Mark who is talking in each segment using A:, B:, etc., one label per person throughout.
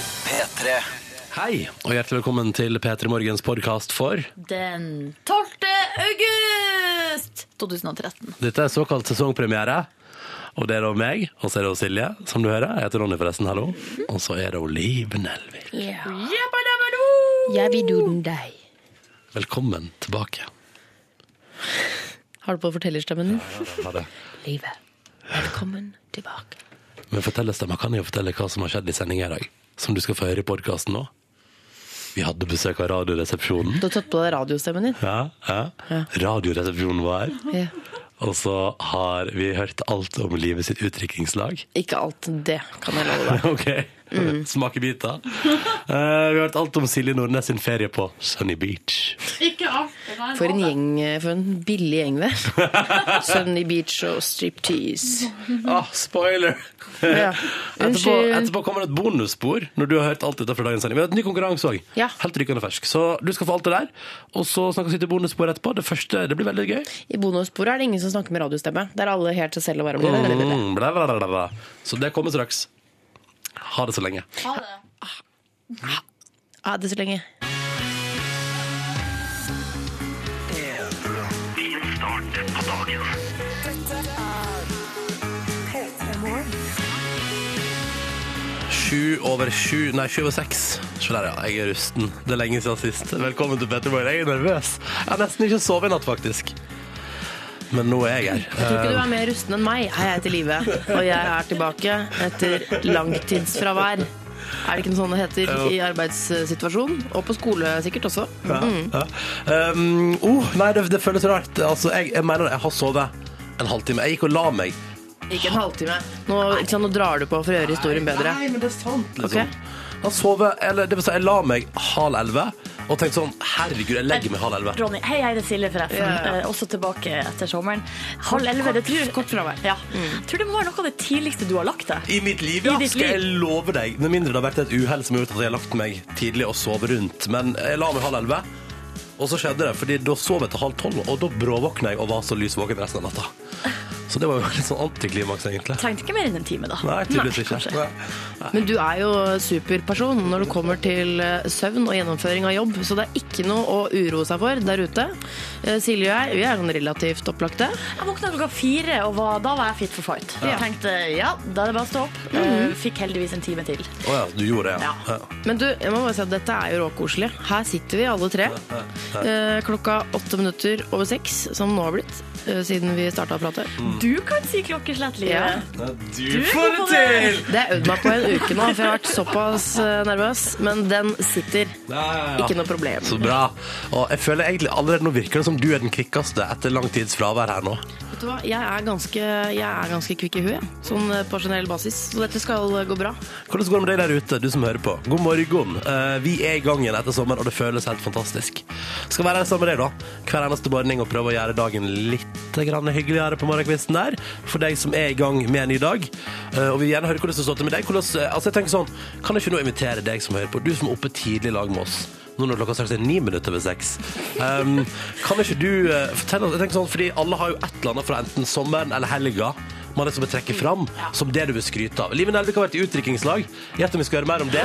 A: P3.
B: Hei, og hjertelig velkommen til P3 Morgens podkast for
C: Den 12. august 2013.
B: Dette er såkalt sesongpremiere. Og det er da meg, og så er det også Silje, som du hører. Jeg heter Ronny, forresten. Hallo. Og så er det Liv Nelvik.
D: Jeg vil duden deg.
B: Velkommen tilbake.
D: Har du på fortellerstemmen?
B: Ha det.
D: Livet. Velkommen tilbake.
B: Men fortellerstemma kan jo fortelle hva som har skjedd i sendinga i dag. Som du skal få høre i podkasten nå. Vi hadde besøk av Radioresepsjonen.
D: Du har tatt på deg radiostemmen din.
B: Ja, ja. Radioresepsjonen var her.
D: Ja.
B: Og så har vi hørt alt om livet sitt utdrikningslag.
D: Ikke alt det kan jeg love deg.
B: Ok. Mm. Smakebiter. Eh, vi har hørt alt om Silje Nordnes sin ferie på Sunny Beach.
D: For en gjeng, for en billig gjeng det. Sunny Beach og striptease.
B: Ah, spoiler!
D: Ja.
B: Etterpå,
D: Unnskyld.
B: etterpå kommer det et bonusspor når du har hørt alt dette fra dagens sending. Vi har et ny konkurranse òg.
D: Ja.
B: Helt rykende fersk. Så du skal få alt det der. Og så snakkes vi til bonusspor etterpå. Det første det blir veldig gøy.
D: I bonussporet er det ingen som snakker med radiostemme. Det er alle helt seg selv og bare
B: Mm, bla, bla, bla, bla, bla. Så det kommer straks. Ha det så lenge.
C: Ha det.
D: Ha det så lenge.
B: Sju over sju, nei, sju over seks. Se der, ja. Jeg er rusten. Det er lenge siden sist. Velkommen til Petter Moore. Jeg er nervøs. Jeg har nesten ikke sovet i natt, faktisk. Men nå er jeg her.
D: Tror ikke du er mer rusten enn meg. Hei, jeg heter Live, og jeg er tilbake etter langtidsfravær. Er det ikke noe sånt det heter i arbeidssituasjon? Og på skole sikkert også.
B: Ja. Um, oh, nei, det, det føles rart. Altså, jeg, jeg mener det. Jeg har sovet en halvtime. Jeg gikk og la meg.
D: Ikke en halvtime. Nå, ikke sant, nå drar du på for å gjøre historien bedre.
B: Nei, men det er sant, liksom.
D: Ok.
B: Jeg, eller, det vil si, jeg la meg halv elleve og tenkte sånn Herregud, jeg legger meg halv elleve.
C: Ronny, hei, jeg heter Silje forresten.
D: Ja, ja.
C: Eh, også tilbake etter sommeren. Halv elleve, det tror Kort fravær. Ja.
D: Mm.
C: Tror det må være noe av det tidligste du har lagt deg.
B: I mitt liv,
C: I
B: ja,
C: ditt
B: skal
C: liv.
B: jeg love deg. Med mindre det har vært et uhell som har gjort at jeg har lagt meg tidlig og sovet rundt. Men jeg la meg halv elleve, og så skjedde det. fordi da sov jeg til halv tolv, og da bråvåkna jeg og var så lys våken resten av natta. Så det var jo litt sånn antiklimaks, egentlig.
C: Trengte ikke mer enn en time, da.
B: Nei, tydeligvis ikke.
C: kanskje.
B: Nei.
D: Men du er jo superperson når det kommer til eh, søvn og gjennomføring av jobb, så det er ikke noe å uroe seg for der ute. Eh, Silje og jeg, vi er sånn relativt opplagte.
C: Jeg våkna klokka fire, og var, da var jeg fit for fight. Jeg tenkte ja, da er det bare å stå opp.
D: Mm.
C: Eh, Fikk heldigvis en time til.
B: Å ja, du gjorde det, ja.
C: Ja.
B: ja.
D: Men du, jeg må bare si at dette er jo råkoselig. Her sitter vi alle tre. Eh, klokka åtte minutter over seks, som nå har blitt, eh, siden vi starta å prate.
C: Du kan si klokkeslett, Live.
D: Ja.
B: Du
C: får det til!
D: Det har jeg øvd meg på en uke nå, for jeg har vært såpass eh, nervøs. Men den sitter. Ikke noe problem.
B: Så bra. Og jeg føler egentlig allerede nå virker det som du er den kvikkeste etter lang tids fravær her nå.
D: Vet du hva? Jeg er ganske, jeg er ganske kvikk i huet, jeg. sånn eh, på generell basis. Så dette skal eh, gå bra.
B: Hvordan går det med deg der ute, du som hører på? God morgen. Eh, vi er i gang igjen etter sommeren, og det føles helt fantastisk. Skal være her sammen med deg, da. Hver eneste morgen og prøve å gjøre dagen litt grann hyggeligere på morgenkvisten der. For deg som er i gang med en ny dag. Eh, og vi vil gjerne høre hvordan det står til med deg. Hvordan, eh, altså jeg tenker sånn, Kan jeg ikke nå invitere deg som hører på, du som er oppe tidlig i lag med oss. Nå når klokka straks er ni minutter over seks. Um, kan ikke du eh, fortelle oss jeg tenker sånn, Fordi alle har jo et eller annet fra enten sommeren eller helga man liksom vil trekke fram som det du vil skryte av. Live Nelvik har vært i utdrikningslag. Gjett om vi skal høre mer om det.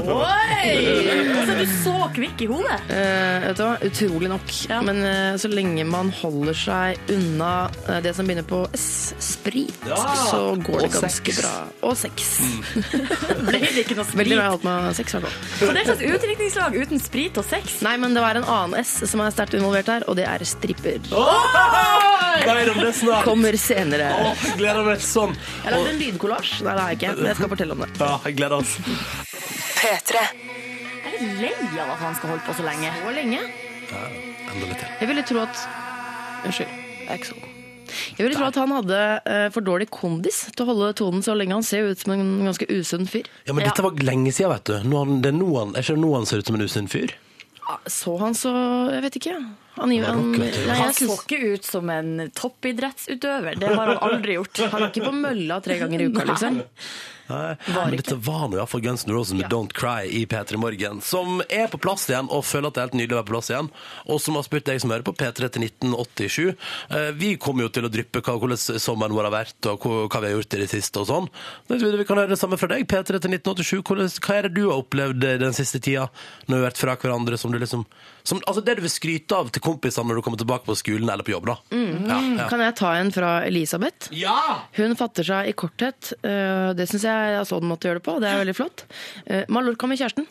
C: Oi! Altså, du så kvikk i hodet.
D: Eh, vet du hva? Utrolig nok. Men eh, så lenge man holder seg unna eh, det som begynner på S, sprit,
B: Ja.
D: så går det
B: Og
D: ganske
B: sex.
D: bra. Og sex.
C: Ble det ikke noe sprit?
D: Veldig bra jeg holdt meg sex, i hvert fall.
C: Så det er et slags utdrikningslag uten sprit og sex?
D: Nei, men det var en annen S som er sterkt involvert her, og det er stripper.
B: Mer om det snart.
D: Kommer senere.
B: Åh, jeg gleder meg sånn.
D: Jeg lagde en lydkollasj. Nei, det har jeg ikke. Men jeg skal fortelle om det.
B: Ja, jeg gleder oss.
C: Jeg er lei av at han skal holde på så lenge.
D: Hvor lenge?
B: Enda litt til.
D: Jeg ville tro at Unnskyld, jeg er ikke så god. Jeg ville tro at han hadde eh, for dårlig kondis til å holde tonen så lenge. Han ser jo ut som en ganske usunn fyr.
B: Ja, men
C: Ja.
B: dette var lenge siden, vet du. Nå, har han- det er nå han, er ikke det nå han ser ut som en usunn fyr?
D: Ah, Så han så Jeg vet ikke. Han, han,
B: var
D: han,
B: rocker,
D: nei,
B: tror jeg.
D: jeg
C: Han så
D: syns-
C: ikke ut som en toppidrettsutøver. Det har han aldri gjort.
D: han er ikke på mølla tre ganger i uka,
C: Nei.
D: liksom.
B: Nei,
C: Var
B: men
C: ikke.
B: dette var nå iallfall Guns N' Roses med
C: Ja.
B: Don't Cry i P3 Morgen, som er på plass igjen og føler at det er helt nydelig å være på plass igjen, og som har spurt deg som hører på P3 til 1987. Eh, Vi kommer jo til å dryppe hva, hvordan sommeren vår har vært, og hva hva vi har gjort i det siste og sånn. Men Vi kan høre det samme fra deg, P3 til 1987. Hvordan, hva er det du har opplevd eh, den siste tida, når vi har vært fra hverandre, som du liksom som, Altså det du vil skryte av til kompisene når du kommer tilbake på skolen eller på jobb, da.
C: Mm.
B: Ja, ja.
D: Kan jeg ta en fra Elisabeth? Hun fatter seg i korthet. eh, Det syns jeg er sånn måte å gjøre det på. Det er veldig flott. Eh, Mallorca med kjæresten.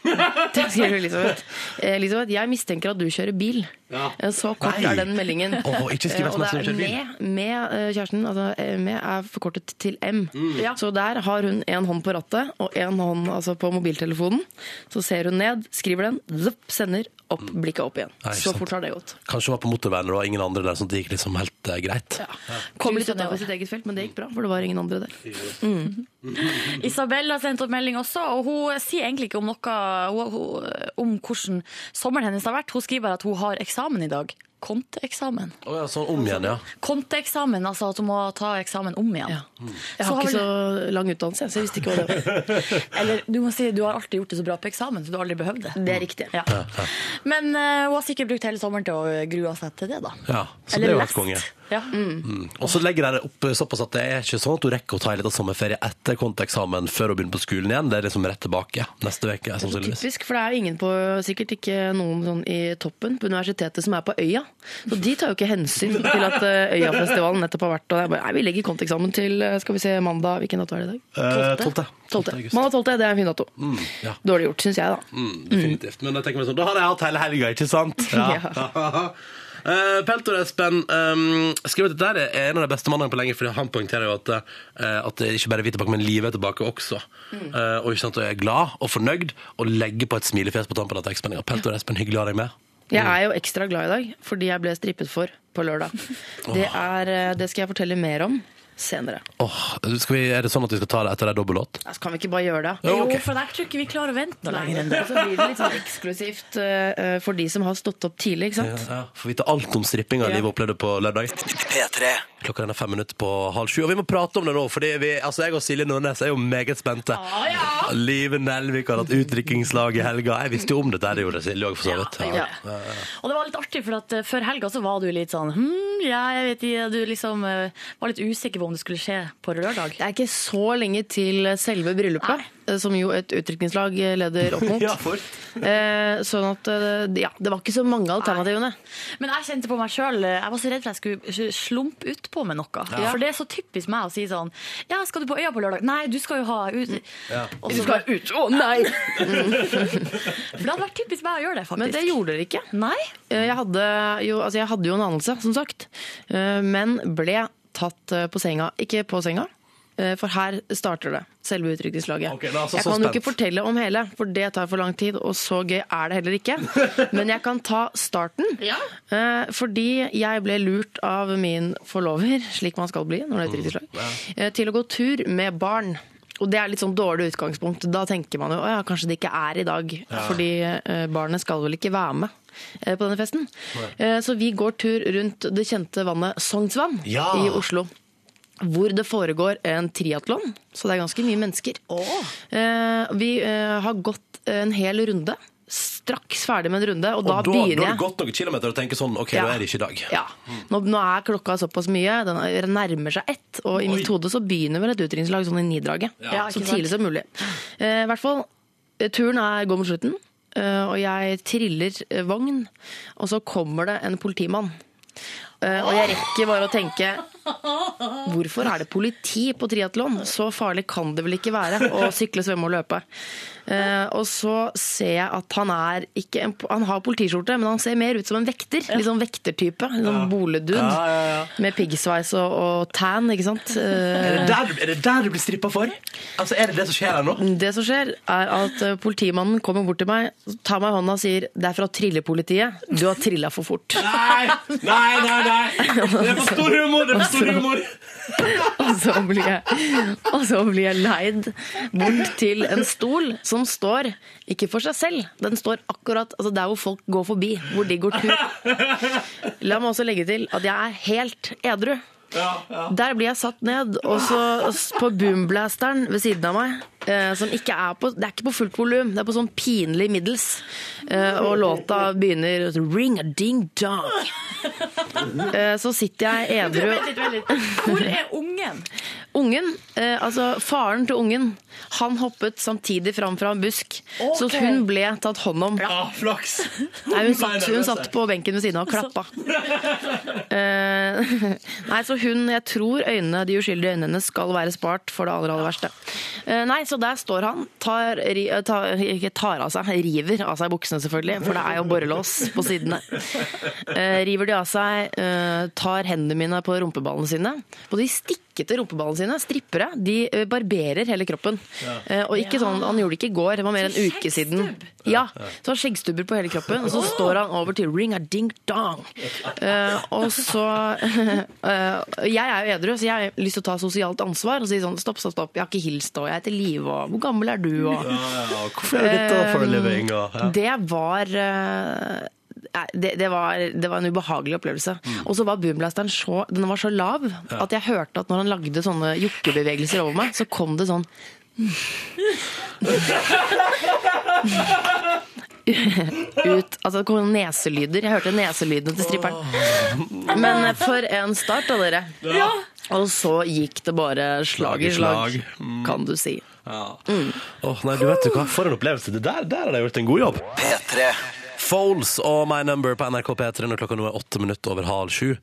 D: Det skriver Elisabeth. Eh, Elisabeth, jeg mistenker at du kjører bil. Eh, Så kort
B: Nei.
D: er den meldingen.
B: Åh, ikke skriv
D: Eh,
B: SMS
D: og
B: når
D: det
B: du
D: er
B: kjører bil.
D: med, med eh, kjæresten, altså eh, med er forkortet til M.
B: Mm.
C: Ja.
D: Så der har hun en hånd på rattet og en hånd altså, på mobiltelefonen. Så ser hun ned, skriver den, zopp, sender opp, blikket opp igjen.
B: Nei, ikke
D: Så
B: sant.
D: fort har det gått.
B: Kanskje var på motorveien og det var ingen andre der, sånn at det gikk liksom helt eh, greit.
D: Kom litt
C: Tusen
D: unna
C: år.
D: på sitt eget felt, men det gikk bra, for det var ingen andre der.
C: Isabel har sendt opp melding også, og hun sier egentlig ikke om noe hun, hun, om hvordan sommeren hennes har vært. Hun skriver bare at hun har eksamen i dag. Konteeksamen.
B: Å ja, sånn om igjen, ja.
C: Konteeksamen, altså at hun må ta eksamen om igjen.
D: Ja. Jeg
C: Så
D: har ikke
C: vel-
D: så lang utdannelse, så jeg visste ikke hva det var.
C: Eller du må si du har alltid gjort det så bra på eksamen, så du har aldri behøvd det.
D: Det er riktig.
C: Ja. Men eh, hun har sikkert brukt hele sommeren til å grue seg til det, da.
B: Ja, så det er jo helt konge.
C: Ja.
B: Mm. Og så legger jeg det opp såpass at det er ikke sånn at hun rekker å ta en liten sommerferie etter konteksamen før hun begynner på skolen igjen. Det er liksom rett tilbake neste uke, sannsynligvis.
D: Typisk, for det er jo ingen på, sikkert ikke noen sånn i toppen på universitetet som er på øya. Så de tar jo ikke hensyn til at eh, Øyafestivalen nettopp har vært. Og det er bare, nei, vi legger konteksamen til eh, skal vi se, mandag Hvilken dato er det i dag?
B: Eh,
C: Tolvte.
D: 12.
B: Tolvte august.
D: Mandag 12. Det er en fin dato.
B: ja.
D: Dårlig gjort, syns jeg, da.
B: Mm, definitivt. Men jeg tenker meg sånn, da har jeg hatt hele helga, ikke sant? Eh, Peltor Espen um, skriver at dette er en av de beste mannene på lenge, fordi han poengterer jo at, eh, at det er ikke bare er vi tilbake, men livet er tilbake også.
C: Mm.
B: Eh, og ikke sant, og jeg er glad og fornøyd og legger på et smilefjes på tampen av tekstmeldinga. Peltor Espen, hyggelig å ha deg med.
D: Jeg er jo ekstra glad i dag fordi jeg ble strippet for på lørdag. Det, er, eh, det skal jeg fortelle mer om senere.
B: Åh, skal vi, er det sånn at vi skal ta det etter ei dobbellåt?
D: Altså, kan vi ikke bare gjøre det?
B: Ja, ok.
C: Jo, for der tror jeg ikke vi klarer å vente noe lenger enn det.
D: Og så blir det litt sånn eksklusivt eh, for de som har stått opp tidlig, ikke sant?
B: Ja, Får vite alt om strippinga
D: Ja.
B: livet opplevde på lørdag. Klokka den er fem minutter på halv sju, og vi må prate om det nå. Fordi vi, altså jeg og Silje Nordnes er jo meget spente. Live Nelvik har hatt utdrikningslag i helga. Jeg visste jo om dette, det gjorde Silje òg, for så vidt.
C: det
B: Ja.
C: gjorde jeg. Og det var litt artig, for at eh, før helga så var du litt sånn hm, ja, jeg vet ikke, du liksom eh, var litt usikker på om det skulle skje på lørdag.
D: Det er ikke så lenge til selve bryllupet, eh, som jo et utdrikningslag eh, leder opp mot.
B: Ja, for.
D: Eh, sånn at eh, ja, det var ikke så mange alternativene.
C: Men jeg kjente på meg sjøl Jeg var så redd for jeg skulle slumpe utpå med noe. For det er så typisk meg å si sånn Ja, skal du på Øya på lørdag? Nei, du skal jo ha ut... Og så-
D: ut! Å nei!
C: For det hadde vært typisk meg å gjøre det, faktisk.
D: Men det gjorde dere ikke.
C: Nei.
D: Eh, Jeg hadde jo, altså jeg hadde jo en anelse, som sagt, eh, men ble tatt eh, på senga. Ikke på senga, eh, for her starter det, selve utrykningslaget.
B: Ok, da er altså
D: jeg
B: så
D: kan jo ikke
B: spent.
D: fortelle om hele, for det tar for lang tid, og så gøy er det heller ikke. Men jeg kan ta starten, eh, fordi jeg ble lurt av min forlover, slik man skal bli når det er utrykningslag, eh, til å gå tur med barn. Og det er litt sånn dårlig utgangspunkt. Da tenker man jo at ja, kanskje det ikke er i dag. Fordi eh, barnet skal vel ikke være med eh, på denne festen. Eh, så vi går tur rundt det kjente vannet Sognsvann
B: Ja.
D: i Oslo. Hvor det foregår en triatlon, så det er ganske mye mennesker. Eh, vi eh, har gått en hel runde. Straks ferdig med en runde, og,
B: Og
D: da,
B: da, da
D: begynner
B: har
D: jeg.
B: du gått noen kilometer og tenker sånn OK,
D: Ja.
B: nå er det ikke i dag.
D: Ja. Nå, nå er klokka såpass mye, den er- nærmer seg ett, og i mitt hode så begynner vel et utdrikningslag sånn i nidraget.
C: Ja,
D: så
C: ikke sant?
D: tidlig som mulig. Eh, I hvert fall, eh, turen er, går mot slutten, eh, og jeg triller eh, vogn, og så kommer det en politimann. Eh, og jeg rekker bare å tenke Hvorfor er det politi på triatlon? Så farlig kan det vel ikke være å sykle, svømme og løpe. Eh, og så ser jeg at han er ikke en, Han har politiskjorte, men han ser mer ut som en vekter. Litt sånn vektertype. Litt sånn boledud.
B: Ja, ja, ja.
D: Med piggsveis og, og tan, ikke sant. Eh,
B: Er det, der, du- er det der du blir strippa for? Altså, Er det det som skjer her nå?
D: det som skjer, er at eh, politimannen kommer bort til meg, tar meg i hånda og sier 'Det er fra trillepolitiet. Du har trilla for fort'.
B: Nei, nei, nei! Det er for stor humor! Det er for stor humor!
D: Og så blir jeg, og så blir jeg leid bort til en stol som står, ikke for seg selv, den står akkurat altså der hvor folk går forbi, hvor de går tur. La meg også legge til at jeg er helt edru. Der blir jeg satt ned, og så s- på boomblasteren ved siden av meg, eh, som ikke er på, det er ikke på fullt volum, det er på sånn pinlig middels, eh, og låta begynner ring a ding dong. Eh, så sitter jeg
C: Du,
D: edru.
C: vent litt, vent litt. Hvor er ungen?
D: Ungen, eh, altså faren til ungen, han hoppet samtidig fram fra en busk, så
C: Ok.
D: hun ble tatt hånd om.
A: Ja, flaks!
D: Nei, hun satt, hun satt på benken ved siden av og klappa. Eh, nei, så hun, jeg tror øynene, de uskyldige øynene hennes skal være spart for det aller, aller verste. Eh, nei, så der står han, tar, ri- eh, tar, ikke tar av seg, river av seg buksene selvfølgelig, for det er jo borrelås på sidene. Eh, river de av seg, eh, tar hendene mine på rumpeballene sine, på de stikkete rumpeballene sine, strippere, de eh, barberer hele kroppen. Eh, og ikke sånn, han gjorde det ikke i går, det var mer en
C: Så
D: uke siden.
C: skjeggstubb.
D: Ja, så har han skjeggstubber på hele kroppen, og så står han over til ring a ding dong. Eh, og så eh, Jeg er jo edru, så jeg har lyst til å ta sosialt ansvar og si sånn stopp, stopp, stopp, jeg har ikke hilst, og jeg heter Live, og hvor gammel er du, og
B: Hvorfor er dette for a living? Og, ja.
D: Det var eh, nei, det, det, var, det var en ubehagelig opplevelse.
B: Mm.
D: Og så var boomblasteren så, den var så lav at jeg hørte at når han lagde sånne jokkebevegelser over meg, så kom det sånn ut Altså det kom neselyder. Jeg hørte neselydene til stripperen. Men eh, for en start da, dere. Og så gikk det bare slag i slag,
B: Slag i slag. Mm.
D: kan du si.
B: Åh, nei, du vet jo hva, For en opplevelse. Det der, der har de gjort en god jobb.
E: P3
B: Foles og My Number på NRK P3 når klokka nå er åtte minutter over halv sju.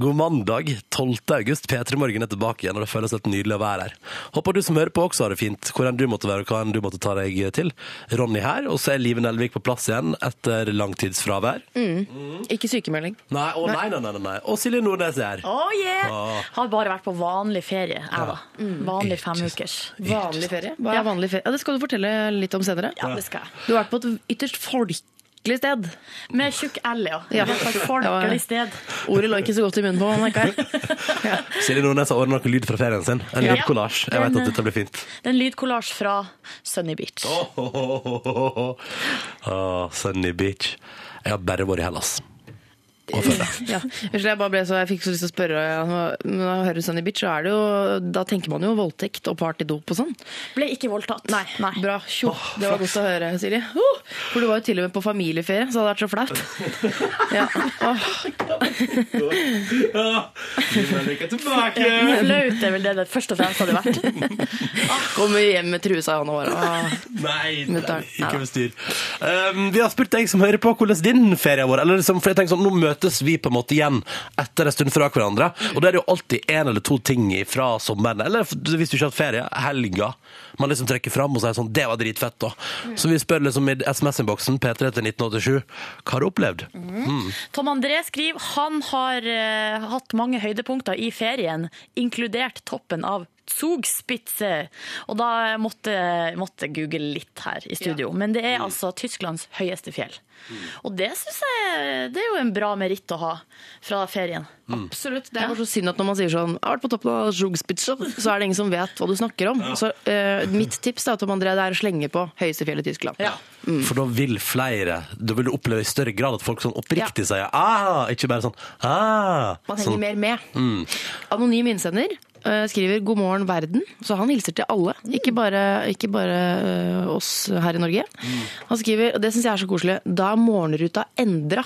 B: God mandag 12. august. P3 Morgen er tilbake igjen, og det føles helt nydelig å være her. Håper du som hører på også har det fint, hvor enn du måtte være og hva enn du måtte ta deg til. Ronny her, og så er Live Nelvik på plass igjen etter langtidsfravær.
D: Mm. Ikke sykemelding.
B: Nei, å nei, nei, nei, nei, nei. Og Silje Nordnes er her.
C: Oh, yeah.
B: Ah.
C: Har bare vært på vanlig ferie, jeg da. Vanlig
B: Ikke
C: femukers.
D: Mm. Vanlig ferie? Hva er
C: Ja.
D: vanlig ferie? Ja, det skal du fortelle litt om senere.
C: Ja, det skal jeg.
D: Du har vært på et ytterst folkelig sted.
C: Med tjukk L, ja.
D: Ja.
C: Det er et folkelig sted.
D: Ordet lå ikke så godt i munnen på meg. merker jeg.
B: Silje Nordnes har ordnet noe lyd fra ferien sin. En
D: Ja.
B: lydkollasj. Jeg vet
C: Den,
B: at dette blir fint.
C: Det er en lydkollasj fra Sunny Beach.
B: Ah, sunny beach. Jeg har bare vært i Hellas. Og føler
D: Ja. Unnskyld, jeg bare ble så, jeg fikk så lyst til å spørre. Når jeg hører Sunny Bitch, så er det jo, da tenker man jo voldtekt og partydop og sånn.
C: Ble ikke voldtatt. Nei.
D: Bra. Tjo. Det var godt å høre, Silje. Oh, for du var jo til og med på familieferie, så det hadde vært så flaut. Ja. Åh.
C: Eh, Flaut er vel det det først og fremst hadde vært.
D: Kommer hjem med trusa i hånda vår. Åh.
B: Nei,
D: Men da-
B: ikke bestyr. Um, vi har spurt deg som hører på hvordan din ferie har vært. Eller liksom, for jeg tenker sånn, Nå møtes vi på en måte igjen etter en stund fra hverandre. Og da er det jo alltid en eller to ting fra sommeren. Eller hvis du ikke har hatt ferie, helga. Man liksom trekker fram og sier sånn 'det var dritfett', da. Så vi spør liksom i SMS-innboksen P3 til 1987 hva har du opplevd?
C: Tom André skriver han har eh, hatt mange høydepunkter i ferien, inkludert toppen av Zugspitze. Og da måtte måtte google litt her i studio. Men det er altså Tysklands høyeste fjell. Og det syns jeg det er jo en bra meritt å ha fra ferien.
D: Absolutt. Det er bare så synd at når man sier sånn Jeg har vært på toppen av Zugspitze, så er det ingen som vet hva du snakker om. Så eh, mitt tips da, Tom André, det er å slenge på høyeste fjell i Tyskland. Mm.
B: For da vil flere Da vil du oppleve i større grad at folk sånn oppriktig sier 'ah', ikke bare sånn 'ah'.
D: Man henger
B: Sånn,
D: mer med. Anonym innsender eh, skriver 'God morgen, verden', så han hilser til alle. Ikke bare, ikke bare eh, oss her i Norge. Han skriver, og det syns jeg er så koselig, 'Da er morgenruta endra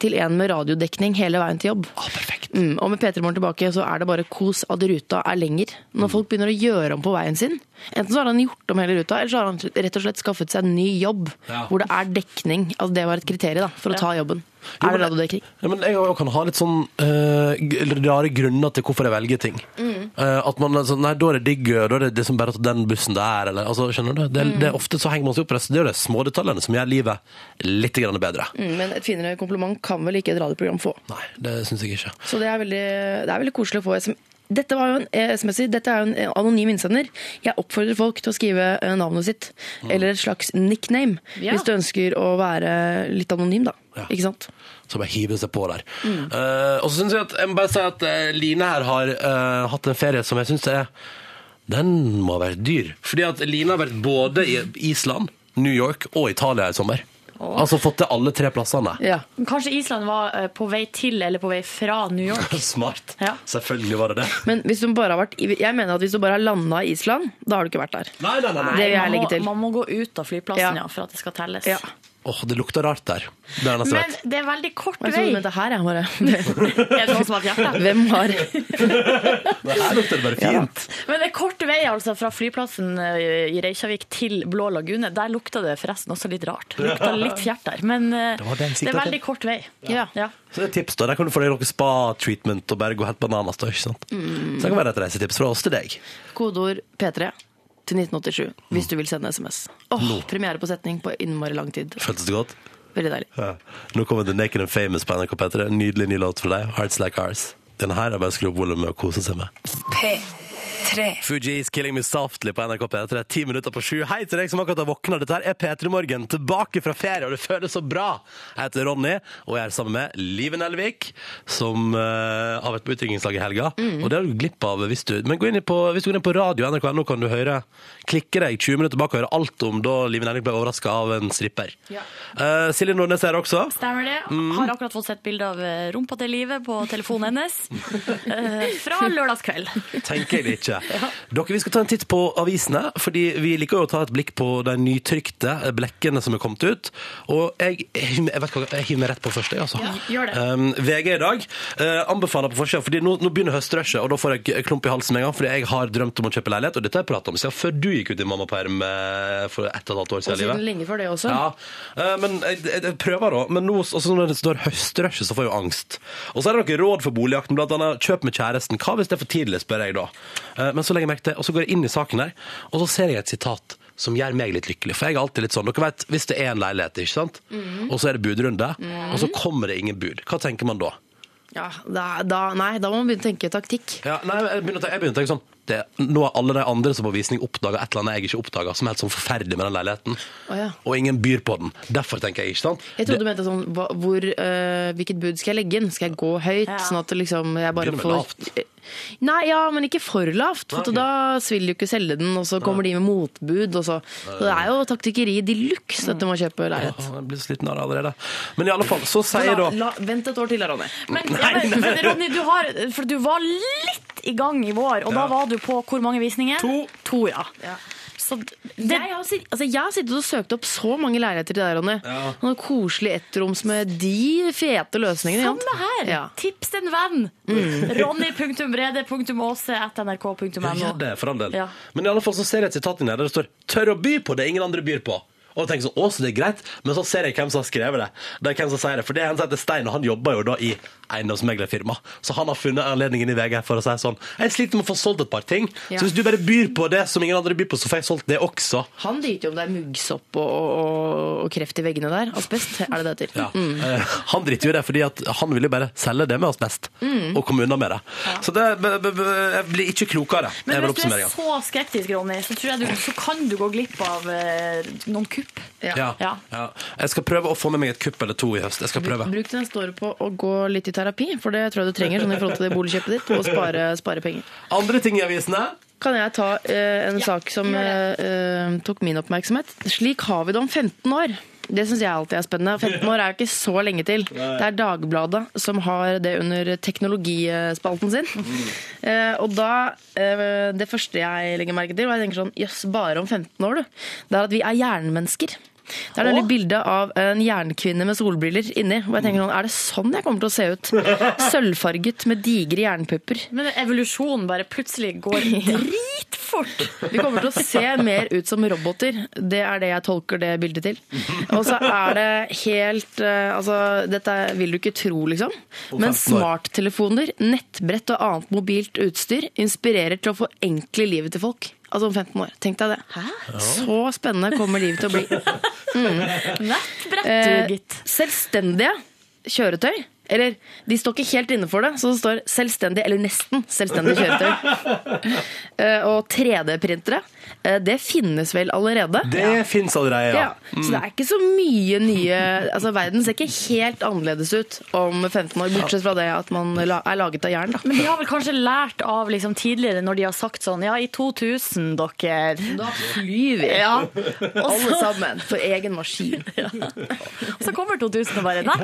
D: til en med radiodekning hele veien til jobb'.
B: ah, perfekt.
D: Mm, og med P3 Morgen tilbake så er det bare kos at ruta er lenger. Når folk begynner å gjøre om på veien sin, enten så har han gjort om hele ruta, eller så har han rett og slett skaffet seg en ny jobb
B: Ja.
D: hvor det er dekning. Altså det var et kriterium da, for å ta jobben. Er
B: men-
D: det radiodekning?
B: Ja, men jeg også kan ha litt sånn eh, g- rare grunner til hvorfor jeg velger ting.
D: Mm.
B: Eh, at man er sånn, nei, da er det digg, da er det liksom bare å ta den bussen der, eller altså, skjønner du? Det,
D: Mm.
B: er- det er ofte så henger man seg opp i det. Det er jo de små detaljene som gjør livet litt grann bedre.
D: Mm, men et finere kompliment kan vel ikke et radioprogram få.
B: Nei, det syns jeg ikke.
D: Så det er veldig, det er veldig koselig å få SM. Dette, var jo en, eh, SMS-er, dette er jo en eh, anonym innsender. Jeg oppfordrer folk til å skrive eh, navnet sitt, eller et slags nickname,
C: Ja.
D: hvis du ønsker å være litt anonym, da.
B: Ja.
D: Ikke sant?
B: Så bare hiver seg på der. Eh, og så syns jeg at jeg må bare si at eh, Line her har eh, hatt en ferie som jeg syns er Den må ha vært dyr. Fordi at Line har vært både i Island, New York og Italia i sommer. Altså fått til alle tre plassene.
D: Ja.
C: Kanskje Island var eh, på vei til eller på vei fra New York.
B: Smart.
C: Ja.
B: Selvfølgelig var det det.
D: Men hvis du bare har vært i, jeg mener at hvis du bare har landa i Island, da har du ikke vært der.
B: Nei, nei, nei. nei.
D: Det vil jeg
C: man,
D: legge
C: må,
D: til.
C: man må gå ut av flyplassen
D: Ja.
C: ja, for at det skal telles.
D: Ja.
B: Åh, det lukta rart der. Det er nesten
C: Men
B: rett.
C: det er veldig kort
D: Jeg trodde
C: vei.
D: du mente her, jeg bare.
C: Er det noen som har et hjerte?
D: Hvem har
B: Men her lukter det bare
D: Ja.
B: fint.
C: Men det er kort vei altså fra flyplassen eh, i Reykjavik til Blå lagune. Der lukta det forresten også litt rart. Det lukta litt fjert der. Men eh,
B: Det var det
C: det
B: jeg siktet
C: er veldig
B: til.
C: kort vei.
D: Ja.
C: Ja.
B: Så det er et tips da, Der kan du få deg noe spa-treatment og bare gå helt bananas. da, ikke sant? Så det kan være et reisetips fra oss til deg.
D: Kodeord P3 til 1987 hvis du vil sende SMS. Åh, Premiere på setning på innmari lang tid.
B: Føltes det godt?
D: Veldig deilig.
B: Ja. Nå kommer The Naked and Famous på NRK P3. En Nydelig ny låt for deg. Hearts Like Ours. Den her er bare å skru opp volumet og kose seg med.
A: P3.
B: Fugees Killing Me Softly på NRK P3. Ti minutter på sju. Hei til deg som akkurat har våkna. Dette her er P3 Morgen tilbake fra ferie, og det føles så bra. Jeg heter Ronny, og jeg er sammen med Liven Elvik, som eh, har vært på utdrikningslag i helga. Og det har du glipp av hvis du Men gå inn i på, hvis du går inn på radio nrk.no, kan du høre Klikke deg 20 minutter bak og høre alt om da Liven Elvik ble overraska av en stripper. Eh, Silje Nordnes er her også.
C: Stemmer det.
D: Mm.
C: Har akkurat fått sett bilde av eh, rumpa til livet på telefonen hennes eh, fra lørdagskveld.
B: Tenker jeg det ikke. Dere, Vi skal ta en titt på avisene, fordi vi liker jo å ta et blikk på de nytrykte blekkene som er kommet ut. Og jeg, jeg, vet hva, jeg hiver meg rett på først, jeg, altså.
C: gjør det.
B: Um, VG i dag eh, anbefaler på forsida, fordi nå, nå begynner høstrushet, og da får jeg klump i halsen med en gang, fordi jeg har drømt om å kjøpe leilighet, og dette har jeg pratet om siden før du gikk ut i mammaperm eh, for ett og et halvt år siden.
D: Siden
B: livet.
D: lenge før det også.
B: Ja, eh, men jeg, jeg, jeg prøver da. Men nå, altså, når det står høstrushet, så får jeg jo angst. Og så er det noen råd for boligjakten, blant annet kjøp med kjæresten. Hva hvis det er for tidlig, spør jeg da. Eh, Men så legger jeg merke til, og så går jeg inn i saken her, og så ser jeg et sitat som gjør meg litt lykkelig. For jeg er alltid litt sånn, dere vet, hvis det er en leilighet, ikke sant?
D: Mhm.
B: Og så er det budrunde, og så kommer det ingen bud. Hva tenker man da?
D: Ja, da, da, nei, da må man begynne å tenke taktikk.
B: Ja, nei, jeg begynner å tenke, jeg begynner å tenke sånn, det, nå har alle de andre som på visning oppdaget et eller annet jeg ikke oppdaget, som er helt sånn forferdelig med den leiligheten.
D: Å ja.
B: Og ingen byr på den. Derfor tenker jeg, ikke sant?
D: Jeg trodde du mente sånn hva, hvor, eh, Hvilket bud skal jeg legge inn? Skal jeg gå høyt?
C: Ja.
D: Sånn at det liksom jeg bare
B: Begynner med
D: får
B: lavt.
D: Nei, ja, men ikke for lavt.
B: Nei,
D: For
B: ok.
D: at da vil du ikke selge den, og så kommer de med motbud. Og så. så det er jo taktikkeri de luxe at du må kjøpe leilighet.
B: Åh, Jeg blir sliten av det allerede. Men i alle fall, så sier
D: La,
B: da
D: la, vent et år til da, Ronny.
C: Men, ja, men, men Ronny, du har, for du var litt i gang i vår, og da var du på hvor mange visninger?
B: To.
C: To, ja. Så d- det,
D: jeg, har, sitt- altså, jeg har sittet og søkt opp så mange leiligheter til deg, Ronny.
B: Ja.
D: Noen koselige ettroms med de fete løsningene. ikke sant?
C: samme her.
D: Ja.
C: Tips en venn.
B: Mm. Ja,
C: Ronny.brede.åse.nrk.no.
B: gjør det, for all del.
C: Ja.
B: Men i alle fall så ser jeg et sitat inni der der det står 'tør å by på det ingen andre byr på'. Og jeg tenker sånn, å, så det er greit, Men så ser jeg hvem som har skrevet det. Det er hvem som sier det, For det er en som heter Stein, og han jobber jo da i eiendomsmeglerfirma. Så han har funnet anledningen i VG for å si sånn Jeg sliter med å få solgt et par ting.
D: Ja.
B: Så hvis du bare byr på det som ingen andre byr på, så får jeg solgt det også.
D: Han driter jo om det er muggsopp og, og, og kreft i veggene der. Asbest er det det heter.
B: Ja.
C: Mm.
B: Eh, Han driter jo i det, fordi at han vil jo bare selge det med oss best,
C: Mm.
B: og komme unna med det. Så det b b b jeg blir ikke klokere. er
C: Men
B: vel
C: hvis du er
B: oppsummeringen.
C: så skeptisk, Ronny, så, tror jeg du, så kan du gå glipp av eh, noen kupp.
B: Ja. Ja.
C: Ja.
B: Jeg skal prøve å få med meg et kupp eller to i høst. Jeg skal prøve.
D: Bruk det neste året på å gå litt i terapi, for det tror jeg du trenger sånn i forhold til det boligkjøpet ditt, og spare, spare penger.
B: Andre ting i avisene.
D: Kan jeg ta eh, en sak som eh,
C: gjør
D: eh, tok min oppmerksomhet? Slik har vi det om 15 år. Det syns jeg alltid er spennende. 15 år er jo ikke så lenge til. Det er Dagbladet som har det under teknologispalten sin. Eh, og da eh, Det første jeg legger merke til, og jeg tenker sånn Jøss, bare om 15 år, du. Det er at vi er hjernemennesker. Det er nemlig bilde av en jernkvinne med solbriller inni. Og jeg tenker sånn, Er det sånn jeg kommer til å se ut? Sølvfarget med digre jernpupper.
C: Men evolusjonen bare plutselig går dritfort.
D: Vi kommer til å se mer ut som roboter. Det er det jeg tolker det bildet til. Og så er det helt eh, Altså, dette vil du ikke tro, liksom.
B: 15
D: Men
B: år.
D: smarttelefoner, nettbrett og annet mobilt utstyr inspirerer til å forenkle livet til folk. Altså om 15 år. Tenk deg det. Så spennende kommer livet til å bli.
C: Nettbrett,
D: Eh,
C: du, gitt.
D: selvstendige kjøretøy Eller, de står ikke helt inne for det, så det står selvstendig, eller nesten selvstendig kjøretøy. Eh, og 3D-printere, eh, det finnes vel allerede?
B: Det fins allerede, ja.
D: Ja, Så det er ikke så mye nye Altså Verden ser ikke helt annerledes ut om 15 år, bortsett fra det at man la- er laget av jern. da
C: Men de har vel kanskje lært av liksom, tidligere når de har sagt sånn Ja, i 2000, dere.
D: Da flyr vi,
C: Ja. Og
D: alle
C: så,
D: sammen, for egen maskin.
C: så kommer 2000 og bare nei.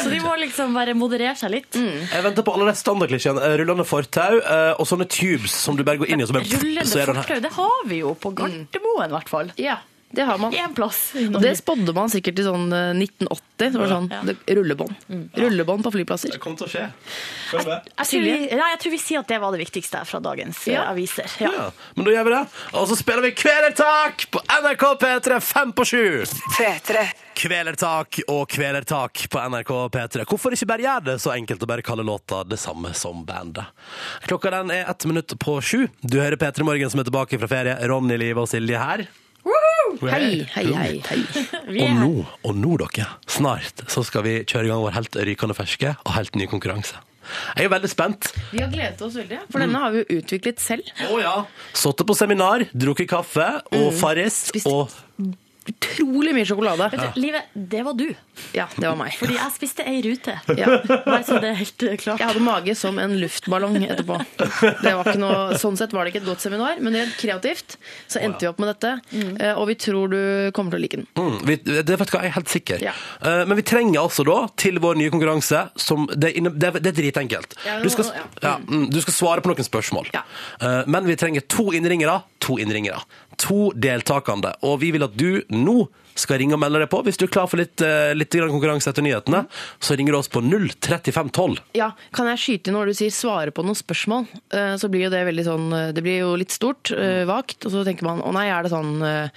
C: Så de må liksom bare moderere seg litt.
D: Mm.
B: Jeg venter på alle de standardklisjeene. eh, Rullende fortau eh, og sånne tubes som du bare går inn i. og Så bare, så
C: Rullende
B: er den her.
C: fortau, det har vi jo på Gardermoen, i hvert fall.
D: Ja, det har man.
C: Én plass.
D: Mm. Og det spådde man sikkert i sånn eh, 1980. Det var sånn,
C: Ja.
D: det, rullebånd. Rullebånd på flyplasser.
B: Det kommer til å skje. Følg med.
C: Jeg tror, vi, ja, jeg tror vi sier at det var det viktigste fra dagens eh,
D: Ja.
C: aviser. Ja.
B: Ja, men da gjør vi det. Og så spiller vi Kvelertak på NRK P3 fem på sju.
A: P3.
B: Kvelertak og Kvelertak på NRK P3. Hvorfor ikke bare gjøre det så enkelt og bare kalle låta det samme som bandet? Klokka den er ett minutt på sju. Du hører P3 Morgen som er tilbake fra ferie. Ronny, Live og Silje her.
D: Hei, hei, hei. hei.
C: Vi
B: Og
C: er
B: nå, og nå dere, snart så skal vi kjøre i gang vår helt rykende ferske og helt ny konkurranse. Jeg er veldig spent.
D: Vi har gledet oss veldig, for denne har vi jo utviklet selv.
B: Å ja. Mm. Sittet på seminar, drukket kaffe og Farris
D: Spist-
B: og
D: Utrolig mye sjokolade.
C: her. Live, det var du.
D: Ja, det var meg.
C: Fordi jeg spiste ei rute.
D: Ja.
C: Bare så det er helt eh, klart.
D: Jeg hadde mage som en luftballong etterpå. Det var ikke noe, sånn sett var det ikke et godt seminar, men rent kreativt så endte vi opp med dette. eh, Og vi tror du kommer til å like den.
B: Mm, vi, det vet du hva, jeg er helt sikker.
D: Ja.
B: Eh, men vi trenger altså da til vår nye konkurranse som Det, inne, det, er- det er dritenkelt.
D: Ja, det
B: Du skal,
D: må- ja.
B: ja, mm, du skal svare på noen spørsmål.
D: Ja.
B: Eh, men vi trenger to innringere. To innringere. To deltakende. Og vi vil at du nå skal ringe og melde deg på. Hvis du er klar for litt, eh, litt grann konkurranse etter nyhetene, så ringer du oss på 03512.
D: Ja, Kan jeg skyte inn når du sier 'svare på noen spørsmål'? eh, Så blir jo det veldig sånn eh, Det blir jo litt stort, eh, vagt, og så tenker man 'å nei, er det sånn eh,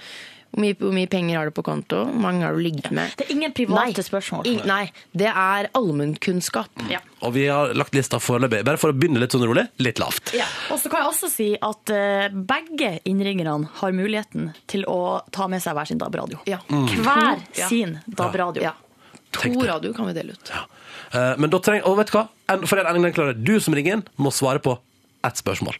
D: hvor mye, hvor mye penger har du på konto? Hvor mange har du ligget med?
C: Det er ingen private spørsmål.
D: I, nei, det er allmennkunnskap.
C: Mm. Ja.
B: Og vi har lagt lista foreløpig, bare for å begynne litt sånn rolig, litt lavt.
C: Ja. Og så kan jeg også si at eh, begge innringerne har muligheten til å ta med seg hver sin DAB-radio.
D: Ja.
C: Hver
D: Ja.
C: sin DAB-radio.
D: ja.
B: Mm. Tenk
D: To
B: det.
D: radio kan vi dele ut.
B: Eh, Men da trenger, og vet du hva? En- For en ending den klarer Du som ringer inn må svare på ett spørsmål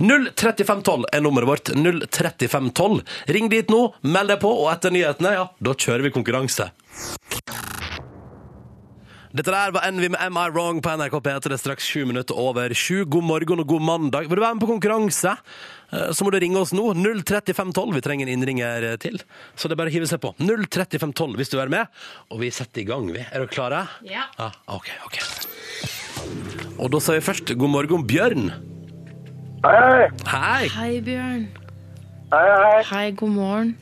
B: 03512 er nummeret vårt 03512 Ring dit nå, meld deg på Og etter nyhetene, ja, da kjører vi konkurranse dette der var Envy med Am I Wrong på NRK P3. Det er straks sju minutter over sju. God morgen og god mandag. Vil du være med på konkurranse, eh, så må du ringe oss nå. 03512. Vi trenger en innringer eh, til, så det er bare å hive seg på. 03512 hvis du vil være med. Og vi setter i gang, vi. Er dere klare?
C: Ja.
B: ja OK. ok. Og da sier vi først god morgen, Bjørn.
E: Hei,
B: Hei!
D: Hei, Bjørn.
E: hei, hei.
D: Hei, god morgen.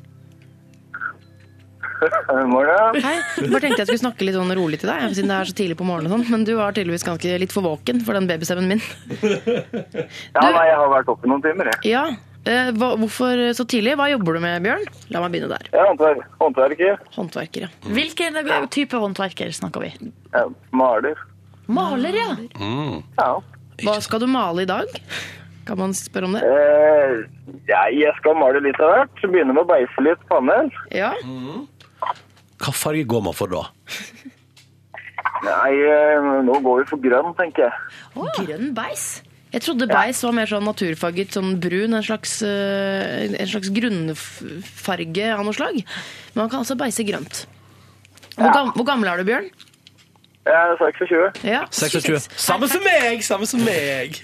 E: God morgen.
D: Hei. Bare tenkte jeg skulle snakke litt sånn rolig til deg, siden det er så tidlig på morgenen og sånn, men du var tydeligvis ganske litt for våken for den babystemmen min.
E: Ja,
D: Du-
E: nei, jeg har vært oppe noen timer, jeg.
D: Ja, eh, hva, hvorfor så tidlig? Hva jobber du med, Bjørn? La meg begynne der.
E: Jeg er håndver håndverker.
D: Håndverkere.
C: Hvilken type håndverker snakker vi?
E: Jeg er maler.
C: Maler, ja.
E: Ja.
D: Hva skal du male i dag? Kan man spørre om det?
E: Eh, jeg, jeg skal male litt av hvert. Begynne med å beise litt panel.
D: Ja.
B: Hva farge går man for da?
E: Nei, eh, nå går vi for grønn, tenker jeg.
D: Grønn beis. Jeg trodde beis var mer sånn naturfarget, sånn brun, en slags, eh, en slags grunnfarge av noe slag. Men man kan altså beise grønt. Hvor, gam, hvor gammel er du, Bjørn?
E: Jeg er 26.
D: Ja,
B: 26. Samme som meg! Samme som meg!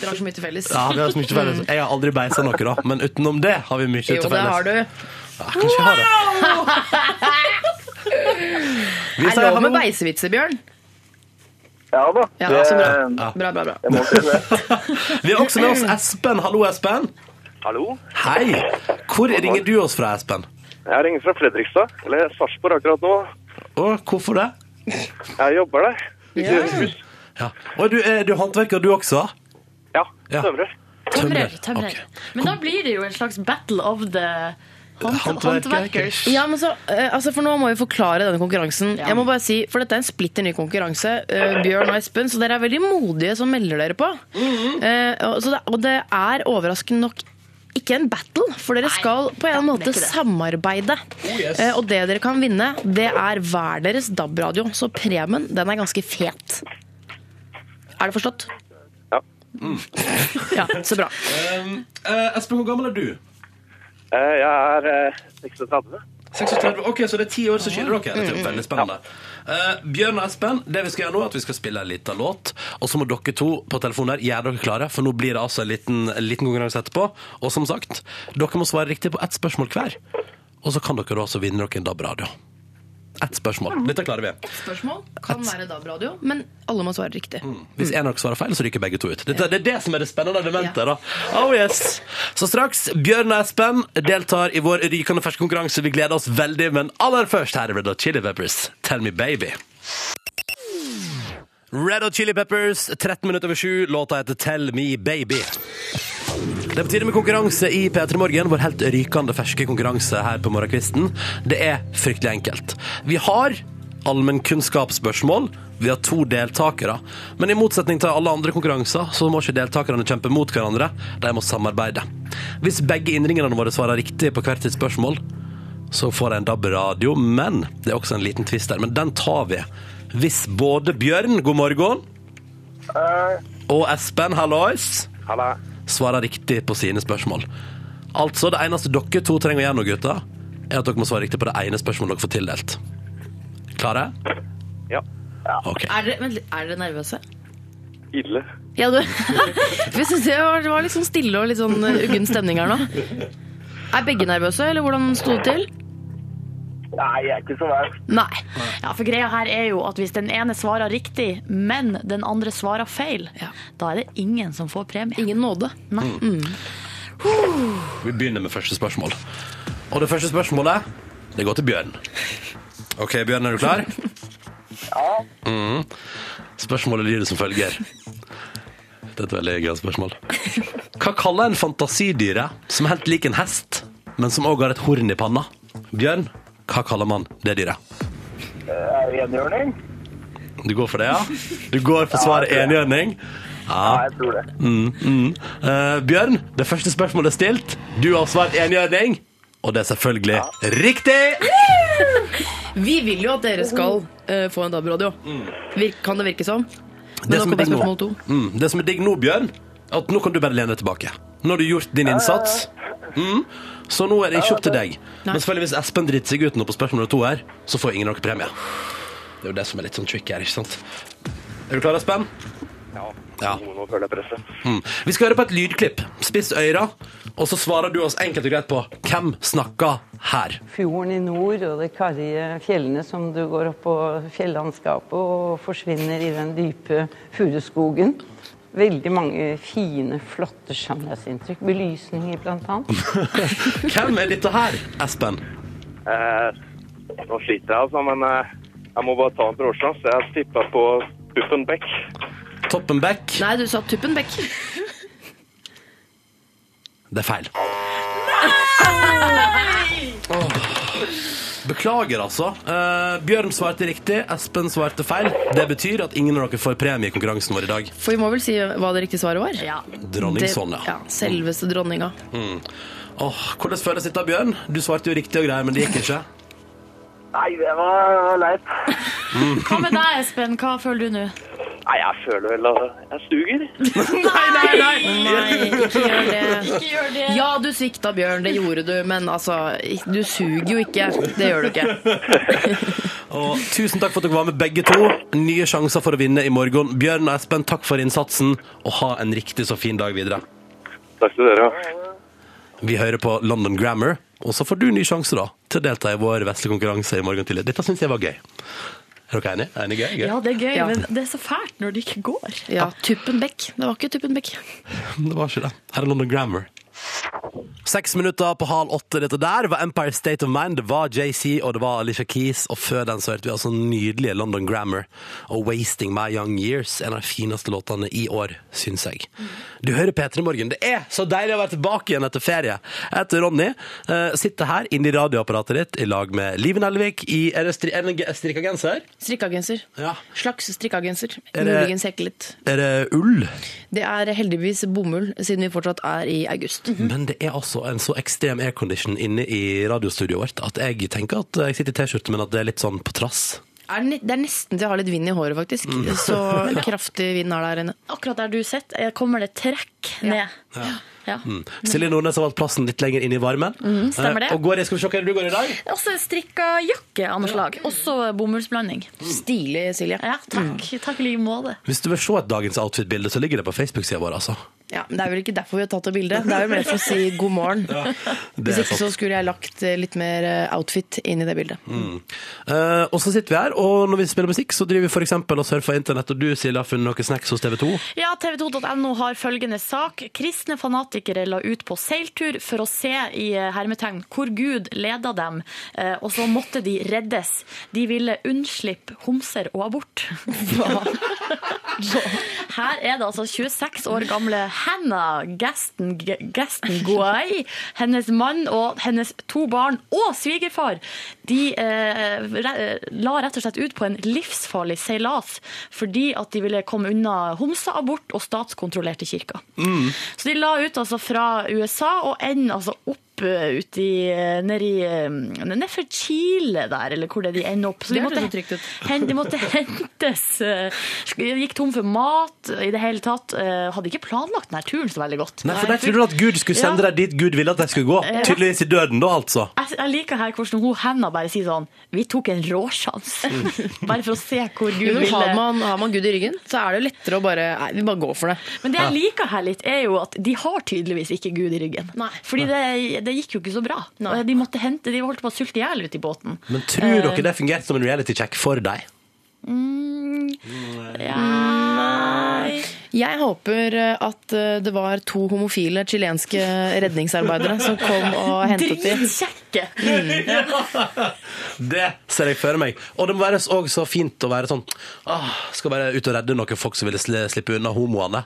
D: Dere har så mye til felles.
B: Ja, vi har så mye til felles. Jeg har aldri beisa noe, da. Men utenom det har vi mye til
D: Jo,
B: felles.
D: det har du.
B: Ja, kanskje jeg har det. Vi
D: Er
B: sier
D: det lov
B: hallo.
D: med beisevitser, Bjørn?
E: Ja da. Eh,
D: Ja, så bra.
B: Ja.
D: Bra, bra, bra.
E: Jeg må si det.
B: Vi har også med oss Espen. Hallo, Espen.
F: Hallo?
B: Hei. Hvor ringer du oss fra, Espen?
F: Jeg ringer fra Fredrikstad, eller Sarpsborg akkurat nå.
B: Å, hvorfor det?
F: Jeg jobber der.
D: Ja.
B: Ja. Og du, er du håndverker, du også?
F: Ja,
B: Ja.
F: tømrer.
C: Tømrer. tømrer.
B: Ok.
C: Men da blir det jo en slags battle of the hånd håndverkers.
B: Ja.
D: Ja, men så, eh, altså for Nå må vi forklare denne konkurransen. Jeg må bare si, for Dette er en splitter ny konkurranse. eh, Bjørn og Espen, så dere Mhm. er veldig modige som melder dere på. Eh, og, så det, og det er overraskende nok ikke en battle, for dere skal på en måte samarbeide. Eh, Og det dere kan vinne, det er hver deres DAB-radio. Så premien, den er ganske fet. Er det forstått?
F: Ja.
D: Mm. ja, så bra.
B: Eh, Espen, hvor gammel er du?
F: Eh, Jeg er eh, 36.
B: 36. Ok, så det er ti år som skiller dere. Dette er jo veldig spennende. Eh, Bjørn og Espen, det vi skal gjøre nå er at vi skal spille en liten låt. Og så må dere to på telefonen her gjøre dere klare, for nå blir det altså en liten, en liten konkurranse etterpå. Og som sagt, dere må svare riktig på ett spørsmål hver. Og så kan dere også vinne dere en DAB-radio. Ett spørsmål. Dette klarer vi.
D: Spørsmål kan være DAB-radio, men alle må svare riktig.
B: Hvis en av dere svarer feil, så ryker begge to ut. Dette, det er det som er det spennende elementet. da. Oh yes! Så straks, Bjørn og Espen deltar i vår rykende ferske konkurranse. Vi gleder oss veldig, men aller først her er Red Hot Chili Peppers, Tell Me Baby. Red Hot Chili Peppers, 13 minutter over sju. Låta heter Tell Me Baby. Det er på tide med konkurranse i P3 Morgen, vår helt rykende ferske konkurranse her på morgenkvisten. Det er fryktelig enkelt. Vi har allmennkunnskapsspørsmål. Vi har to deltakere. Men i motsetning til alle andre konkurranser, så må ikke deltakerne kjempe mot hverandre. De må samarbeide. Hvis begge innringerne våre svarer riktig på hvert sitt spørsmål, så får jeg en DAB-radio. Men det er også en liten twist der. Men den tar vi. Hvis både Bjørn, god morgen, og Espen, hallois
F: Halla.
B: svarer riktig på sine spørsmål. Altså, det eneste dere to trenger å gjøre nå, gutta, er at dere må svare riktig på det ene spørsmålet dere får tildelt. Klare?
F: Ja.
B: Ok.
D: Er dere, vent litt, er dere nervøse?
F: Ille.
D: Ja, du Vi synes det var, det var litt sånn stille og litt sånn eh, uggen stemning her nå. Er begge nervøse, eller hvordan sto det til?
E: Nei, jeg er ikke så verst.
D: Nei.
C: Ja, for greia her er jo at hvis den ene svarer riktig, men den andre svarer feil,
D: Ja.
C: da er det ingen Mm. som får premie.
D: Ingen nåde.
C: Nei.
B: Vi begynner med første spørsmål. Og det første spørsmålet, det går til Bjørn. Ok, Bjørn, er du klar? Ja. Spørsmålet lyder som følger. Dette er et veldig gøy spørsmål. Hva kaller en fantasidyre som er helt lik en hest, men som også har et horn i panna? Bjørn, hva kaller man det dyret?
E: Er det enhjørning?
B: Du går for det, ja? Du går for svaret enhjørning?
E: Nei, jeg tror det.
B: Eh, Bjørn, det første spørsmålet er stilt. Du har svart enhjørning. Og det er selvfølgelig riktig!
D: Vi vil jo at dere skal eh, få en DAB-radio. Virk- Kan det virke som?
B: Det
D: Men
B: som,
D: nå
B: er
D: kommer
B: digg nå,
D: spørsmål to.
B: mm, det som er digg nå, Bjørn, er at nå kan du bare lene deg tilbake. Nå har du gjort din innsats.
D: Eh.
B: Mm, så nå er det ikke opp til deg. Men selvfølgelig hvis Espen driter seg ut nå på spørsmål nummer to her, så får ingen noen premie. Det er jo det som er litt sånn tricky her, ikke sant? Er du klar, Espen?
F: Ja.
B: Ja.
F: Noen må føle presset.
B: Mm. Vi skal høre på et lydklipp. Spiss øyra, og så svarer du oss enkelt og greit på hvem snakker her.
G: fjorden i nord og de karrige fjellene som du går opp på fjellandskapet og forsvinner i den dype furuskogen. Veldig mange fine, flotte skjønnhetsinntrykk. Belysninger, blant annet.
B: Hvem er dette her, Espen?
F: Eh, nå sliter jeg, altså, men eh, jeg må bare ta en brorsan, så jeg tipper på Puffen Beck.
B: Toppenbeck?
D: Nei, du sa Tuppenbeck.
B: Det er feil. Åh. Beklager, altså. Eh, Bjørn svarte riktig, Espen svarte feil. Det betyr at ingen av dere får premie i konkurransen vår i dag.
D: For vi må vel si hva det riktige svaret var?
C: Ja.
B: Dronning
D: Det- sånn,
B: Sonja.
D: ja, Selveste dronninga.
B: Åh, hvordan føles dette, Bjørn? Du svarte jo riktig og greier, men det gikk ikke.
E: Nei, det var var leit.
C: Hva med deg, Espen? Hva føler du nå?
F: Nei, jeg føler vel at jeg suger.
C: Nei, nei, nei!
D: Nei, ikke gjør det.
C: Ikke gjør det.
D: Ja, du svikta, Bjørn. Det gjorde du. Men altså, du suger jo ikke. Det gjør du ikke.
B: Og tusen takk for at dere var med, begge to. Nye sjanser for å vinne i morgen. Bjørn og Espen, takk for innsatsen, og ha en riktig så fin dag videre.
F: Takk til dere.
B: Vi hører på London Grammar, og så får du ny sjanse da til å delta i vår vesle konkurranse i morgen tidlig. Dette syns jeg var gøy. Er dere enige? Er dere gøy? gøy?
C: Ja, det er gøy,
D: Ja.
C: men det er så fælt når det ikke går.
D: Ja, Tuppenbeck. Det var ikke Tuppenbeck.
B: Det var ikke det. Her er London Grammar. Seks minutter på halv åtte. Dette der var Empire State of Mind. Det var JC og det var Alicia Keys. Og før den så hørte vi altså nydelige London Grammar og Wasting My Young Years. En av de fineste låtene i år, syns jeg. Du hører P3 Morgen. Det er så deilig å være tilbake igjen etter ferie. Jeg heter Ronny. eh, Sitter her inne i radioapparatet ditt i lag med Liven Elvik i Er det stri- er det en strikka genser?
D: Strikkeagenser.
B: Ja.
D: Slags strikkeagenser.
B: Er det-
D: Muligens heklet.
B: Er det ull?
D: Det er heldigvis bomull, siden vi fortsatt er i august.
B: Men det er altså en så ekstrem aircondition inne i radiostudioet vårt at jeg tenker at jeg sitter i T-skjorte, men at det er litt sånn på trass.
D: Er det, ne- det er nesten til jeg har litt vind i håret, faktisk.
B: Mm.
D: Så kraftig vind er der inne.
C: Akkurat der du sitter, eh, kommer det trekk ned. Ja.
B: Mm. Silje Nordnes har valgt plassen litt lenger inn i varmen.
C: stemmer det.
B: Eh, Og går, i- skal vi se hva du går i dag?
C: Også en strikka jakke av noe slag. Også bomullsblanding.
B: Mm.
C: Mm.
D: Stilig, Silje.
C: Ja, takk. Takk i like måte.
B: Hvis du vil se et dagens outfit-bilde, så ligger det på Facebook-sida vår, altså.
D: Ja, men det er vel ikke derfor vi har tatt det bildet. Det er vel mer for å si god morgen.
B: Det
D: Hvis
B: er sånn.
D: ikke
B: sant. Mm.
D: så skulle jeg lagt eh, litt mer eh, outfit inn i det bildet.
B: Eh, og så sitter vi her, og når vi spiller musikk, så driver vi for eksempel og surfer internett, og du, Silje, har funnet noen snacks hos TV 2.
C: Ja, TV2.no har følgende sak. Kristne fanatikere la ut på seiltur for å se i eh, hermetegn hvor Gud leda dem, eh, og så måtte de reddes. De ville unnslippe homser og abort. Her er det altså 26 år gamle Hannah Gaston, Gaston Guay, hennes mann og hennes to barn og svigerfar. De eh, re- la rett og slett ut på en livsfarlig seilas fordi at de ville komme unna homseabort og statskontrollerte kirker. Så de la ut altså fra USA og ender altså opp eh, ut i, eh, ned i, eh, ned for Chile der, eller hvor det er de ender opp. Så de
D: Det hørtes
C: måtte-
D: så trygt ut.
C: hen, de måtte hentes. eh, Gikk tom for mat i det hele tatt. eh, Hadde ikke planlagt denne turen så veldig godt.
B: Nei, for der trodde du at Gud skulle sende
C: Ja.
B: deg dit Gud ville at jeg skulle gå. Tydeligvis i døden, da, altså.
C: Jeg, jeg liker her hvordan hun henda bare sier sånn Vi tok en råsjans.
B: Mm.
C: bare for å se hvor Gud
D: Jo, men har,
C: ville.
D: man, har man Gud i ryggen, så er det jo lettere å bare Nei, vi bare går for det.
C: Men det jeg liker her litt, er jo at de har tydeligvis ikke Gud i ryggen.
D: Nei.
C: Fordi det, det gikk jo ikke så bra.
D: Nei.
C: Og De måtte hente, de holdt på å sulte i hjel ute i båten.
B: Men tror dere det fungerte som en reality-check for deg?
C: Nei.
D: Jeg håper eh, at eh, det var to homofile chilenske redningsarbeidere som kom og hentet dem.
C: Dritkjekke!
B: Det ser jeg for meg. Og det må være òg så fint å være sånn ah, Skal være ute og redde noen folk som ville sli- slippe unna homoene,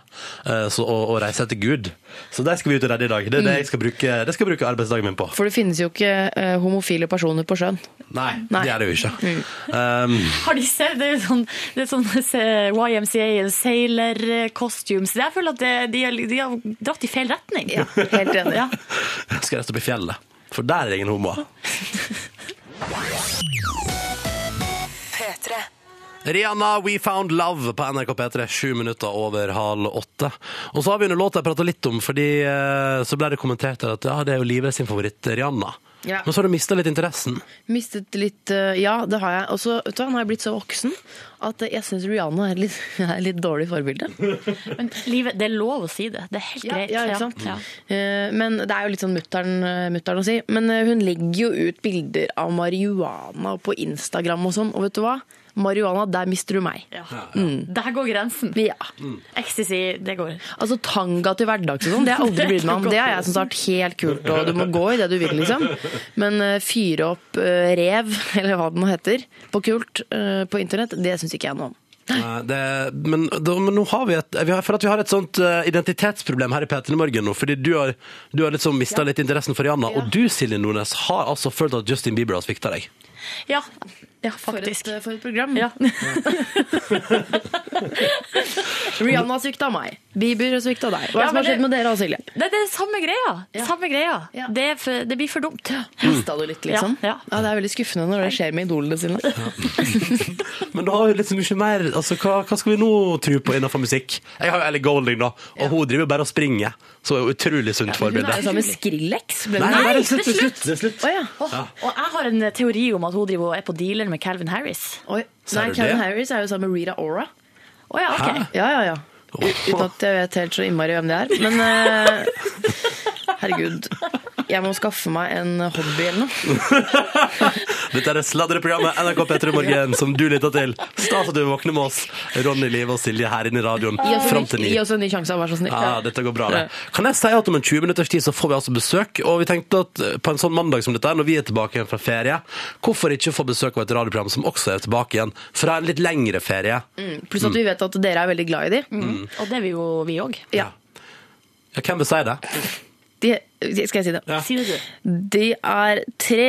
B: eh, så, og, og reise etter Gud. Så de skal vi ut og redde i dag. Det er det jeg skal bruke, det skal jeg bruke arbeidsdagen min på.
D: Mm. For det finnes jo ikke eh, homofile personer på sjøen.
B: Nei,
D: Nei. Mm.
B: det er det jo ikke. Um,
C: Har de sett, det er jo sånn, det er sånn se- YMCA, sailor eh, costumes. Jeg føler at det, de, har- de har dratt i feil retning. Ja,
D: helt enig.
C: Ja.
B: jeg skal rett opp i fjellet, for der er det ingen homoer.
A: P3.
B: Rihanna, We Found Love på NRK P3, sju minutter over halv åtte. Og så har vi under låta jeg prata litt om, fordi eh, så ble det kommentert her at ja, det er jo livet sin favoritt, Rihanna.
D: Ja.
B: Men så har du mista litt interessen.
D: Mistet litt eh, Ja, det har jeg. Og så vet du hva, nå har jeg blitt så voksen at eh, jeg syns Rihanna er litt, er litt dårlig forbilde.
C: Men livet, det er lov å si det. Det er helt
D: Ja,
C: greit.
D: ja, ikke sant?
C: Ja.
D: Eh, Men det er jo litt sånn mutteren, eh, mutteren å si. Men eh, hun legger jo ut bilder av marihuana på Instagram og sånn, og vet du hva? Marihuana, der mister du meg.
C: Ja. Der går grensen.
D: Ja.
C: Ecstasy, det går.
D: Altså tanga til hverdags og sånn, det har jeg aldri brydd meg om. Det har jeg syntes har vært helt kult, og du må gå i det du vil, liksom. Men eh, fyre opp eh, rev, eller hva det nå heter, på kult eh, på internett, det syns ikke jeg noe om.
B: Nei, Eh, det, men, da, men nå har vi et vi har, For at vi har et sånt eh, identitetsproblem her i P3 Morgen nå, fordi du har, du har liksom mista litt interessen for Rihanna. Og du, Silje Nordnes, har altså følt at Justin Bieber har svikta deg.
C: Ja, ja faktisk.
D: for et eh, program.
C: Ja.
D: Rihanna svikta meg. Bieber svikta deg. Hva
C: Ja,
D: er det som
C: men
D: har skjedd
C: det-
D: med dere og Silje?
C: Det, det er samme greia. Samme greia.
D: Ja.
C: Det, er for, det blir for dumt.
D: Mista du litt, liksom?
C: Ja, ja.
D: det er veldig skuffende når det skjer med idolene sine.
B: Men da har vi liksom ikke mer altså, hva, hva skal vi nå tro på innenfor musikk? Jeg har jo Ellie Golding, da, og hun driver bare og springer. Så er hun utrolig sunt
D: Hun er
B: forbilde.
C: sånn
D: jo sammen med Skrillex. Ble
B: Nei, nei,
D: hun
C: Nei,
B: det er slutt! Det
C: det er
B: er slutt. Det er slutt.
D: Å ja.
C: Åh, Og jeg har en teori om at hun driver og er på dealer med Calvin Harris.
D: Oi.
B: Sa
D: Nei,
B: du det?
D: Calvin Harris er jo sammen med Rita Ora.
C: Å ja, ok.
D: Ja, ja, ja. U- Uten at jeg vet helt så innmari hvem det er. Men eh, herregud. Jeg må skaffe meg en hobby eller noe.
B: Dette er det sladreprogrammet NRK P3 Morgen som du lytter til. Stas at du våkner med oss, Ronny Live og Silje her inne i radioen fram til ni.
D: Gi oss en ny sjanse, vær så snill.
B: Ja, dette går bra, det. Kan jeg si at om en 20 minutters tid så får vi altså besøk, og vi tenkte at eh, på en sånn mandag som dette, er, når vi er tilbake igjen fra ferie, hvorfor ikke få besøk av et radioprogram som også er tilbake igjen fra en litt lengre ferie?
D: Mm, Pluss at vi vet at dere er veldig glad i de.
B: Mm.
C: Og det er vi jo, vi òg.
D: Ja.
B: Ja, hvem vil si det?
D: de. Skal jeg si det?
C: Si det, du.
D: De er tre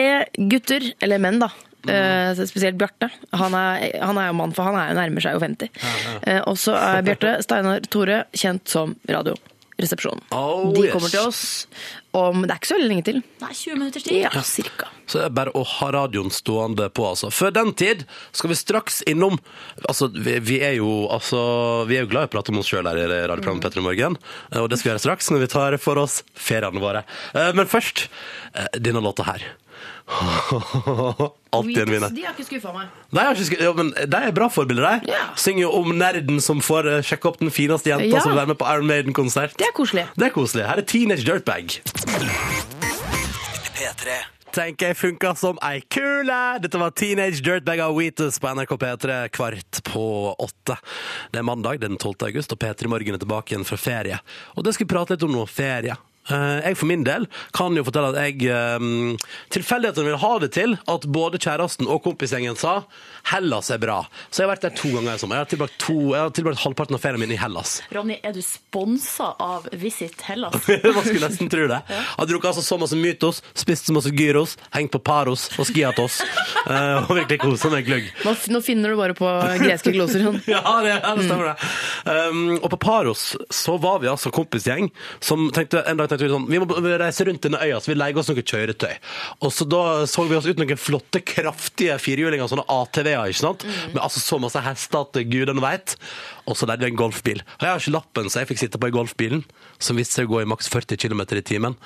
D: gutter, eller menn da.
B: Mm.
D: Eh, spesielt Bjarte. Han er, han er jo mann, for han er jo nærmer seg jo 50. Eh, også er Bjarte Steinar Tore kjent som Radio resepsjonen.
B: Oh,
D: De
B: yes.
D: kommer til oss om Det er ikke så veldig lenge til.
C: Nei, 20 minutters tid.
D: Ja, cirka.
B: Så det er bare å ha radioen stående på, altså. Før den tid skal vi straks innom Altså, vi, vi er jo altså, Vi er jo glad i å prate om oss sjøl her i radioprogrammet Petter i morgen, eh, og det skal vi gjøre straks når vi tar for oss feriene våre. Eh, Men først eh, denne låta her. Alltid en vinner.
D: har ikke skuffa meg.
B: Nei, jeg har ikke skri- jo, men De er bra forbilder, de.
D: Ja.
B: Synger jo om nerden som får eh, sjekke opp den fineste jenta
D: Ja.
B: som vil være med på Iron Maiden-konsert.
D: Det er koselig.
B: Det er koselig. Her er Teenage Dirtbag. Tenker jeg funka som ei kule. Dette var Teenage Dirtbag av Wheatus på NRK P3 kvart på åtte. Det er mandag det er den 12. august, og P3 Morgen er tilbake igjen fra ferie. Og det skal vi prate litt om nå. Ferie. Eh, Jeg for min del kan jo fortelle at jeg um, tilfeldighetene vil ha det til at både kjæresten og kompisgjengen sa Hellas er bra. Så jeg har vært der to ganger i sommer. Jeg har tilbrakt, to, jeg har tilbrakt halvparten av ferien min i Hellas.
C: Ronny, er du sponsa av Visit Hellas?
B: Man skulle nesten tro det. Har drukket altså så masse mytos, spist så masse gyros, hengt på paros og skiatos. Eh, og virkelig kosa meg gløgg.
D: Nå, nå finner du bare på greske gloser. Sånn.
B: Ja, det, ja, det stemmer det. Um, og på Paros så var vi altså kompisgjeng som tenkte, en dag tenkte vi sånn Vi må reise rundt denne øya, så vi leier oss noe kjøretøy. Og så da så vi oss ut noen flotte, kraftige firehjulinger, sånne ATV-er, ikke sant? Med altså så masse hester at gudene veit. Og så leide vi en golfbil. Og jeg har ikke lappen, så jeg fikk sitte på i golfbilen, som viste seg å gå i maks 40 km i timen.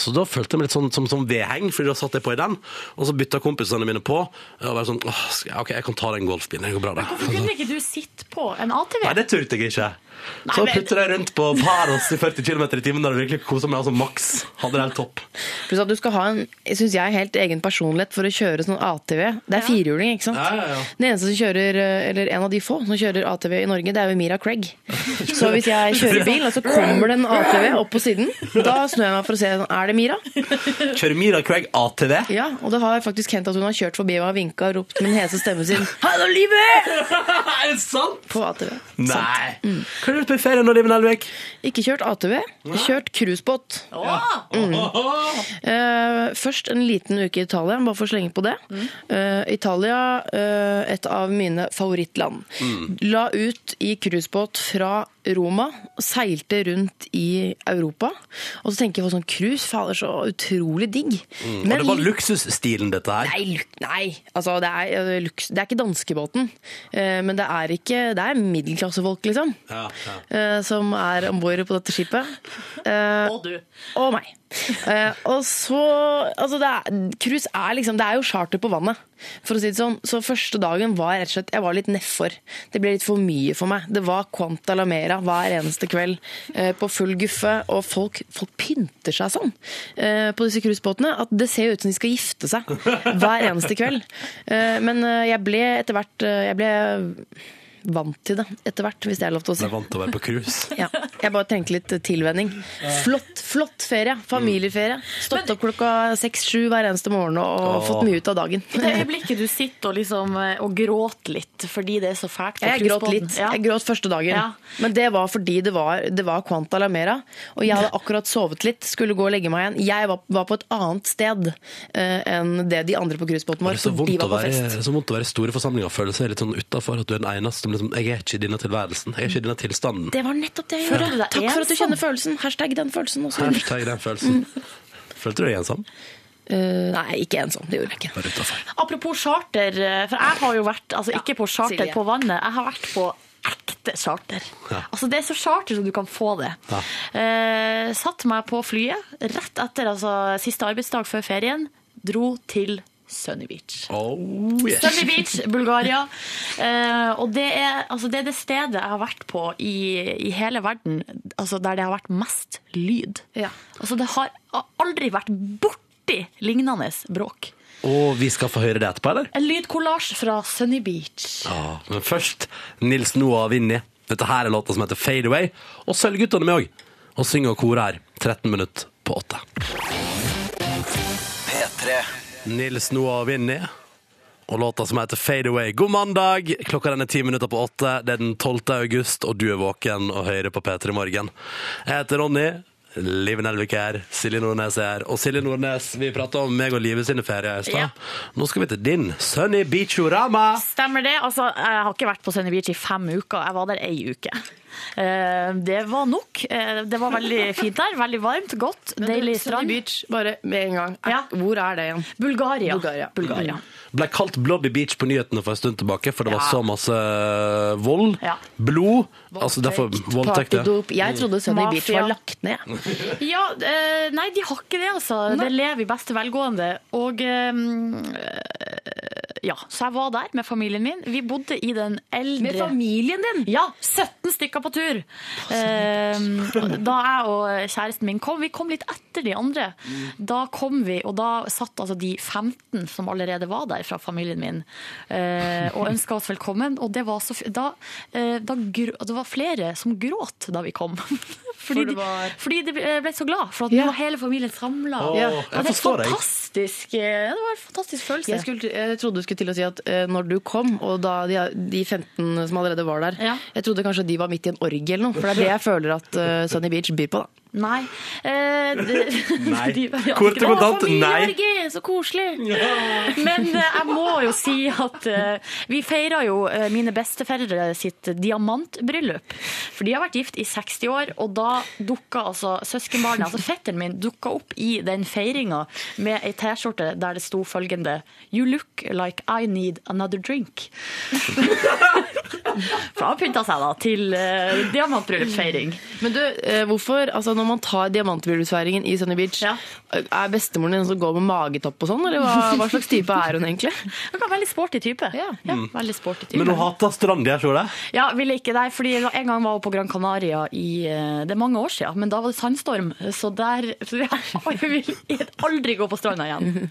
B: Så da følte jeg meg litt sånn som, som vedheng, fordi da satt jeg på i den. Og så bytta kompisene mine på. Og bare sånn Åh, skal jeg- OK, jeg kan ta den golfbilen. Det går bra, det.
C: Hvorfor kunne ikke du sitte på en ATV?
B: Nei, det turte jeg ikke. Så
C: men-
B: putter jeg rundt på Paros i 40 km i timen. Da hadde jeg virkelig koset meg altså maks. Hadde det helt topp.
D: Pluss at du skal ha en jeg synes jeg, helt egen personlighet for å kjøre sånn ATV. Det er firehjuling, ikke sant?
B: Ja, ja, ja.
D: Den eneste som kjører, eh, eller en av de få som kjører ATV i Norge, det er jo Mira Craig. Så hvis jeg kjører bil, og så kommer det en ATV opp på siden, da snur jeg meg for å se er det Mira.
B: Kjører Mira Craig ATV?
D: Ja, Og det har faktisk hendt at hun har kjørt forbi meg og vinka og ropt med den hese stemmen sin 'Hallo, livet!'
B: er det sant?
D: på ATV.
B: Nei.
D: Mm.
B: Hva har du gjort på ferie nå, Liven Elvik?
D: Ikke kjørt ATV, kjørt cruisebåt. Eh, først en liten uke i Italia, bare for å slenge på det. Eh, Italia, eh, et av mine favorittland.
B: Mm.
D: La ut i cruisebåt fra Roma, seilte rundt i Europa. Og så tenker jeg på sånn cruise, fader, så utrolig digg.
B: Mm. Og det var luksusstilen, dette her.
D: Nei, luk- nei. Altså, det, er, eh, luks, det er ikke danskebåten, eh, men det er, ikke, det er middelklassefolk, liksom,
B: Ja, ja.
D: eh, som er om bord på dette skipet. Eh,
C: Og du.
D: og meg. Eh, og så altså det er, Cruise er liksom Det er jo charter på vannet, for å si det sånn. Så første dagen var jeg rett og slett Jeg var litt nedfor. Det ble litt for mye for meg. Det var Quanta la Mera hver eneste kveld eh, på full guffe. Og folk, folk pynter seg sånn eh, på disse cruisebåtene at det ser jo ut som de skal gifte seg hver eneste kveld. Eh, men eh, jeg ble etter hvert eh, Jeg ble vant til det etter hvert, hvis det er lov til å si.
B: Jeg er vant til å være på cruise.
D: Ja, jeg bare trengte litt tilvenning. Flott, flott ferie. Familieferie. Stått opp klokka seks-sju hver eneste morgen og
B: Åh.
D: fått mye ut av dagen.
C: I det øyeblikket du sitter og, liksom, eh, og gråter litt fordi det er så fælt på
D: Jeg gråt
C: cruisebåten.
D: litt.
C: Ja.
D: Jeg gråt første dagen.
C: Ja.
D: Men det var fordi det var, det var Quanta la Mera. Og jeg hadde akkurat sovet litt, skulle gå og legge meg igjen. Jeg var, var på et annet sted eh, enn det de andre på cruisebåten
B: Det
D: var.
B: er så
D: for
B: vondt,
D: de
B: å
D: var på
B: være,
D: fest.
B: så vondt å være i store forsamlinger og føle seg litt sånn utafor. At du er den eneste som liksom Jeg er ikke i denne tilværelsen. Jeg er ikke i denne tilstanden.
D: Det var nettopp det jeg
C: Føler
D: gjorde.
C: du deg
D: Takk for at du
C: ensom?
D: kjenner følelsen. Hashtag den følelsen også.
B: Hashtag den følelsen.
D: Mm.
B: Følte du deg ensom?
D: Eh, nei, ikke ensom. Det gjorde jeg ikke.
B: Bare utafor.
C: Apropos charter, eh, for jeg har jo vært altså, ikke på charter
D: Silje.
C: på vannet, jeg har vært på ekte charter.
B: Ja.
C: Altså Det er så charter som du kan få det.
B: Ja.
C: Eh, satt meg på flyet rett etter altså, siste arbeidsdag før ferien, dro til Sunny Beach.
B: Oh, yes.
C: Sunny Beach, Bulgaria. Eh, og det er, altså, det er det stedet jeg har vært på i, i hele verden altså, der det har vært mest lyd.
D: Ja.
C: Altså, det har aldri vært borti lignende bråk.
B: Og vi skal få høre det etterpå, eller?
C: En lydkollasj fra Sunny Beach.
B: Ja, men først Nils Noah og Vinni. Dette her er låta som heter Fade Away. Og Sølvguttene med òg. Og synger og korer her. 13 minutter på 8. Nils Noah og Vinni. Og låta som heter Fade Away. God mandag! Klokka den er ti minutter på åtte. Det er den 12. august, og du er våken og hører på P3 Morgen. Jeg heter Ronny. Liv Nelvik er her. Silje Nordnes er her. Og Silje Nordnes, vi prata om meg og Live sine ferier i
C: Ja.
B: stad. Nå skal vi til din Sunny Beachorama.
C: Stemmer det? Altså, jeg har ikke vært på Sunny Beach i fem uker. Jeg var der ei uke. Eh, Det var nok. Eh, Det var veldig fint der. Veldig varmt, godt, deilig
D: Sunny
C: strand.
D: Beach, bare med en gang. Er-
C: Ja.
D: Hvor er det igjen?
C: Bulgaria.
D: Bulgaria.
C: Bulgaria.
B: Ble kalt Blobby Beach på nyhetene for en stund tilbake, for det var
C: Ja.
B: så masse vold,
C: Ja.
B: blod altså derfor voldtekt. ja.
D: Partydop. Jeg trodde Sunny Beach
C: Mafia.
D: var lagt ned.
C: Ja, eh, nei, de har ikke det, altså. Det lever i beste velgående. Og ehm, eh, ja, så jeg var der med familien min. Vi bodde i den eldre
D: familien din!
C: Ja, 17 stykker på tur. Eh, da jeg og kjæresten min kom, vi kom litt etter de andre. Da kom vi, og da satt altså de 15 som allerede var der fra familien min, eh, og ønska oss velkommen. Og det var så f da, eh, da gr det var flere som gråt da vi kom. Fordi,
D: det
C: de-
D: var-
C: fordi de ble så glad, for at
D: Ja.
C: nå var hele familien samla.
B: Åh, jeg
C: det var helt
B: forstår deg.
C: fantastisk, eh, det var en fantastisk følelse.
D: Jeg, skulle, jeg trodde du skulle til å si at eh, når du kom, og da de, de 15 som allerede var der
C: Ja.
D: Jeg trodde kanskje de var midt i en orgie eller noe, for det er det jeg føler at eh, Sunny Beach byr på. da.
C: Nei. Eh, det-
B: Nei.
C: de- ja,
B: Kort og
C: ikke-
B: kontant,
C: Å,
B: nei.
C: familieorgi, så koselig! Men eh, jeg må jo si at eh, vi feira jo eh, mine besteforeldre sitt diamantbryllup. For de har vært gift i 60 år, og da dukka altså søskenbarnet, altså fetteren min, dukka opp i den feiringa med ei T-skjorte der det sto følgende You look like I need another drink. For han pynta seg da til eh, diamantbryllupsfeiring.
D: Men du, eh, hvorfor, altså når man tar diamantbryllupsfeiringen i Sunny Beach, eh,
C: Ja.
D: er bestemoren din en som går med magetopp og sånn, eller hva, hva slags type er hun egentlig? Mm.
C: Han kan være veldig sporty type.
D: Ja.
C: veldig sporty type.
B: Men hun hater strand, jeg ser det.
C: Ja, ville ikke det, fordi en gang var hun på Gran Canaria i eh, Det er mange år siden, men da var det sandstorm. Så der så jeg vil aldri gå på stranda igjen.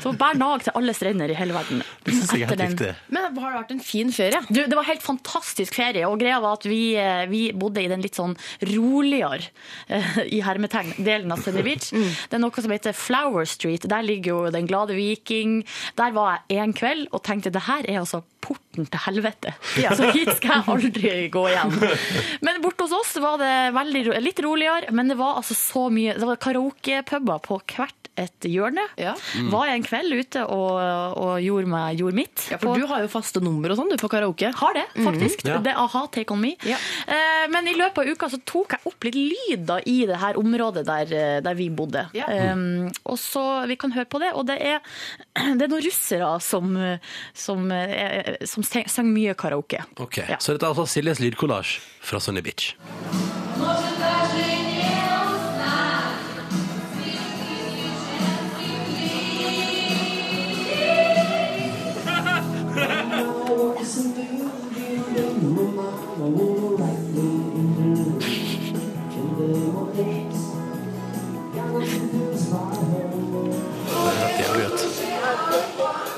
C: Så bær nag til alle strender i hele verden.
B: Det synes jeg er
C: Etter
B: helt
C: den-
B: riktig.
D: Men har det vært en fin ferie?
C: Du, det var helt fantastisk ferie, og greia var at vi, eh, vi bodde i den litt sånn roligere, eh, i hermetegn, delen av Sunny Beach.
D: Mm.
C: Det er noe som heter Flower Street. Der ligger jo Den glade viking. Der var jeg en kveld og tenkte det her er altså porten til helvete. Så hit skal jeg aldri gå igjen. Men borte hos oss var det veldig, ro- litt roligere, men det var altså så mye Det var karaokepuber på hvert et hjørne.
D: Ja.
C: Var jeg en kveld ute og, og gjorde, meg, gjorde mitt.
D: Ja, for
C: på-
D: du har jo faste nummer og sånn, du, på karaoke.
C: har det, faktisk.
B: Ja.
C: Det er a-ha, take on me.
D: Mm. Ja.
C: Eh, men i løpet av uka så tok jeg opp litt lyd da, i det her området der, eh, der vi bodde.
D: Ja. Mm.
C: Eh, og så Vi kan høre på det. Og det er, det er noen russere som, eh, som, eh, som sang sang mye karaoke.
B: Ok,
C: Ja.
B: Så dette er altså Siljes lydkollasj fra Sunny Beach. Det er jævlig godt.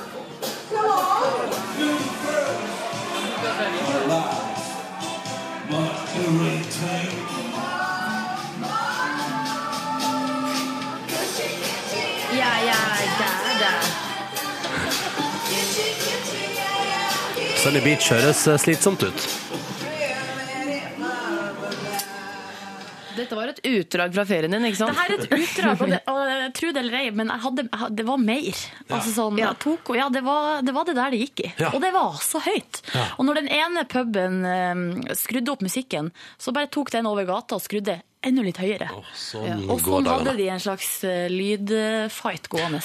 D: Ja, ja, ja, ja.
B: Sunny Beach høres eh, slitsomt ut.
D: Dette var et utdrag fra ferien din, ikke sant?
C: Det her er et utdrag, og, det, og tro det eller ei, men jeg hadde, jeg hadde- det var mer. Altså sånn, jeg tok, og ja, det, var, det var det der det gikk i.
B: Ja.
C: Og det var så høyt.
B: Ja.
C: Og når den ene puben eh, skrudde opp musikken, så bare tok den over gata og skrudde enda litt høyere.
B: Sånn
C: Og
B: går
C: sånn hadde
B: dagene.
C: de en slags eh, lydfight gående.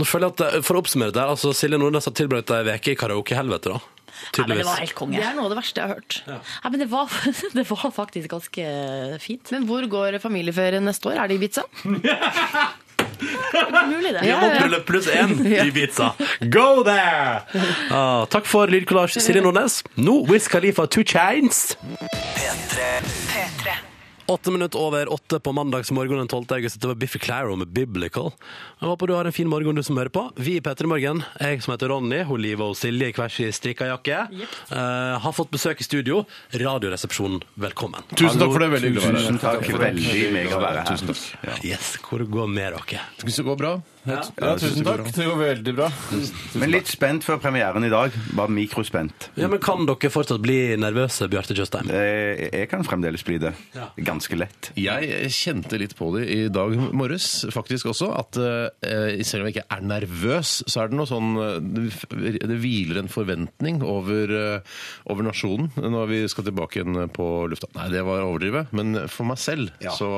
B: Nå føler jeg at, eh, For å oppsummere det her, altså Silje Nordnes har tilbrakt ei uke i karaokehelvete, da.
C: Nei, men det var
B: Tydeligvis.
C: helt konge.
D: Det er noe av det verste jeg har hørt.
C: Nei, men det var, det var faktisk ganske fint.
D: Men hvor går familieferien neste år? Er det Ibiza?
C: Mulig det.
B: Diamantbryllup pluss én i Ibiza. Go there! Ah, takk for lydkollasj, Silje Nordnes. Nå Wiz Khalifa Two Chains.
A: P3.
B: Åtte minutter over åtte på mandagsmorgen den 12. august. Det var Biffy Claro med Biblical. Jeg håper du har en fin morgen, du som hører på. Vi i P3 Morgen, jeg som heter Ronny, hun Live og Silje i hver sin strikka jakke, eh, har fått besøk i studio. Radioresepsjonen, velkommen.
H: Tusen takk for det, veldig hyggelig å være her.
I: Tusen takk. Veldig mega å være her.
H: Tusen takk.
B: Yes, hvor går det med dere?
H: Hvis det går bra, Ja, tusen takk. Det går veldig bra.
I: Men litt spent før premieren i dag. Bare mikrospent.
B: Ja, men Kan dere fortsatt bli nervøse, Bjarte Tjøstheim?
I: Eh, Jeg kan fremdeles bli det. Ganske lett.
H: Jeg kjente litt på det i dag morges, faktisk også, at eh, selv om jeg ikke er nervøs, så er det noe sånn eh, Det hviler en forventning over, eh, over nasjonen når vi skal tilbake igjen på lufta. Nei, det var å overdrive, men for meg selv så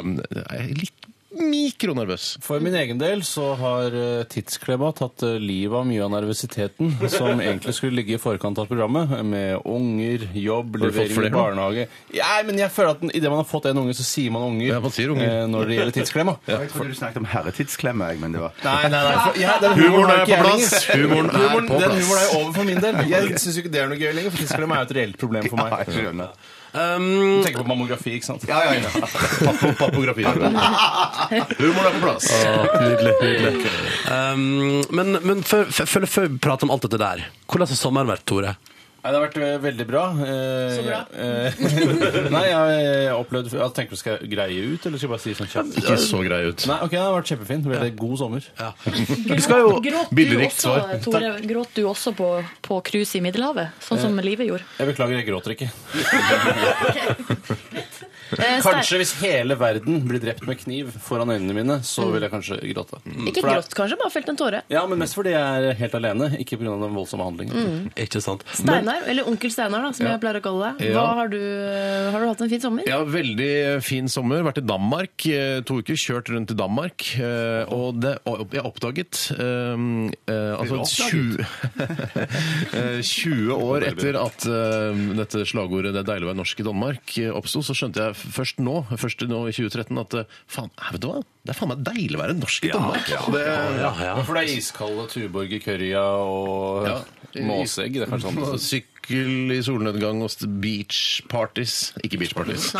H: eh, er jeg litt mikronervøs.
J: For min egen del så har eh, tidsklemma tatt eh, livet av mye av nervøsiteten som egentlig skulle ligge i forkant av programmet, med unger, jobb,
H: Har du fått
J: levering i
H: flere?
J: barnehage Nei, men jeg føler at idet man har fått en unge, så sier man unger,
H: Ja, man sier unger.
J: eh, når det gjelder tidsklemma.
I: Jeg trodde du snakket om herretidsklemme, jeg, men det var
J: Nei, nei, nei. For, ja, den
H: Humoren
J: har ikke
H: er på
J: jeg
H: plass.
J: lenger.
H: Humoren er på
J: Den
H: plass.
J: humoren er jo over for min del. Jeg syns ikke det er noe gøy lenger, for tidsklemma er jo et reelt problem for
I: Ja,
J: meg.
I: jeg skjønner.
J: Du tenker på mammografi, ikke sant?
I: Ja, ja, ja.
H: Papografi. Humoren er på plass.
B: Nydelig. nydelig. Um, men men før, før, før- før vi prater om alt dette der, hvordan har sommeren vært, Tore?
J: Nei, det har vært eh, veldig bra. Eh,
D: Så bra.
J: eh, nei, jeg har eh, opplevd jeg Tenker du skal jeg greie ut, eller skal jeg bare si sånn kjapt?
H: Ikke så grei ut.
J: Nei, ok, det har vært kjempefint. Veldig god sommer.
C: Gråt,
B: skal jo-
C: gråt du
H: Billedrikt
C: også, Tore, gråt du også på, på cruise i Middelhavet, sånn som livet gjorde?
J: Jeg beklager, jeg gråter ikke.
D: Eh,
J: Kanskje hvis hele verden blir drept med kniv foran øynene mine, så vil jeg kanskje gråte.
D: Ikke
J: For det er-
D: grått, kanskje, bare felt en tåre.
J: Ja, men mest fordi jeg er helt alene, ikke pga. den voldsomme handlingen.
I: Mm.
B: Ikke sant?
D: Steinar, eller onkel Steinar, da, som jeg pleier å kalle deg. Hva
H: Ja.
D: har, du, eh, har du hatt en fin sommer?
H: Ja, veldig fin sommer. Vært i Danmark eh, to uker, kjørt rundt i Danmark. eh, Og det, og jeg oppdaget um, eh, altså, 20, eh, 20 år etter at eh, dette slagordet 'Det er deilig å være norsk i Danmark' eh, oppsto, så skjønte jeg først nå, først nå i 2013 at eh, faen, eh, vet du hva? Det er faen meg deilig å være norsk i Danmark. det,
B: Ja, ja.
J: Men For det er iskalde Tuborg i currya og
H: Ja.
J: måseegg. Det er kanskje
H: Og
J: sånn.
H: Sykkel i solnedgang og st- beach parties. Ikke beach parties.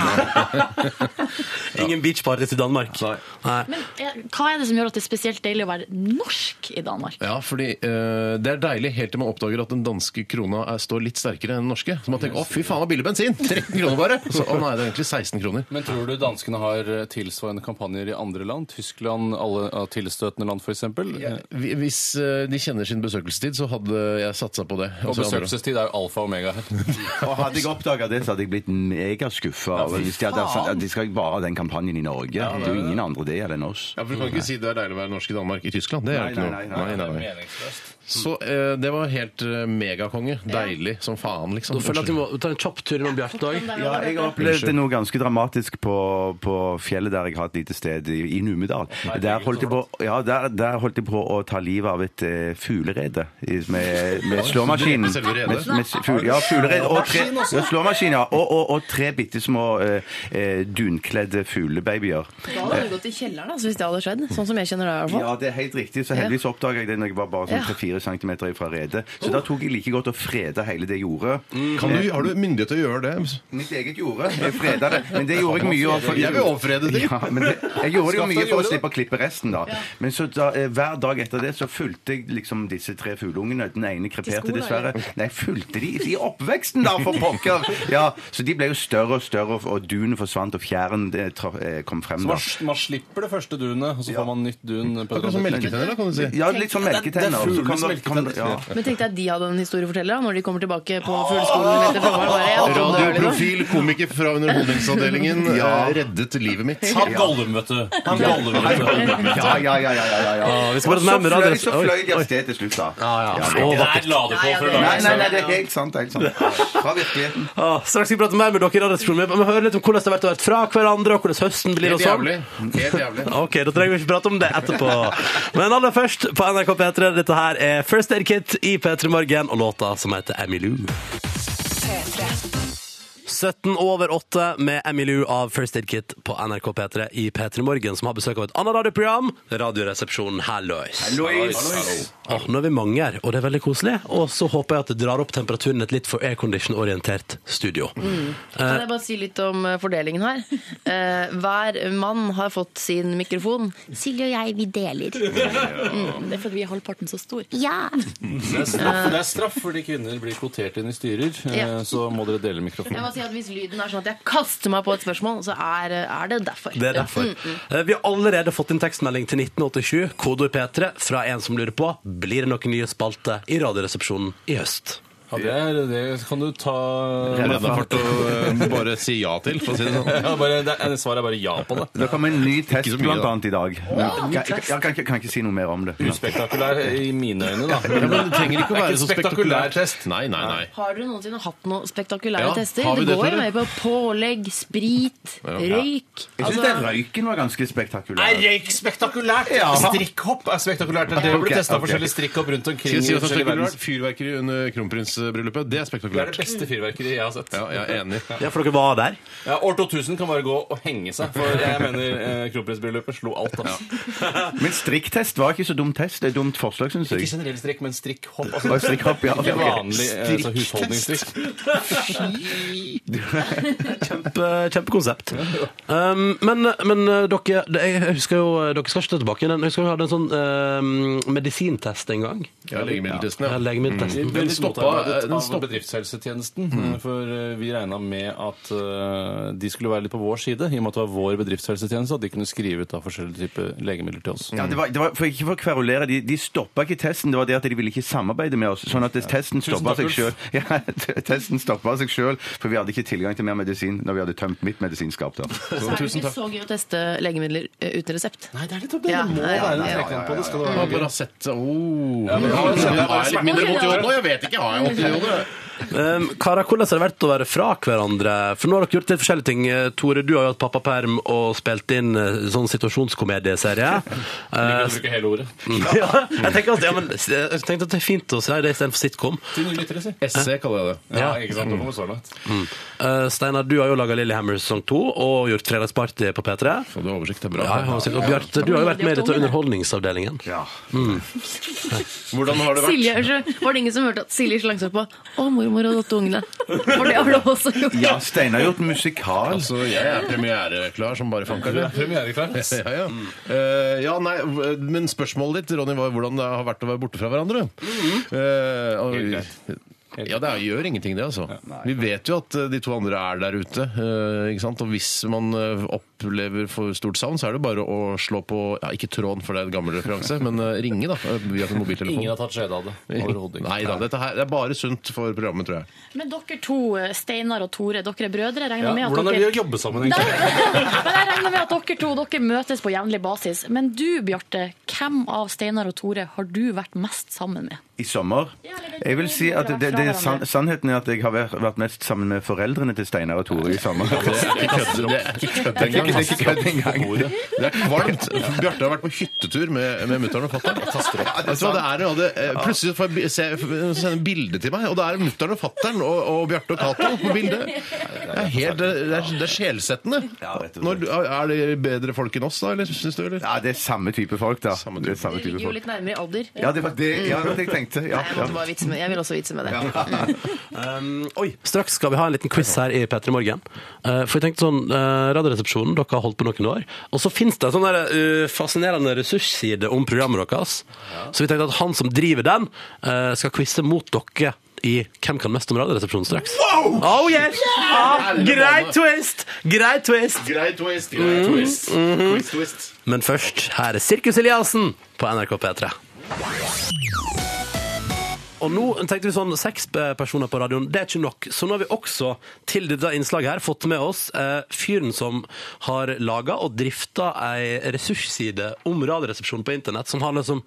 B: Ingen beachparties i Danmark.
H: Nei.
B: Nei.
C: Eh, Hva er det som gjør at det er spesielt deilig å være norsk i Danmark?
H: Ja, fordi eh, Det er deilig helt til man oppdager at den danske krona er, står litt sterkere enn den norske. Så man tenker 'å, fy faen, det var billig bensin'! 13 kroner bare! Så, å nei, det er egentlig 16 kroner.
J: Men tror du danskene har eh, tilsvarende kampanjer i andre land? Tyskland, alle eh, tilstøtende land f.eks.?
H: Ja, hvi- Hvis eh, de kjenner sin besøkelsestid, så hadde jeg satsa på det.
J: Og
H: Altså, andre-
J: besøkelsestid er jo alfa og omega her.
I: Og hadde jeg oppdaga det, så hadde jeg blitt megaskuffa. Ja, hvis de hadde sagt at de skal bare ha den kampanjen i Norge. Det er jo ingen andre det gjelder enn oss.
H: Ja, for Du kan ikke si det er deilig å være norsk i Danmark i Tyskland. Det er
I: Nei,
H: jo ikke
I: nei,
H: noe.
I: nei, nei.
H: Så eh, det var helt eh, megakonge. Deilig som faen, liksom.
B: Da føler jeg at vi må ta en kjapp tur innom Bjarte i dag.
I: Ja, jeg opplevde noe ganske dramatisk på, på fjellet der jeg har et lite sted, i, i Numedal. Der holdt, jeg på, ja, der, der holdt jeg på å ta livet av et eh, fuglerede i- med, med slåmaskinen.
H: Selve redet?
I: Med, med fu- ja, fuglerede og tre, ja, slåmaskin, ja. Og, og, og tre bitte små eh, eh, dunkledde fuglebabyer.
D: Da hadde du gått i kjelleren, altså, hvis det hadde skjedd. Sånn som jeg kjenner deg, i hvert fall.
I: Ja, det er helt riktig. Så heldigvis oppdaga jeg det når jeg var bare sånn
D: Ja.
I: 3-4 cm fra redet. Så da tok jeg like godt og freda hele det jordet.
H: Kan du, har du myndighet til å gjøre det?
I: Mitt eget jorde. Jeg freda det. Men det gjorde jeg mye over for
H: Jeg vil overfrede det.
I: Ja, men det, jeg gjorde det jo
J: Skaff deg
I: mye for å
J: jordet.
I: slippe å klippe resten, da. Men så da, eh, hver dag etter det så fulgte jeg liksom disse tre fugleungene. Den ene kreperte
D: skolen,
I: dessverre. Nei, fulgte de i oppveksten, da, for pokker! Ja, så de ble jo større og større, og- og dunet forsvant, og fjæren eh, tra- eh, kom frem, da.
J: Man, man slipper det første dunet, og så får man nytt dun. På
H: Akkurat som melketenner, da, kan du si.
I: Ja, litt som melketenner.
J: Det er
I: så kom
J: fuglenes
I: det- kom det-
J: melketenner.
I: ja.
D: Men tenkte jeg at de hadde en historieforteller da, når de kommer tilbake på fugleskolen etter sommeren. Bare, jeg hadde det dårlig da.
H: Radioprofil, komiker fra Underholdningsavdelingen, eh, reddet livet mitt.
J: Han Gollum, vet du. Han Gollum, vet du.
I: Ja, ja, ja. ja, ja, ja.
H: Ah,
B: Ja, vi skal
I: Og
B: bare ta med
I: så
B: radio-
I: fløy- Så fløy jeg av sted til slutt, da.
B: Å, vakkert.
J: Der la du på for å
I: Nei,
J: lage
I: nei, nei, det er helt sant. det er Helt sant. Fra virkeligheten.
B: Ah, straks skal vi prate mer med dere i radioresepsjonen. Men høre litt om hvordan det har vært å være fra hverandre, og hvordan høsten blir og
H: Helt
B: sånn.
H: jævlig. Helt jævlig.
B: Ok, da trenger vi ikke prate om det etterpå. Men aller først på NRK P3, dette her er First Aid Kit i P3 Morgen og låta som heter Emilou. 17 over 8 med Emilou av First Aid Kit på NRK P3 i P3 Morgen, som har besøk av et annet radioprogram, Radioresepsjonen Hallois. Åh, Ah, nå er vi mange her, og det er veldig koselig. Og så håper jeg at det drar opp temperaturen i et litt for aircondition-orientert studio.
D: Mm. Kan jeg bare si litt om eh, fordelingen her? Eh, hver mann har fått sin mikrofon. Silje og jeg, vi deler.
C: Det er fordi vi er halvparten så stor.
D: Ja!
J: Det er straff, det er straff fordi kvinner blir kvotert inn i styrer, eh,
D: Ja.
J: så må dere dele mikrofonen.
D: si at Hvis lyden er sånn at jeg kaster meg på et spørsmål, så er, er det derfor.
B: Det er derfor.
D: Mm, mm.
B: Eh, Vi har allerede fått inn tekstmelding til 1987, kodeord P3, fra en som lurer på blir det noen nye spalter i Radioresepsjonen i høst.
J: Ja, det, er, det kan du ta
H: Redda fart og eh, bare si ja til, for å si det sånn.
J: Ja, bare, det, er- svaret er bare ja på det.
I: Det kom en ny test
H: så mye,
I: blant
H: da.
I: annet i dag. Men,
J: Åh,
I: jeg, jeg, jeg kan, ikke- kan ikke si noe mer om det.
J: Uspektakulær i mine øyne, da.
H: Ja, men det trenger ikke å
J: Det er
H: være så spektakulær
J: test.
H: Nei, nei, nei.
D: Har dere noensinne hatt noen spektakulære
H: Ja,
D: tester?
H: har vi
D: Det,
H: det,
D: går jo
H: tror du?
D: mer på pålegg, sprit, røyk Altså,
I: Jeg syns den røyken var ganske spektakulær.
J: røyk spektakulært? Strikkhopp er spektakulært. Det
I: Ok,
J: ble testa
I: ok.
J: forskjellige strikkhopp rundt omkring.
H: Skal jeg si
J: i
H: at det er
J: forskjellige
H: spektakulært?
J: verden.
H: Fyrverkeri under kronprinsbryllupet, det er
J: Det er
H: spektakulært.
J: det
I: Mm.
J: beste fyrverkeriet jeg har sett.
H: Ja, jeg er enig.
B: Ja, for dere var der.
J: Ja, år 2000 kan bare gå og henge seg, for jeg mener eh, kronprinsbryllupet slo alt. Altså.
I: Men strikktest var ikke så dum test. Det er et dumt forslag, syns jeg.
J: Ikke generell strikk, men strikkhopp.
I: Og
J: Altså,
I: strikkhopp, ja.
J: ikke vanlig eh, altså, husholdningsstrikk.
B: Kjempe, kjempekonsept. Um, men men eh, dere, det, jeg husker jo, eh, dere skal ikke ta tilbake den. Jeg husker vi hadde en sånn eh, medisintest en gang.
H: Ja, legemiddeltesten,
B: Ja,
H: ja.
D: Mm.
B: legemiddeltesten.
H: Den
J: Veldig
H: stoppa-
J: motarbeidet
H: den
J: av
H: stopp-
J: bedriftshelsetjenesten. eh, For eh, vi regna med at eh, de skulle være litt på vår side, i og med at det var vår bedriftshelsetjeneste, at de kunne skrive ut da forskjellige typer legemidler til oss.
I: Ja, det var, det var, for ikke for å kverulere, de, de stoppa ikke testen. Det var det at de ville ikke samarbeide med oss. Sånn at testen
J: Tusen
I: stoppa
J: takk,
I: seg sjøl. Ja, t- testen stoppa seg sjøl, for vi hadde ikke tilgang til mer medisin når vi hadde tømt mitt medisinskap. da.
D: Så er det ikke så gøy å teste legemidler eh, uten resept.
J: Nei, det er litt opp det.
D: Ja,
J: Det må
D: ja,
J: være en
I: ja, ja,
J: trekant på det. Skal det
H: Ja,
J: være
H: Bare
J: gøy.
H: sett oh.
J: men har
H: Ja,
J: du-
H: men jeg har litt mindre vondt i hodet nå. Jeg vet ikke, har jeg vondt i hodet?
B: Um, Kara, hvordan har det vært å være fra hverandre? For nå har dere gjort litt forskjellige ting. Eh, Tore, du har jo hatt pappaperm og spilt inn eh, sånn situasjonskomedieserie.
J: Jeg
B: Eh,
J: kan bruke hele ordet.
B: ja, jeg, tenker at, ja, men, jeg tenkte at det er fint å si det istedenfor sitcom.
J: Til nye lyttere, si.
H: SC kaller jeg det.
J: Ja, ikke
I: Mm.
J: sant. Da kommer vi så langt.
B: Eh, Steinar, du har jo laga Lillehammer sesong to og gjort Fredagsparty på P3.
H: Så du har oversikt, det er
B: Ja,
H: bra.
B: jeg har sett- og Bjarte, du har jo vært med i dette Underholdningsavdelingen.
H: Hvordan har det vært?
D: Silje, unnskyld, var det ingen som hørte at Silje slang seg på 'Å, mormor og åtte ungene'? For det har du også gjort.
I: Ja, Steinar har gjort musikal.
H: Altså, jeg er premiereklar som bare fanker.
J: Du er premiereklar.
H: Ja, ja. Eh, ja, nei, v- men spørsmålet ditt, Ronny, var hvordan det har vært å være borte fra hverandre. Eh, og-
J: Helt greit.
H: ja, det er, gjør ingenting, det, altså. Vi vet jo at eh, de to andre er der ute. eh, ikke sant? Og hvis man eh, opplever for stort savn, så er det bare å slå på ja, Ikke tråden, for det er en gammel referanse, men eh, ringe, da. eh, Via sin
J: Ingen
H: mobiltelefon.
J: har tatt skjede av det. Overhodet ikke.
H: Nei da, dette her det er bare sunt for programmet, tror jeg.
C: Men dere to, eh, Steinar og Tore, dere er brødre. Jeg
J: Ja,
C: Regner med at
J: hvordan er det å
C: dere...
J: jobbe sammen,
C: Nei,
J: egentlig?
C: men jeg regner med at dere to dere møtes på jevnlig basis. Men du, Bjarte, hvem av Steinar og Tore har du vært mest sammen med?
I: I sommer? Jeg vil si at det, det er san Sannheten er at jeg har vært vært mest sammen med foreldrene til Steinar og Tore i sommer.
H: Det er ikke kødd- det er ikke
I: Det er ikke- det er
H: kødd engang.
I: ikke kødd engang.
H: Det er kvalmt. Bjarte har vært på hyttetur med, med mutter'n og fatter'n. Vet du hva det er? nå? Det, eh, plutselig får jeg bi- se, sende en bilde til meg, og da er det mutter'n og fatter'n og, og Bjarte og Cato på bildet. Det er, helt, det er, det er sjelsettende.
I: Ja, rett og slett.
H: Når, er det bedre folk enn oss, da, eller syns du? Eller?
I: Ja, det er samme type folk, da.
H: Samme
I: Det er samme
D: Dere
I: type
D: ligger jo
I: folk.
D: litt nærmere i alder.
I: Ja, det var det, ja, det var det jeg tenkte. Ja,
D: Nei, jeg,
I: ja.
D: måtte bare vitse med, jeg vil også vitse med det.
B: Um, oi, straks skal vi ha en liten quiz her i P3 Morgen. Eh, for jeg tenkte sånn, eh, Radioresepsjonen, dere har holdt på noen år. Og så finnes det en sånn der, eh, fascinerende ressursside om programmet deres. Så vi tenkte at han som driver den, eh, skal quize mot dere i Hvem kan mest om Radioresepsjonen straks. Wow! Oh yes! Ah, grei twist! Grei twist!
H: Grei twist, Mhm. grei twist. Quiz twist.
B: Men først, her er Sirkus Eliassen på NRK P3. Og nå tenkte vi sånn, seks eh, personer på radioen, det er ikke nok. Så nå har vi også til dette innslaget her fått med oss eh, fyren som har laga og drifta ei ressursside om Radioresepsjonen på internett, som har liksom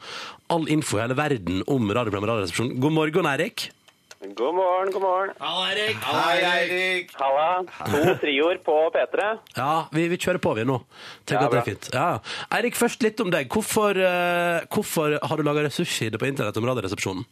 B: all info i hele verden om radioprogrammet Radioresepsjonen. God morgen, Eirik.
F: God morgen, god morgen.
I: Hei, Eirik!
F: Halla. To trioer på P3.
B: Ja, vi, vi kjører på vi nå. Tenk at det er fint. Ja. Eirik, først litt om deg. Hvorfor, eh, hvorfor har du laga ressursside på internett om Radioresepsjonen?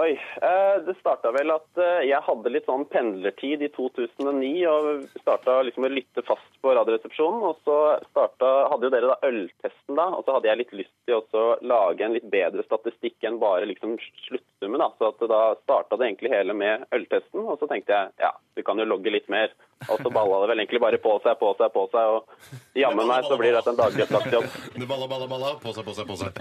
F: Oi, eh, Det starta vel at eh, jeg hadde litt sånn pendlertid i 2009 og starta liksom å lytte fast på Radioresepsjonen. Og så starta, hadde jo dere da øltesten, da, og så hadde jeg litt lyst til også å lage en litt bedre statistikk enn bare liksom slutt,
I: sluttsummen. Da. Så at da starta det egentlig hele med øltesten, og så tenkte jeg ja, du kan jo logge litt mer. Og så balla det vel egentlig bare på seg, på seg, på seg, og jammen meg så blir dette en daggjettdagsjobb.
K: Det balla, balla, balla. På seg, på seg, på seg.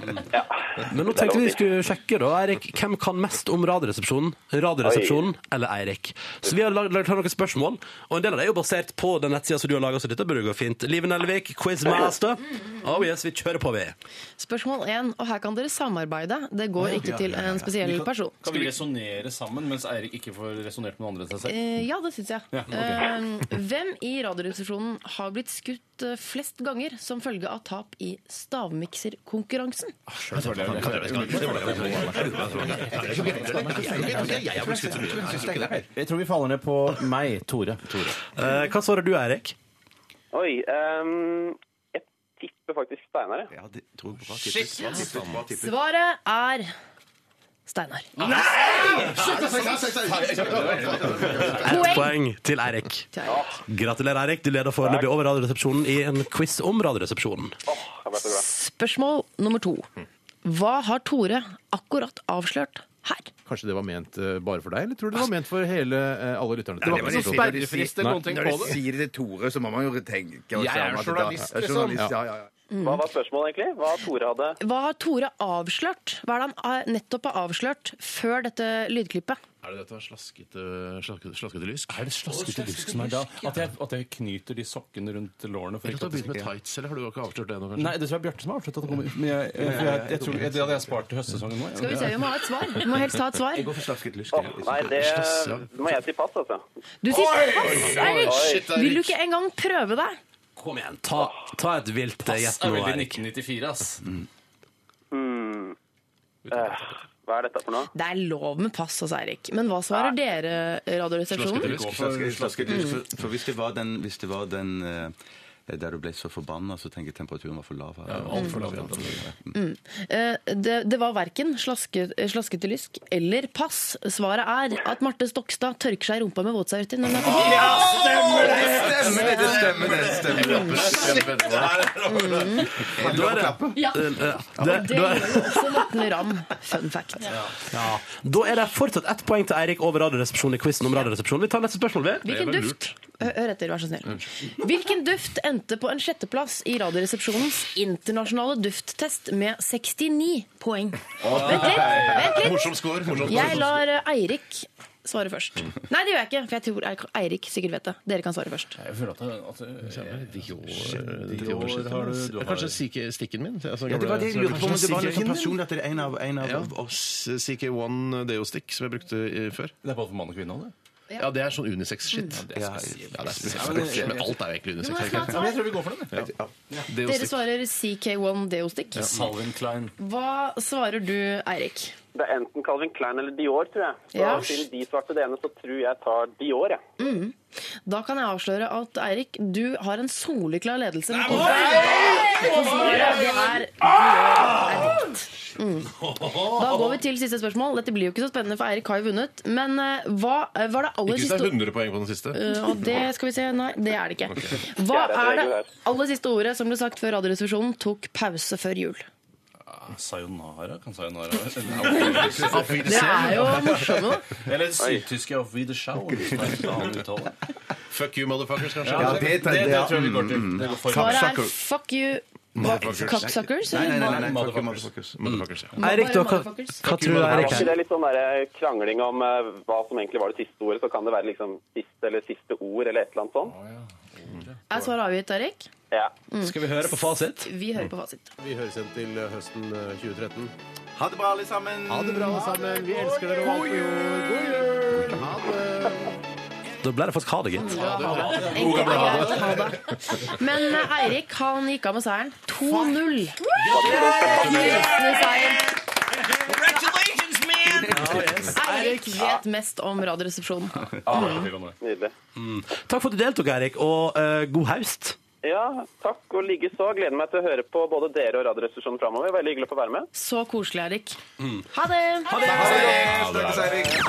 B: Men nå tenkte vi skulle sjekke, da, Eirik. Hvem kan mest om Radioresepsjonen? Radioresepsjonen eller Eirik? Så vi har lagd lagd noen spørsmål, og en del av det er jo basert på den nettsida som du har laga, så dette burde gå fint. Live Nelvik, quizmaster. Oh yes, vi kjører på, vi.
D: Spørsmål én, og her kan dere samarbeide. Det går ikke til en spesiell person.
J: Kan vi resonnere sammen, mens Eirik ikke får resonnert med noen andre enn seg selv?
D: Eh, Ja, det syns jeg.
J: Ja, ok.
D: Eh, Hvem i Radioresepsjonen har blitt skutt eh, flest ganger som følge av tap i stavmikserkonkurransen?
J: Jeg tror vi faller ned på meg, Tore. Tore.
B: Eh, hva svarer du, Eirik?
I: Oi, ehm, jeg tipper faktisk Steinar, jeg.
L: Ja, det tror jeg bra tippet. Bra tippet, bra tippet.
D: Svaret er Steinar.
B: Ett poeng til Eirik. Gratulerer, Eirik. Du leder foreløpig over Radioresepsjonen i en quiz om Radioresepsjonen.
I: Jeg ble så glad.
D: Spørsmål nummer to. Hva har Tore akkurat avslørt her?
H: Kanskje det var ment eh, bare for deg, eller tror du det var ment for hele, eh, alle lytterne? Det var ikke sånn
K: Når de sier-
H: sperrefrist eller noen ting
K: når
H: på
K: de
H: det.
K: sier det til Tore, så må man jo tenke og
H: Jeg
K: se
H: er
K: om at det da-
H: journalist,
K: Ja,
H: liksom.
K: journalist, ja, ja, ja.
I: Hva var spørsmålet egentlig? Hva Tore hadde
D: Hva har Tore avslørt? Hva er det han eh, nettopp har avslørt før dette lydklippet?
H: Er det dette slaskete, slaskete, slaskete lysk?
J: Er det slaskete lysk som er da? At jeg, at jeg knyter de sokkene rundt lårene? For
H: Eller at
J: ikke at
H: du har
J: det
H: begynt med
J: skal-
H: tights, eller har du ikke avslørt det ennå, kanskje?
J: Nei, det tror jeg er Bjarte som har avslørt at det kommer. Men jeg, jeg, jeg, jeg, tror, det hadde jeg spart til høstsesongen nå.
D: Skal vi se, vi må ha et svar. Vi må helst ha et svar.
I: Åh, Nei, det må jeg si pass, altså.
D: Du sier pass, Eirik! Vil du ikke engang prøve deg?
B: Kom igjen, ta, ta et vilt eh,
J: Ass,
B: gjett
J: er
B: nå,
J: veldig
B: Eirik.
J: 1994, ass.
I: Hva er dette for noe?
D: Det er lov med pass, altså, Eirik. Men hva svarer dere, eh, Radioresepsjonen?
L: Slaskete- slaskete lysk. For- For hvis det var den, hvis det var den eh, der du ble så forbanna, så tenker jeg temperaturen var for lav.
J: Altfor lav rente.
D: Eh, Det, det var verken slaske, eh, slaskete lysk eller pass. Svaret er at Marte Stokstad tørker seg i rumpa med våtservietter. når hun er på do.
L: Stemmer det, det stemmer det! stemmer det.
B: Da er det,
M: Ja.
B: eh, eh, det,
D: Det
B: da,
D: gjør
B: er,
D: også Morten Ramm. Fun fact.
B: ja. da er det fortsatt ett poeng til Eirik over Radioresepsjonen i quizen om Radioresepsjonen. Vi tar neste spørsmål, vi.
D: Hvilken duft Hø- Hør etter, vær så snill. Hvilken duft endte på en sjetteplass i Radioresepsjonens internasjonale dufttest med 69 poeng? Vent litt! Vent litt.
H: Morsom score! Morsom score.
D: Jeg lar eh, Eirik svare først. Nei, det gjør jeg ikke, for jeg tror Eirik- Eirik sikkert vet det. Dere kan svare først.
J: Jeg føler at det, at det
H: Dior,
J: Dior har du- du har-
H: Kanskje CK stikken min? Altså,
L: Ja, det var det jeg lurte på, men det var litt sånn personlig at det er en av, en av
H: Ja, s- CK1 Deo Stick, som jeg brukte eh, før.
J: det er både for mann og kvinne. det.
H: Ja, det er sånn unisex-shit. Ja, det er spesielt. Men alt er jo egentlig unisex. er det ikke?
J: Ja, men jeg tror vi går for den. jeg.
H: Deo
D: Dere
H: Stick.
D: svarer CK1 Deostick.
J: Salvin Klein.
D: Hva svarer du, Eirik?
I: Det er enten Calvin Klein eller Dior, tror jeg. Så
D: Ja. Mm.
I: siden de svarte det ene, så tror jeg tar Dior, jeg.
D: Da kan jeg avsløre at Eirik, du har en soleklar ledelse. Med to poeng. Og svaret, det er
H: Ah!
D: Dior er ditt. Mm. Da går vi til siste spørsmål. Dette blir jo ikke så spennende, for Eirik har jo vunnet. Men eh, hva eh, var det aller
H: Ikke hvis det
D: siste
H: er 100 poeng på den siste.
D: Eh, Og det skal vi se. Nei, det er det ikke. Hva
I: Det er
D: er
I: et
D: det
I: regel her.
D: aller siste ordet som ble sagt før Radioresepsjonen tok pause før jul?
J: Sayonara? Kan sayonara være
D: Det er jo morsomme, da.
J: Eller sydtyske Auf Wiederschauen. hvis det er en annen uttale.
H: Fuck you, motherfuckers, kanskje.
L: Ja,
J: det,
L: det-
J: det, det, tror jeg vi går til. Det går for
D: Svaret er
L: Cocksucker.
D: fuck you, cocksuckers.
L: Nei, nei, nei, nei, fuck
J: Motherfuckers.
L: you, motherfuckers.
H: Motherfuckers, ja.
B: Eirik, da, hva,
D: Motherfuckers.
B: hva tror du,
I: Var
B: Eirik?
I: ikke
B: her?
I: det litt sånn der eh, krangling om eh, hva som egentlig var det siste ordet? Så kan det være liksom siste eller siste ord eller et eller annet sånt.
D: Er svaret avgitt, Eirik?
I: Ja.
B: Skal vi høre på fasit?
D: Vi hører på fasit.
H: Vi høres igjen til høsten 2013.
L: Ha det bra, alle sammen.
H: Ha det bra, alle sammen. Vi elsker dere. og alt på jord. God jul! Ha det!
B: Da ble det faktisk ha det, gitt.
D: Enkelt og greit. Ha det. Men eh, Eirik han gikk av med seieren. 2-0. Fortjentende seier. Eirik vet mest om Radioresepsjonen.
J: Arne.
I: Nydelig.
B: Takk for at du deltok, Eirik, og eh, god haust.
I: Ja, takk og like så. Gleder meg til å høre på både dere og Radioresepsjonen framover. Veldig hyggelig å få være med.
D: Så koselig, Eirik. Ha det!
L: Snakkes, Eirik.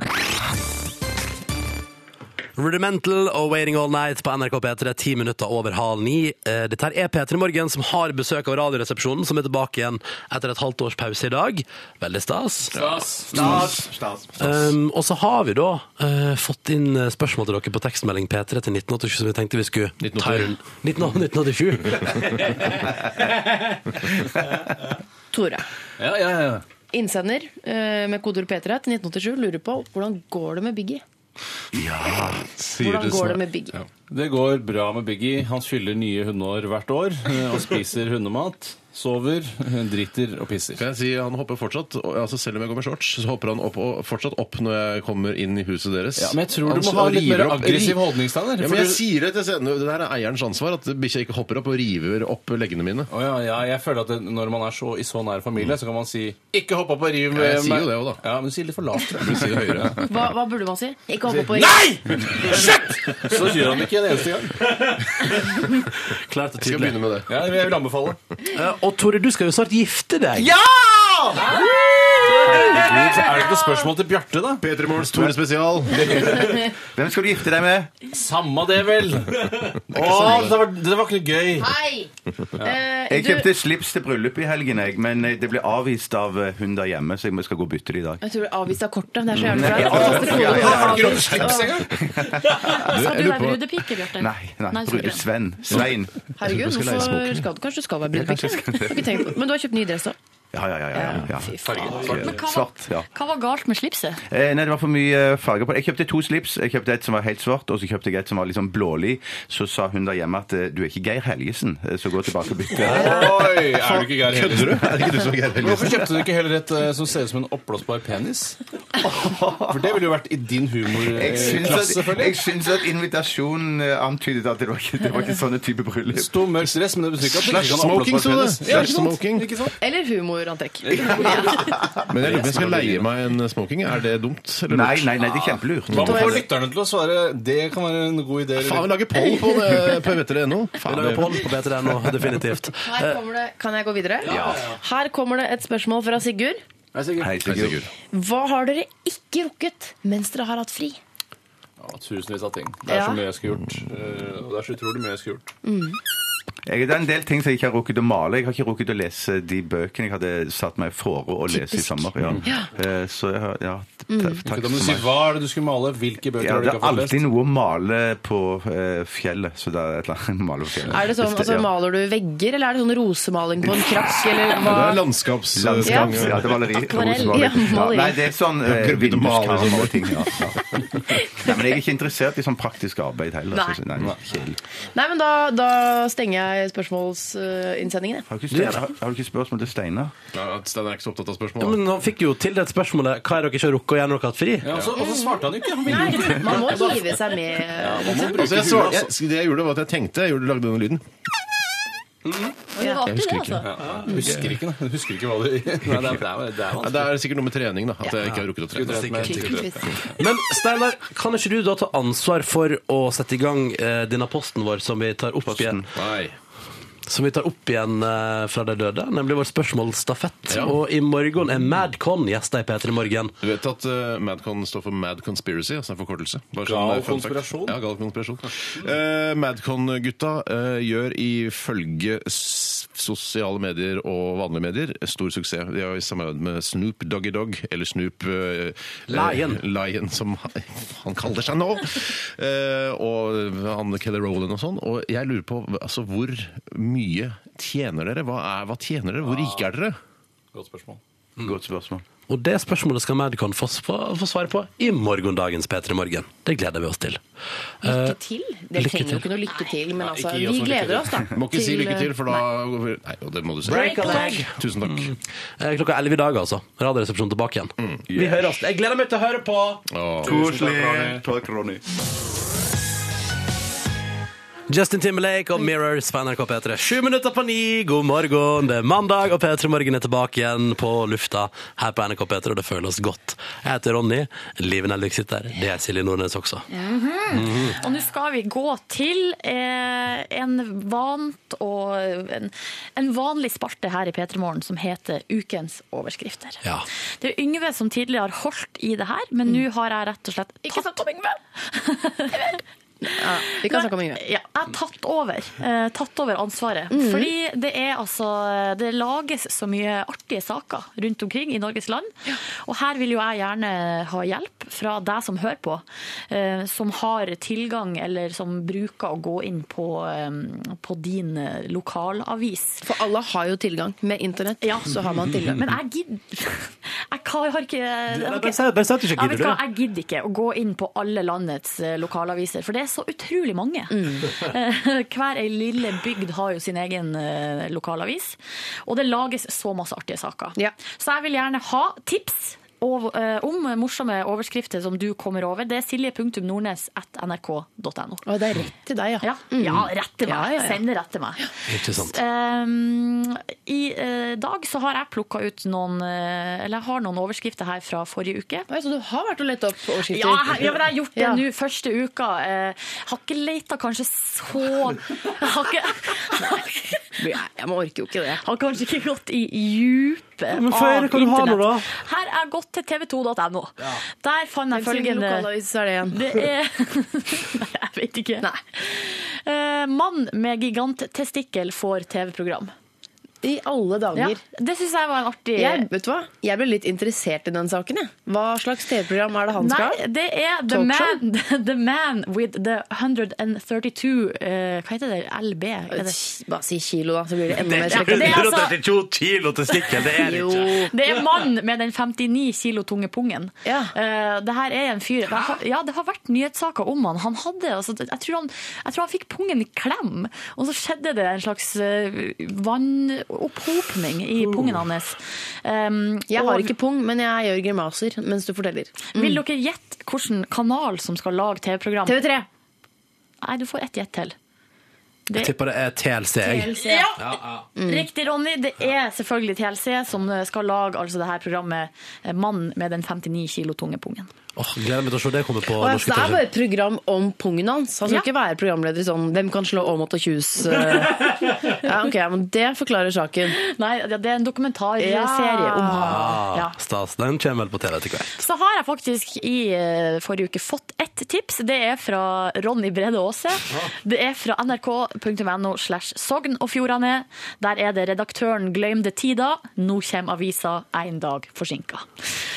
B: Rudimental og Waiting All Night på NRK P3, ti minutter over halv ni. Eh, Dette her er P3 Morgen, som har besøk av Radioresepsjonen, som er tilbake igjen etter et halvt års pause i dag. Veldig stas. Um, og så har vi da eh, fått inn eh, spørsmål til dere på tekstmelding P3 til 1987, som vi tenkte vi skulle ta i runden. 1987.
D: Tore,
J: Ja, ja, ja.
D: innsender eh, med kodeord P3 til 1987 lurer på hvordan går det med Biggie?
J: Ja, sier
D: Hvordan
J: du
D: går
J: sånn.
D: det med Biggie?
J: Det går bra med Biggie. Han fyller nye hundeår hvert år eh, og spiser hundemat. Sover, eh, driter og pisser.
H: Kan jeg si, Han hopper fortsatt, og- altså selv om jeg går med shorts, så hopper han opp, og fortsatt opp når jeg kommer inn i huset deres.
J: Ja, men jeg tror
H: Han
J: du må ha litt
H: river
J: mer
H: opp-
J: aggressiv
H: ri-
J: holdningsstandard,
H: Ja,
J: for
H: men
J: du-
H: jeg sier det til scenen, det der er eierens ansvar, at bikkja ikke hopper opp og river opp leggene mine.
J: Å ja, ja, jeg føler at det, Når man er så, i så nær familie, så kan man si
H: Ikke hopp opp og riv
J: eh,
H: Jeg sier jo
J: meg-
H: det òg, da.
J: Ja, men du sier litt for lavt.
H: Du sier høyere.
D: Hva, hva burde man si? Ikke hoppe på
J: Så gjør han det ikke en eneste gang.
B: Klart og
H: tydelig. Skal begynne med det.
J: Ja, jeg vil anbefale.
B: Eh, og Tore, du skal jo snart gifte deg.
J: Herregud, så er det ikke noe spørsmål til Bjarte, da?
H: Peter Morgens Tore spesial.
I: Hvem skal du gifte deg med?
J: Samme det, vel. Å, det var, det var ikke noe gøy.
D: Hei! Eh,
I: Jeg
D: du-
I: kjøpte slips til bryllup i helgen, jeg, men eh, det ble avvist av eh, hun der hjemme, så jeg skal gå og bytte det i dag.
D: Jeg tror du avviste av kortet. Det er så jævlig
I: Nei,
D: flaut.
I: Mm. ja, ja, ja, ja, ja.
D: Har du ikke noe
H: slips
D: engang?
C: Sa
I: jeg
C: du
I: lurer
C: deg
I: på-
C: brudepike, Bjarte?
I: Nei, nei,
C: Nei, sorry.
I: bryllup Sven. Svein.
D: Herregud,
I: Jeg skal leie
D: hvorfor
I: smoking.
D: skal du kanskje du skal være brudepike? Men du har kjøpt ny dress òg.
I: Ja, ja, ja. ja, ja, ja.
D: Fy faen.
C: Men hva var-
I: Svart, ja.
C: Hva var galt med slipset?
I: Eh, nei, det var for mye eh, farger på det. Jeg kjøpte to slips. Jeg kjøpte et som var helt svart, og så kjøpte jeg et som var litt sånn blålig. Så sa hun der hjemme at eh, du er ikke Geir Helgesen, eh, så gå tilbake og bytte.
J: Oi, er du ikke Geir Helgesen?
H: Kødder du? Er det ikke du som er Geir
J: Men Hvorfor
H: Helgesen?
J: kjøpte du ikke heller et eh, som ser ut som en oppblåsbar penis? For det ville jo vært i din
H: Eh,
I: Jeg
J: humorklasse,
I: syns at, jeg
J: selvfølgelig.
I: syns at invitasjonen eh, antydet at det var ikke, det var ikke sånne type bryllup.
J: Stor mørk stress, men det betyr ikke at du
H: Slash
J: ikke kan ha
H: smoking,
J: oppblåsbar
H: så
J: penis. Ja,
H: det. Slash
J: ikke sant?
H: smoking.
J: Ikke sant?
D: Eller humorantrekk.
H: Men jeg lurer på om jeg skal leie meg en smoking. Er det dumt? Eller
I: Nei,
H: lurt?
I: nei, nei, det er kjempelurt.
J: Hva med å få lytterne til å svare? Det kan være en god idé.
H: Faen, vi
J: eller?
H: lager poll på, det- på vetere.no.
B: Vi
H: Faen,
B: lager
H: det-
B: poll på BTN nå, definitivt.
D: Her kommer det, kan jeg gå videre? Her kommer det et spørsmål fra Sigurd.
J: Nei, sikkert.
I: Hei, Sigurd.
D: Hva har dere ikke rukket mens dere har hatt fri?
J: Ja, Tusenvis av ting. Det er
D: Ja.
J: så mye jeg skulle gjort. eh, Og det er så utrolig mye jeg skulle gjort.
I: Jeg, det er en del ting som jeg ikke har rukket å male. Jeg har ikke rukket å lese de bøkene jeg hadde satt meg fore å lese i
D: Typisk. Mm.
I: sommer. Ja. Eh, Så jeg har Ja, t- takk
J: Da
I: for
J: må du si
I: meg.
J: hva er det du skulle male, hvilke bøker
I: Ja,
J: har du
I: det
J: ikke
I: er
J: fått lest?
I: alltid noe å male på eh, fjellet. Så det er et eller annet male på fjellet.
D: Er det sånn, altså
I: ja.
D: Maler du vegger, eller er det sånn rosemaling på en krakk? Eller
H: Det
D: hva?
H: er landskaps...
I: Landskap,
D: Ja.
I: ja, det er maleri.
D: Akvarell,
I: rosemaleri.
D: ja, maleri.
I: Nei, det er sånn eh,
H: Gruppe til
I: vinduskarm
H: maler, sånn.
I: og ting. Ja, ja. Nei, men jeg er ikke interessert i sånn praktisk arbeid heller.
D: Nei.
I: Så, nei, kjedelig.
D: Nei, men da, da stenger jeg spørsmålsinnsendingen.
I: har, du ikke Steinar- har, har du ikke spørsmål til Steinar?
H: Ja, Steinar er ikke så opptatt av
B: Ja,
H: spørsmål.
B: men han fikk jo tildelt spørsmålet hva er dere ikke har rukket og gjør når dere har hatt fri.
J: Ja, og så- og så svarte han jo ikke. Han ville jo
D: Nei,
J: ikke.
D: man må hive seg med.
H: Altså, jeg svar, jeg, det jeg gjorde, var at jeg tenkte jeg gjorde, lagde denne lyden.
J: Mm-hmm.
C: Det var artig, det, altså.
J: Du husker ikke, da. Du husker ikke hva du Nei, det er, det er, det er
H: Nei,
J: vanskelig.
H: Det er sikkert noe med trening, da. At jeg ikke har rukket å trene.
D: Tydeligvis.
B: Men Steinar, kan ikke du da ta ansvar for å sette i gang eh, denne posten vår som vi tar opp igjen,
H: Nei.
B: som vi tar opp igjen eh, fra de døde? Nemlig vår spørsmålsstafett.
H: Ja.
B: Og i morgen er Madcon gjester i P3 Morgen.
H: Du vet at eh, Madcon står for Mad Conspiracy, altså en forkortelse. Bare
J: Gal
H: eh, fun fact.
J: konspirasjon?
H: Ja, gal konspirasjon. Eh, Madcon-gutta eh, gjør ifølge s- sosiale medier og vanlige medier stor suksess. De har i samarbeid med Snoop Doggy Dogg, eller Snoop eh,
B: Lion.
H: eh, Lion, som han- han kaller seg nå. Eh, og han Kelly Rowland og sånn. Og jeg lurer på altså, hvor mye tjener dere? Hva, er, hva tjener dere? Hvor
J: Ah.
H: rike er dere?
J: Godt spørsmål.
I: Godt spørsmål.
B: Og det spørsmålet skal Madcon få, s- få få svar på i morgendagens P3 Morgen. Det gleder vi oss til.
D: Lykke til. Dere
B: Eh, lykke
D: trenger
B: til.
D: jo ikke noe lykke til, men
J: Nei,
D: altså,
J: ikke gi oss
D: vi
J: noe lykke
D: gleder oss, da.
H: Du må ikke si lykke til, for da Nei, og det må du si. Tusen takk.
B: Eh, Klokka 11 i dag, altså. Radioresepsjonen tilbake igjen. Vi hører oss. Jeg gleder meg til å høre på!
H: Åh.
I: Koselig. Takk, Ronny.
B: Justin Timberlake og Mirrors på NRK P3. Sju minutter på ni, god morgen. Det er mandag, og P3 Morgen er tilbake igjen på lufta her på NRK P3, og det føles godt. Jeg heter Ronny. Liven Elvik sitter her. Det er Silje Nordnes også. Mhm.
C: Og nå skal vi gå til eh, en, vant og, en, en vanlig spalte her i P3 Morgen som heter Ukens overskrifter.
B: Ja.
C: Det er Yngve som tidligere har holdt i det her, men nå har jeg rett og slett tatt Ikke snakk om Yngve!
D: vi kan snakke om Yngve.
C: Ja, jeg har tatt over, eh, tatt over ansvaret.
D: Mhm.
C: Fordi det er altså Det lages så mye artige saker rundt omkring i Norges land. Og her vil jo jeg gjerne ha hjelp fra deg som hører på, eh, som har tilgang eller som bruker å gå inn på, eh, på din eh, lokalavis.
D: For alle har jo tilgang. Med internett så har man tilgang.
C: Men jeg gidder Jeg kan- har ikke jeg har
B: Nei,
C: ikke-
B: bare si- bare si at du ikke
C: Ja, vet
B: gidder,
C: hva,
B: du.
C: Jeg gidder ikke å gå inn på alle landets eh, lokalaviser, for det er så utrolig mange.
D: Mm.
C: Eh, Hver ei lille bygd har jo sin egen eh, lokalavis, og det lages så masse artige saker. Så jeg vil gjerne ha tips. ov- eh, om morsomme overskrifter som du kommer over. Det er silje.nordnes.nrk.no.
D: Og det er rett til deg, ja.
C: Mm. Ja, rett til meg.
D: Mm. Ja, ja, ja.
C: Send det rett til meg.
B: Ikke sant.
C: Um, I eh, dag så har jeg plukka ut noen eh, Eller jeg har noen overskrifter her fra forrige uke.
D: Oi, Så du har vært og lett opp overskrifter?
C: Ja, jeg, ja, men jeg har gjort det
D: Ja.
C: nå første uka. Eh, har ikke leita kanskje så jeg har, ikke,
D: Jeg, jeg orker jo ikke det.
C: har kanskje ikke gått i djupet
D: men
C: av
D: få høre hva du har nå,
C: internett.
D: da.
C: Her er jeg gått til tv2.no. Der fant
D: Hvem sin
C: jeg følgende
D: lokalavis er det igjen?
C: Det er Nei, jeg vet ikke. Eh, mann med giganttestikkel får TV-program.
D: I alle dager.
C: Ja, det syns jeg var en artig
D: Jeg, vet du hva? jeg ble litt interessert i den saken. Jeg. Hva slags TV-program er det han skal
C: Nei, det er the
D: Talkshow?
C: man, the man with the 132 eh, Hva heter det? LB? Er det?
D: Bare si kilo, da, så blir det enda mer
C: Det er- det er altså-
B: kilo til stikken, det er det
D: Jo.
C: Det er mann med den 59 kilo tunge pungen.
D: Ja.
C: Eh, det her er en fyr det har, Ja, det har vært nyhetssaker om han. Han hadde, altså, jeg, tror han, jeg tror han fikk pungen i klem, og så skjedde det en slags eh, vannopphopning i pungen hans. Um,
D: Uh. Jeg
C: og-
D: har ikke mm. pung, men jeg gjør grimaser mens du forteller.
C: Vil dere gjette hvilken kanal som skal lage TV-program?
D: TV3!
C: Nei, du får ett gjett til.
B: Jeg tipper det er TLC. jeg.
C: TLC. Ja. Riktig, Ronny. Det er selvfølgelig TLC som skal lage altså, det her programmet eh, 'Mann med den 59 kilo tunge pungen'.
B: Åh, gleder meg til å se det komme på
D: Og
B: norsk
D: det er bare
B: TV.
D: et program om pungen hans. Han skal
C: Ja.
D: ikke være programleder i sånn 'Hvem kan slå Aamodt og Kjus'? eh. Ja, ok, men Det forklarer saken.
C: Nei, ja, det er en dokumentarserie
D: Ja.
C: om han. Ja.
B: Ah, stas. Den kommer vel på TV etter hvert.
C: Så har jeg faktisk i eh, forrige uke fått ett tips. Det er fra Ronny Brede Aase. Det er fra nrk.no slash Sogn og Fjordane. Der er det redaktøren 'Gløym det tida'. Nå kommer avisa én dag forsinka.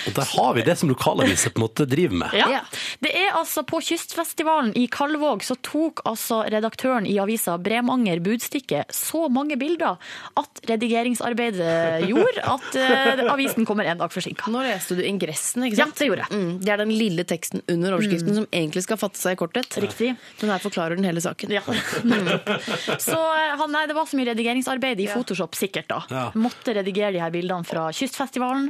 B: Og der har vi det som lokalaviser på en måte driver med.
C: Ja. Det er altså på Kystfestivalen i Kalvåg så tok altså redaktøren i avisa Bremanger Budstikke så mange bilder at redigeringsarbeidet gjorde at eh, avisen kommer en dag forsinka.
D: Nå leste du ingressen, ikke
C: Ja,
D: sant?
C: det gjorde jeg.
D: Mm, det er den lille teksten under overskriften som egentlig skal fatte seg i korthet.
C: Riktig.
D: Men her forklarer den hele saken.
C: Ja. Så eh, han, nei, det var så mye redigeringsarbeid i Photoshop, sikkert da.
B: Ja.
C: Måtte redigere de her bildene fra Kystfestivalen.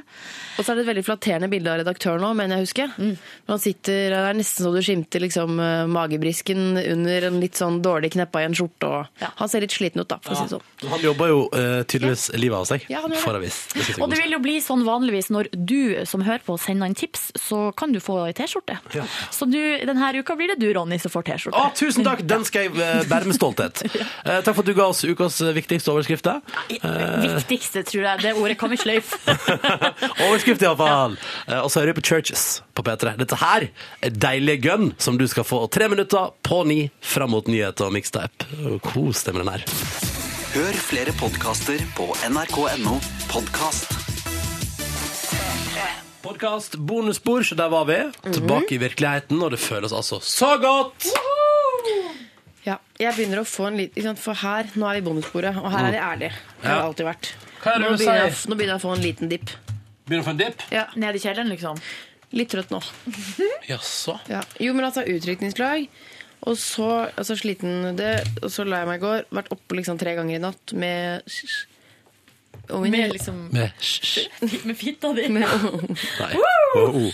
D: Og så er det et veldig flatterende bilde av redaktøren òg, mener jeg husker.
C: Mm.
D: Men Han sitter, Det er nesten så du skimter liksom, eh, magebrisken under en litt sånn dårlig kneppa i en skjorte. Og Han ser litt sliten ut, da, for å si det sånn.
B: Han jobber jo eh, tydeligvis livet av seg
D: Ja, han gjør det.
B: for avis. Det synes jeg
C: Og det
B: er
C: vil jo bli sånn vanligvis når du eh, som hører på sender inn tips, så kan du få ei T-skjorte.
B: Ja.
C: Så du, denne uka blir det du, Ronny, som får T-skjorte.
B: Å, tusen takk! Den skal jeg eh, bære med stolthet. Eh, takk for at du ga oss ukas eh, viktigste overskrifter.
C: Viktigste, tror jeg. Det ordet kan vi sløyfe.
B: Overskrift, iallfall! Ja. Eh, Og så hører vi på Churches på P3. Dette her er deilige gun som du skal få tre minutter på ni fram mot nyheter og mixtape. Og Kos deg med den her.
A: Hør flere podkaster på nrk.no podkast.
B: Podkast bonusspor, så der var vi. Tilbake i virkeligheten, og det føles altså så godt!
D: Ja, jeg begynner å få en litt, ikke sant, For her, nå er vi i bonussporet, og her er jeg ærlig. Det har jeg
B: Mm. Ja.
D: alltid vært.
B: Hva er det
D: Nå
B: du
D: begynner, jeg,
B: sier?
D: nå begynner jeg å få en liten dipp.
B: Begynner å få en dipp?
D: Ja,
C: Ned i kjelleren, liksom.
D: Litt trøtt nå.
B: Jaså?
D: Ja. Jo, men altså utrykningslag. Og så altså, sliten det, og så la jeg meg i går. Vært oppe liksom tre ganger i natt med ungen.
C: Med, liksom,
B: Med hysj, hysj.
C: med fitta di.
D: med-
B: Nei. Oh.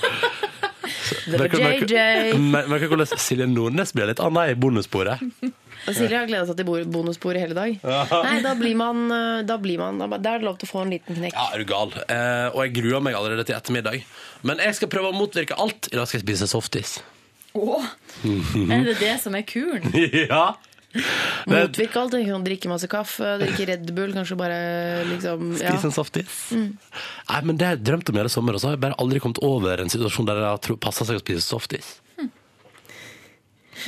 D: Det var JJ.
B: Men- Merker hvordan Silje Nordnes blir litt anna i bonussporet.
D: Og Silje har gleda seg til bo- bonusbordet hele dag. Nei, da blir man, eh, da blir man da, da er det lov til å få en liten knekk.
B: Ja, er du gal. Eh, og jeg gruer meg allerede til ettermiddag. Men jeg skal prøve å motvirke alt. I dag skal jeg spise softis.
C: Åh, er det det som er kuren?
B: ja. Det-
D: Motvirke alt. Du kan drikke masse kaffe, drikke Red Bull, kanskje bare liksom ja. Mm.
B: Spise sånn en softis. Nei, men det har jeg drømt om i hele sommer, og så har jeg bare aldri kommet over en situasjon der det har passa seg å spise softis.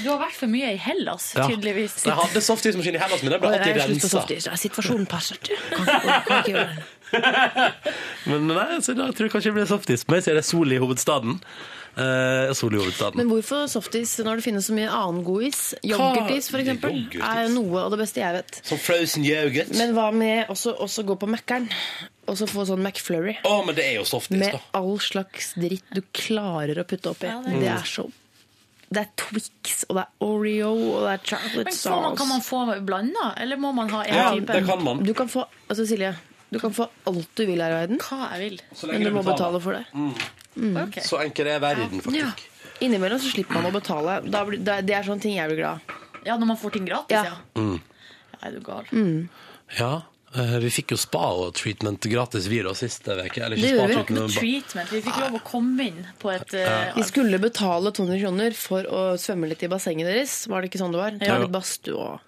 C: Du har vært for mye i Hellas,
B: Ja.
C: tydeligvis.
B: Jeg hadde softismaskin i hendene mine, jeg ble
D: Å, jeg
B: alltid
D: har slutt på
B: rensa.
D: softis. Ja, Situasjonen passer ikke. Kan ikke- kan ikke gjøre det.
B: Men nei, så da tror jeg kanskje det blir softis. Men jeg ser det er sol i hovedstaden. Eh, sol i hovedstaden.
D: Men hvorfor softis når det finnes så mye annen god is? Yoghurtis f.eks.
B: Yoghurtis.
D: er noe av det beste jeg vet.
B: Som frozen yoghurt. Å, men,
D: Men hva med også, også gå på Mækkern og så få sånn McFlurry?
B: det er jo softis,
D: Med
B: da.
D: all slags dritt du klarer å putte oppi.
C: det er
D: det er så Det er Twix, og det er Oreo, og det er chocolate
C: Men får man,
D: sauce.
C: kan man få blanda, eller må man ha én
B: Ja,
C: type?
B: det kan man.
D: Du kan få Altså, Silje. Du kan få alt du vil her i verden,
C: Hva jeg vil.
D: men du må betale for det.
C: Ok.
B: Mm. Så enkel er verden,
C: Ja.
B: faktisk.
D: Innimellom så slipper man å betale. Da blir, da, det er sånne ting jeg blir glad av.
C: Ja, når man får ting gratis,
D: Ja.
C: ja.
B: Mm.
C: Ja, er du gal.
B: Ja. eh, Vi fikk jo spa-treatment gratis, vi da, sist uke. Eller ikke
D: Det gjorde vi.
C: Det var
B: spa-treatment,
C: ikke noe
B: men
C: treatment. Vi fikk lov å komme inn på et eh,
D: Vi skulle betale 200 kroner for å svømme litt i bassenget deres. Var det ikke sånn det var? Ta
B: Jo.
D: litt badstue og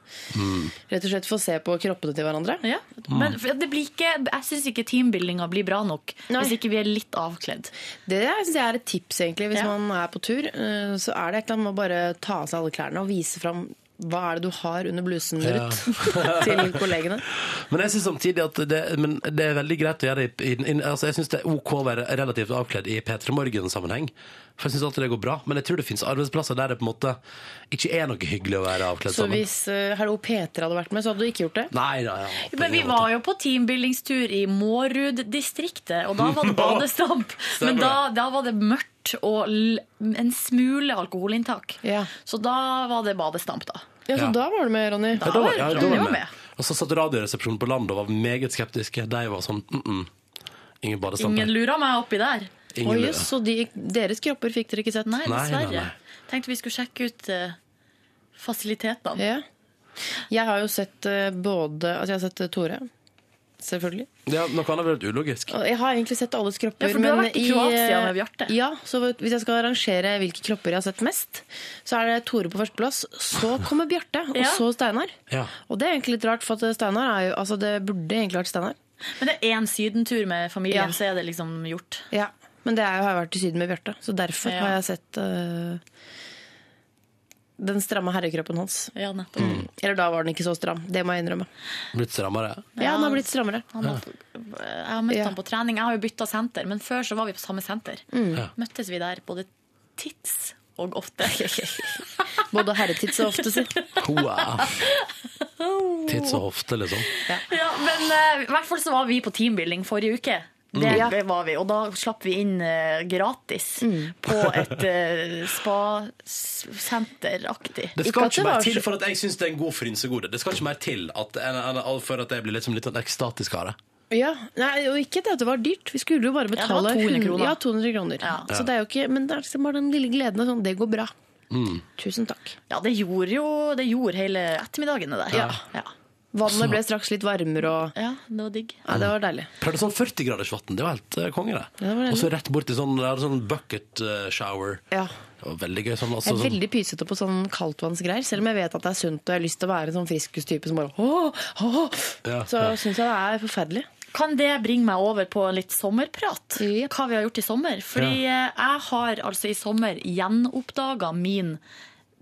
D: rett og slett få se på kroppene til hverandre.
C: ja.
B: Mm.
C: Men for det blir ikke, jeg syns ikke teambuildinga blir bra nok
D: Nei.
C: hvis ikke vi er litt avkledd.
D: Det synes jeg er et tips egentlig hvis
C: Ja.
D: man er på tur. eh, Så er det et eller annet med å bare ta av seg alle klærne og vise fram hva er det du har under blusen,
B: Ja.
D: Ruth, til kollegene.
B: ba- men jeg syns samtidig at det, men det er veldig greit å gjøre det i, i, i altså Jeg syns det er OK å være relativt avkledd i P3 Morgen-sammenheng. For jeg syns alltid det går bra. Men jeg tror det fins arbeidsplasser der det på en måte ikke er noe hyggelig å være avkledd
D: Så
B: sammen.
D: hvis eh, Hallo Peter hadde vært med, så hadde du ikke gjort det?
B: Nei, nei, ja, på
C: Men vi
B: ingen
C: var
B: måte.
C: jo på teambuildingstur i Mårud-distriktet, og da var det badestamp. Men da, da var det mørkt og l en smule alkoholinntak.
D: Ja.
C: Så da var det badestamp, da.
D: Ja, Så
B: Ja.
D: da var du med, Ronny.
B: Ja, da var, ja, da var
C: Vi
B: jeg
C: var med.
B: med. Og så satt Radioresepsjonen på landet og var meget skeptiske. De var sånn mm -mm. Ingen badestamp.
C: Ingen lurer meg oppi der.
B: Ingen
D: Oi,
B: lurer.
D: jøss, så de, deres kropper fikk dere ikke sett?
C: Nei,
B: Nei, nei,
C: dessverre.
B: nei.
C: Tenkte vi skulle sjekke ut eh, fasilitetene.
D: Ja. Jeg har jo sett eh, både Altså, jeg har sett eh, Tore. Selvfølgelig.
B: Ja, noe annet ville vært ulogisk.
D: Og Jeg har egentlig sett alles kropper.
C: Ja, for du har
D: men
C: vært i
D: eh,
C: Kroatia med Bjarte.
D: Ja, så hvis jeg skal arrangere hvilke kropper jeg har sett mest, så er det Tore på førsteplass, så kommer Bjarte, og
C: Ja.
D: så Steinar.
B: Ja.
D: Og det er egentlig litt rart, for at Steinar er jo Altså, det burde egentlig vært Steinar.
C: Men det er én sydentur med familien,
D: Ja.
C: så er det liksom gjort.
D: Ja. Men det er jo, har jeg vært i Syden med Bjarte, så derfor
C: Ja.
D: har jeg sett eh, den stramme herrekroppen hans.
C: Ja,
D: Mm.
C: nettopp.
D: Eller da var den ikke så stram, det må jeg innrømme.
B: Blitt strammere.
D: Ja, den har blitt strammere.
C: Han har, jeg har møtt
D: Ja.
C: han på trening. Jeg har jo bytta senter, men før så var vi på samme senter.
D: Mm.
B: Ja.
C: Møttes vi der både tids og ofte.
D: Både herretids og ofte, si.
B: Wow. Titt så ofte, liksom.
C: ja, men eh, i hvert fall så var vi på teambuilding forrige uke. Det var vi, og da slapp vi inn eh, gratis på et uh, spa-senteraktig.
B: Det
D: Ikke
B: skal
D: at
B: ikke
D: det
B: mer
D: var
B: til
D: så-
B: for at jeg syns det er en god frynsegode. Det skal ikke mer til at, enn- enn- for at jeg blir liksom litt sånn ekstatisk av det.
D: Ja, nei, og ikke det at det var dyrt. Vi skulle jo bare
C: det var
D: betale
C: 200
D: 100
C: kroner.
D: Ja, 200 kroner.
C: Ja.
D: Så det er jo ikke, men det er liksom bare den lille gleden av sånn, det går bra.
B: Mm.
D: Tusen takk.
C: Ja, det gjorde jo det gjorde hele ettermiddagen det der.
D: Ja.
C: Ja.
D: Vannet ble straks litt varmere og
C: ja, det var digg.
D: Ja, det var deilig.
B: Prøvde sånn 40 graders vann. Det var helt eh, konge, det.
D: Ja, det var
B: Og så rett bort til sånn, der, sånn bucket eh, shower.
D: Ja.
B: Det var veldig gøy. Sånn,
D: Jeg
B: altså,
D: er
B: sånn,
D: veldig pysete på sånn kaldtvannsgreier, selv om jeg vet at det er sunt og jeg har lyst til å være en sånn friskustype som bare åh, åh,
B: Ja,
D: Så
B: ja.
D: syns jeg det er forferdelig.
C: Kan det bringe meg over på litt sommerprat?
D: Yep.
C: Hva vi har gjort i sommer? Fordi eh, jeg har altså i sommer gjenoppdaga min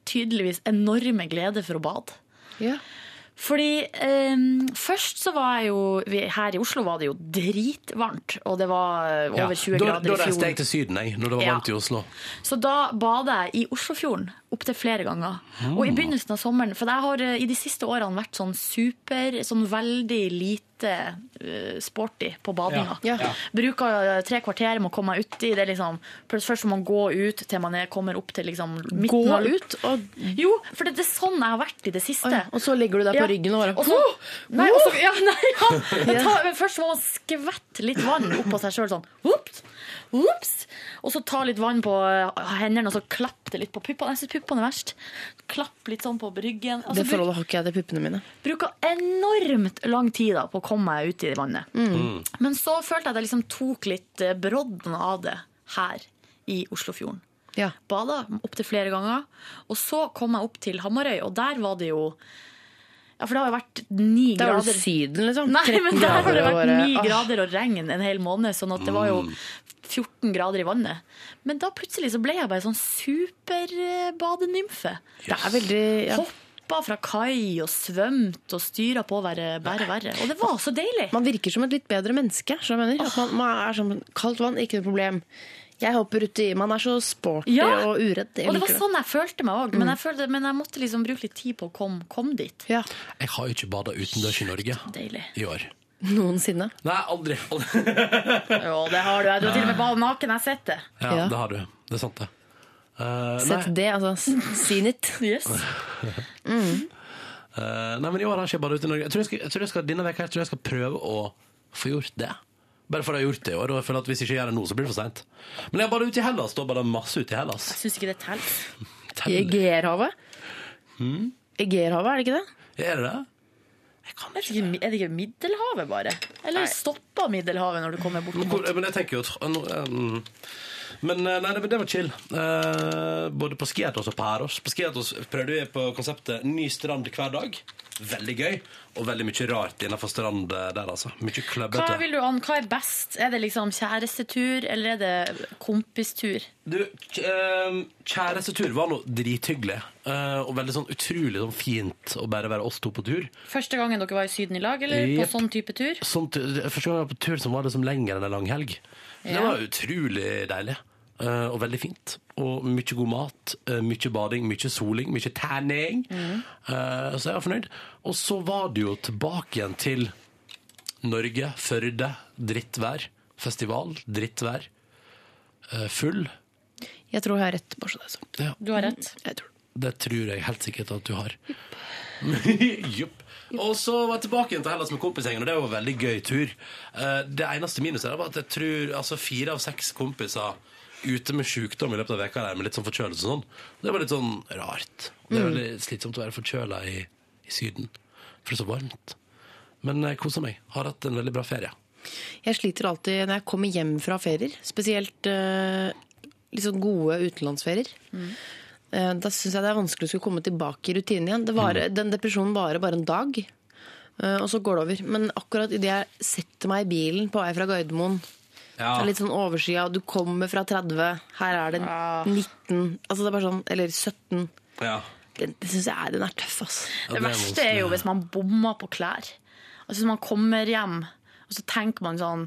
C: tydeligvis enorme glede for å bade.
D: Ja.
C: Fordi eh, først så var jeg jo vi- Her i Oslo var det jo dritvarmt, og det var eh,
B: ja.
C: over 20
B: Da,
C: grader
B: da
C: i
B: reiste
C: fjor.
B: jeg til Syden, jeg, når det var
C: Ja.
B: varmt i Oslo.
C: Så da bader jeg i Oslofjorden opptil flere ganger. Og
B: Ah.
C: i begynnelsen av sommeren, for jeg har eh, i de siste årene vært sånn super, sånn veldig lite eh, sporty på badinga.
D: Ja. Ja.
C: Bruker eh, tre kvarter med å komme meg uti. Det er liksom, først må man gå ut til man er, kommer opp til liksom midten.
D: Gå
C: av-
D: ut, og,
C: Jo, for det, det er sånn jeg har vært i det siste.
D: oi, og så legger du deg på
C: Ja.
D: ryggen og bare
C: Og så,
D: «Åh!»
C: nei, og så, ja, nei, ja. Jeg tar, men først må man skvette litt vann oppå seg sjøl sånn. Ops, ops. Og så ta litt vann på eh, hendene og så klapp det litt på puppene. Jeg syns puppene er verst. Klapp litt sånn på bryggen.
D: det
C: Altså, bruk,
D: forholdet har ikke jeg til puppene mine.
C: bruker enormt lang tid da, på å komme meg ut i vannet.
D: Mm.
C: Men så følte jeg at jeg liksom tok litt eh, brodden av det her i Oslofjorden.
D: Ja.
C: Bada opptil flere ganger. Og så kom jeg opp til Hamarøy, og der var det jo Ja, for det har jo vært ni
D: Der var
C: grader.
D: det Syden, liksom.
C: Nei,
D: 13
C: men der har det
D: grader og
C: vært
D: bare-
C: ni
D: Ah.
C: grader og regn en hel måned, sånn at det var jo
D: Mm.
C: 14 grader i vannet. Men da plutselig så ble jeg bare sånn superbadenymfe.
D: Det er veldig ja.
C: Hoppa fra kai og svømte og styra på å være bare verre. Og det var så deilig.
D: Man virker som et litt bedre menneske. skjønner du hva jeg mener. At man, man er sånn Kaldt vann, ikke noe problem. Jeg hopper uti. Man er så sporty
C: Ja.
D: og uredd. Jeg
C: og det var
D: liker
C: sånn jeg følte meg òg, men,
D: Mm.
C: jeg følte- men jeg måtte liksom bruke litt tid på å komme kom dit.
B: Jeg har jo ikke bada utendørs i Norge
C: Deilig.
B: i år.
D: Noensinne.
B: Nei, aldri. aldri.
C: Jo, det har du. Du har til og med bad naken. Jeg har sett det.
B: Ja, Det har du. Det er sant, det. Eh,
D: Sett
B: nei.
D: det, altså. Seen it.
C: Yes.
D: Mm.
B: Eh, nei, men i år har jeg ikke badet ute i Norge. Jeg tror jeg skal, jeg tror jeg skal, denne veka her tror jeg jeg skal prøve å få gjort det. Bare for jeg har gjort det i år, og jeg føler at hvis jeg ikke gjør det nå, så blir det for seint. Men jeg bader ute i Hellas. Da bader jeg masse ute i Hellas.
C: Jeg syns ikke det teller.
D: I Egeerhavet.
B: Hmm?
D: Egeerhavet, er det ikke det?
B: Er det det?
C: Er det ikke, er det ikke Middelhavet, bare? Eller stopper Middelhavet når du kommer bort?
B: Men hvor- Men jeg tenker jo at nå, um, Men eh, nei, det, det var chill. Eh, både på Skiatos og på Heros. På Skiatos prøvde vi på konseptet ny strand hver dag. Veldig gøy, og veldig mye rart innenfor strand eh, der, altså. Mye
C: Hva
B: kløbbete.
C: vil du an? Hva er best? Er det liksom kjærestetur, eller er det kompistur?
B: Du, k- eh, kjærestetur var noe drithyggelig. eh, og veldig sånn utrolig sånn fint å bare være oss to på tur.
C: Første gangen dere var i Syden i lag, eller
B: Jep.
C: på sånn type tur?
B: Sånn, t- første gang jeg var på tur, så var det som lenger enn en lang helg. Det
C: Ja.
B: var utrolig deilig. eh, og veldig fint. Og mye god mat, eh, mye bading, mye soling, mye tanning. Eh, så jeg var fornøyd. Og så var det jo tilbake igjen til Norge, Førde, drittvær. Festival, drittvær. Eh, full.
D: Jeg tror jeg har rett. Bare så det er sagt. Mm,
B: Ja.
C: Du har rett.
D: Jeg tror.
B: Det tror jeg helt sikkert at du har. Jupp. Og så var jeg tilbake igjen til Hellas med kompisgjengen, og det var en veldig gøy tur. Eh, Det eneste minuset der var at jeg tror altså fire av seks kompiser ute med sykdom i løpet av veka der, med litt sånn forkjølelse og sånn. Det var litt sånn rart. Og Det er
N: Mm.
B: veldig slitsomt å være forkjøla i, i Syden, for det er så varmt. Men jeg koser meg. Har hatt en veldig bra ferie.
D: Jeg sliter alltid når jeg kommer hjem fra ferier, spesielt eh, liksom gode utenlandsferier. Eh, da syns jeg det er vanskelig å skulle komme tilbake i rutinen igjen. Det varer- Den depresjonen varer bare en dag, eh, og så går det over. Men akkurat idet jeg setter meg i bilen på vei fra Gardermoen
B: Ja.
D: det er Litt sånn overskya. Du kommer fra 30, her er det 19 altså det er bare sånn, Eller 17.
B: Ja.
D: Den, det synes jeg er, den er tøff, ass.
C: Det, verste er jo hvis man bommer på klær. Altså Hvis man kommer hjem, og så tenker man sånn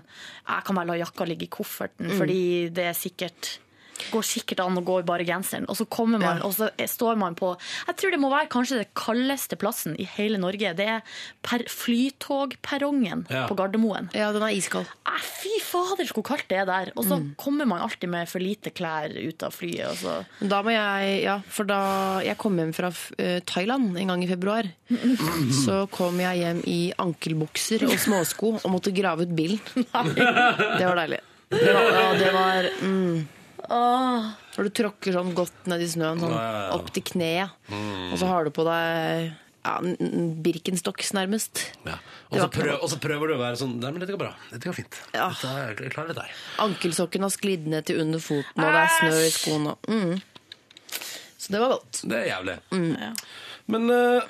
C: Jeg kan bare la jakka ligge i kofferten,
D: Mm.
C: fordi det er sikkert går sikkert an å gå i bare genseren. Og så kommer man, og så står man på Jeg tror det må være kanskje det kaldeste plassen i hele Norge. Det er per, flytogperrongen
D: Ja.
C: på Gardermoen.
D: Ja, den er iskald.
C: Eh, fy fader, så kaldt det er der! Og så kommer man alltid med for lite klær ut av flyet. Og så
D: Men Da må jeg, ja, for da jeg kom hjem fra eh, Thailand en gang i februar, så kom jeg hjem i ankelbukser og småsko og måtte grave ut bilen. Det var deilig. Det var, ja, det var mm. For du tråkker sånn godt ned i snøen, sånn
O: Ja, Mm. ja, ja.
D: opp til kneet, og så har du på deg ja, n- n- Birkenstocks nærmest.
B: Og
D: Det
B: så
D: var ikke noe
B: prøv, og så prøver du å være sånn Nei, men dette går bra. Dette går fint. Dette, jeg klarer dette her.
D: Ankelsokken har sklidd ned til under foten, og det er snø i skoene. Mm. Så det var godt.
B: Det er jævlig.
D: Mm.
B: Men eh,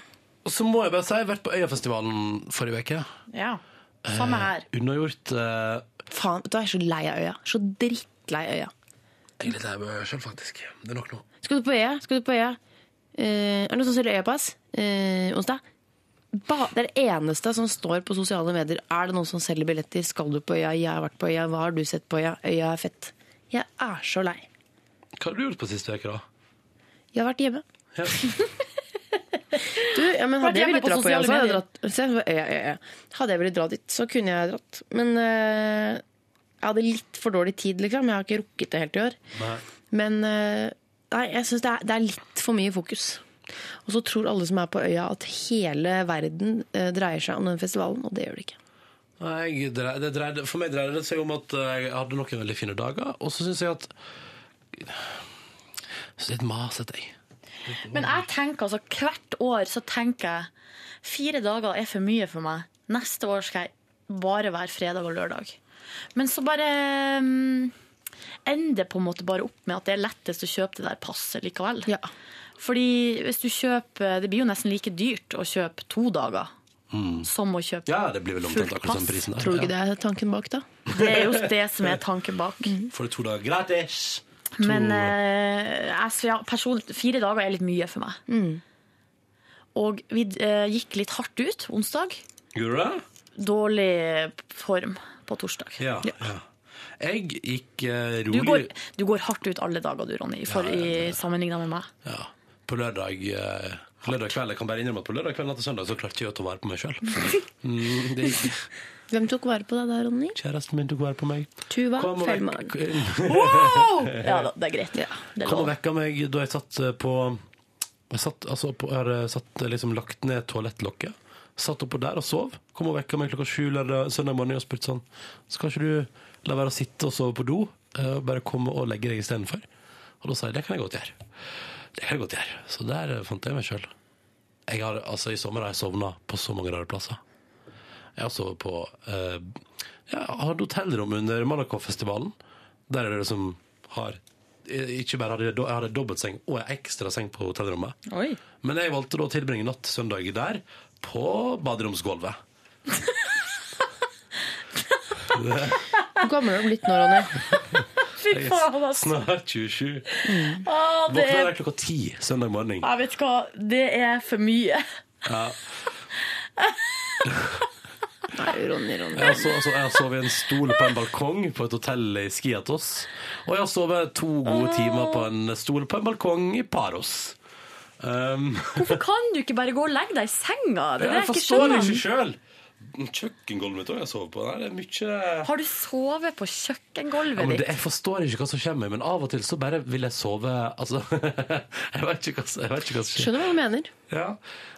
B: så må jeg bare si, jeg har vært på Øyafestivalen forrige uke.
C: ja. Samme her.
B: Eh, Unnagjort eh,
D: Faen, vet du, hva, jeg er så lei av øya. Så drittlei øya.
B: Jeg er litt lei meg sjøl, faktisk. Det er nok nå.
D: Skal du på øya? Skal du på øya? Eh, er det noen som selger øyapass? Eh, onsdag? Ba det er det eneste som står på sosiale medier. Er det noen som selger billetter? Skal du på øya? Jeg har vært på øya. Hva har du sett på øya? Øya er fett. Jeg er så lei.
B: Hva har du gjort på siste uke, da?
D: Jeg har vært hjemme. du, ja, men
O: Vært
D: hadde jeg
O: hjemme
D: villet
O: på
D: dra på øya,
O: sosiale
D: så hadde jeg
O: medier.
D: dratt. Se, øya, øya, øya. Hadde jeg villet dra dit, så kunne jeg dratt. Men eh, jeg hadde litt for dårlig tid, liksom. Jeg har ikke rukket det helt i år. Men eh, nei, jeg syns det, er- det er litt for mye fokus. Og så tror alle som er på øya at hele verden eh, dreier seg om den festivalen, og det gjør det ikke.
B: Nei, jeg drei- det dreide, for meg dreide det seg om at eh, jeg hadde noen veldig fine dager, og så syns jeg at Så litt masete, jeg.
C: Men jeg tenker altså, hvert år så tenker jeg fire dager er for mye for meg. Neste år skal jeg bare være fredag og lørdag. Men så bare mm, ender det på en måte bare opp med at det er lettest å kjøpe det der passet likevel. Fordi hvis du kjøper Det blir jo nesten like dyrt å kjøpe to dager som å kjøpe
B: Mm. Ja, det blir vel omtrent
C: fullt
B: akkurat samme
C: pass.
B: prisen der.
D: Tror du ikke det er tanken bak, da?
C: Det er jo det som er tanken bak.
B: Får du to dager gratis? To-
C: Men eh, jeg, så ja, personlig, fire dager er litt mye for meg. Og vi eh, gikk litt hardt ut onsdag.
B: Gjorde du det?
C: Dårlig form på torsdag.
B: Ja. ja. Jeg gikk eh,
C: Du
B: rolig
C: går, du går hardt ut alle dager, du, Ronny, for, i sammenligna med meg.
B: ja, på lørdag, eh, på lørdag kveld. Jeg kan bare innrømme at på lørdag kveld natt til søndag så klarte jeg å ta vare på meg sjøl. Mm, det gikk
D: Hvem tok vare på deg da, Ronny?
B: Kjæresten min tok vare på meg. eh,
D: Tuva
B: Kom og
D: Fellmann.
B: vekk-
C: Wow! Ja da, det er greit. Det er
B: Kom og
C: lov.
B: vekka meg da jeg satt eh, på Jeg satt, altså, på, jeg hadde satt, eh, liksom, lagt ned toalettlokket. Satt oppå der og sov. Kom og vekka meg klokka sju lørdag, søndag morgen og spurte sånn Skal ikke du la være å sitte og sove på do, eh, og bare komme og legge deg istedenfor? Og da sa jeg det kan jeg godt gjøre. Det kan jeg godt gjøre. Så der eh, fant jeg meg sjøl. Jeg har, altså, I sommer har jeg sovna på så mange rare plasser. Jeg har sovet på eh, Jeg hadde hotellrom under Malakoff-festivalen. Der er det liksom har eh, ikke bare hadde jeg, do- jeg hadde dobbeltseng og en ekstra seng på hotellrommet.
C: Oi.
B: Men jeg valgte da å tilbringe natt søndag der på baderomsgulvet. Det-
D: Nå kommer du opp litt nå, Ronny.
C: Fy
B: jeg
C: faen,
B: er
C: altså.
B: snart 27.
C: Å, det
B: Våkna
C: er,
B: der klokka ti søndag morgen.
C: jeg vet hva, det er for mye.
B: Ja.
D: Nei, Ronny, Ronny.
B: Jeg har, so altså, jeg har sovet i en stol på en balkong på et hotell i Skiatos. Og jeg har sovet to gode timer på en stol på en balkong i Paros. Um,
C: Hvorfor kan du ikke bare gå og legge deg i senga? Det er det
B: jeg
C: jeg ikke
B: forstår det
C: skjønner.
B: ikke sjøl! Kjøkkengulvet mitt òg jeg sover på. Nei, det er mye
C: Har du sovet på
B: ja,
C: kjøkkengulvet
B: men
C: ditt?
B: det, Jeg forstår ikke hva som kommer, men av og til så bare vil jeg sove Altså, jeg vet ikke hva som jeg vet ikke hva som skjer.
D: Skjønner hva du mener.
B: Ja.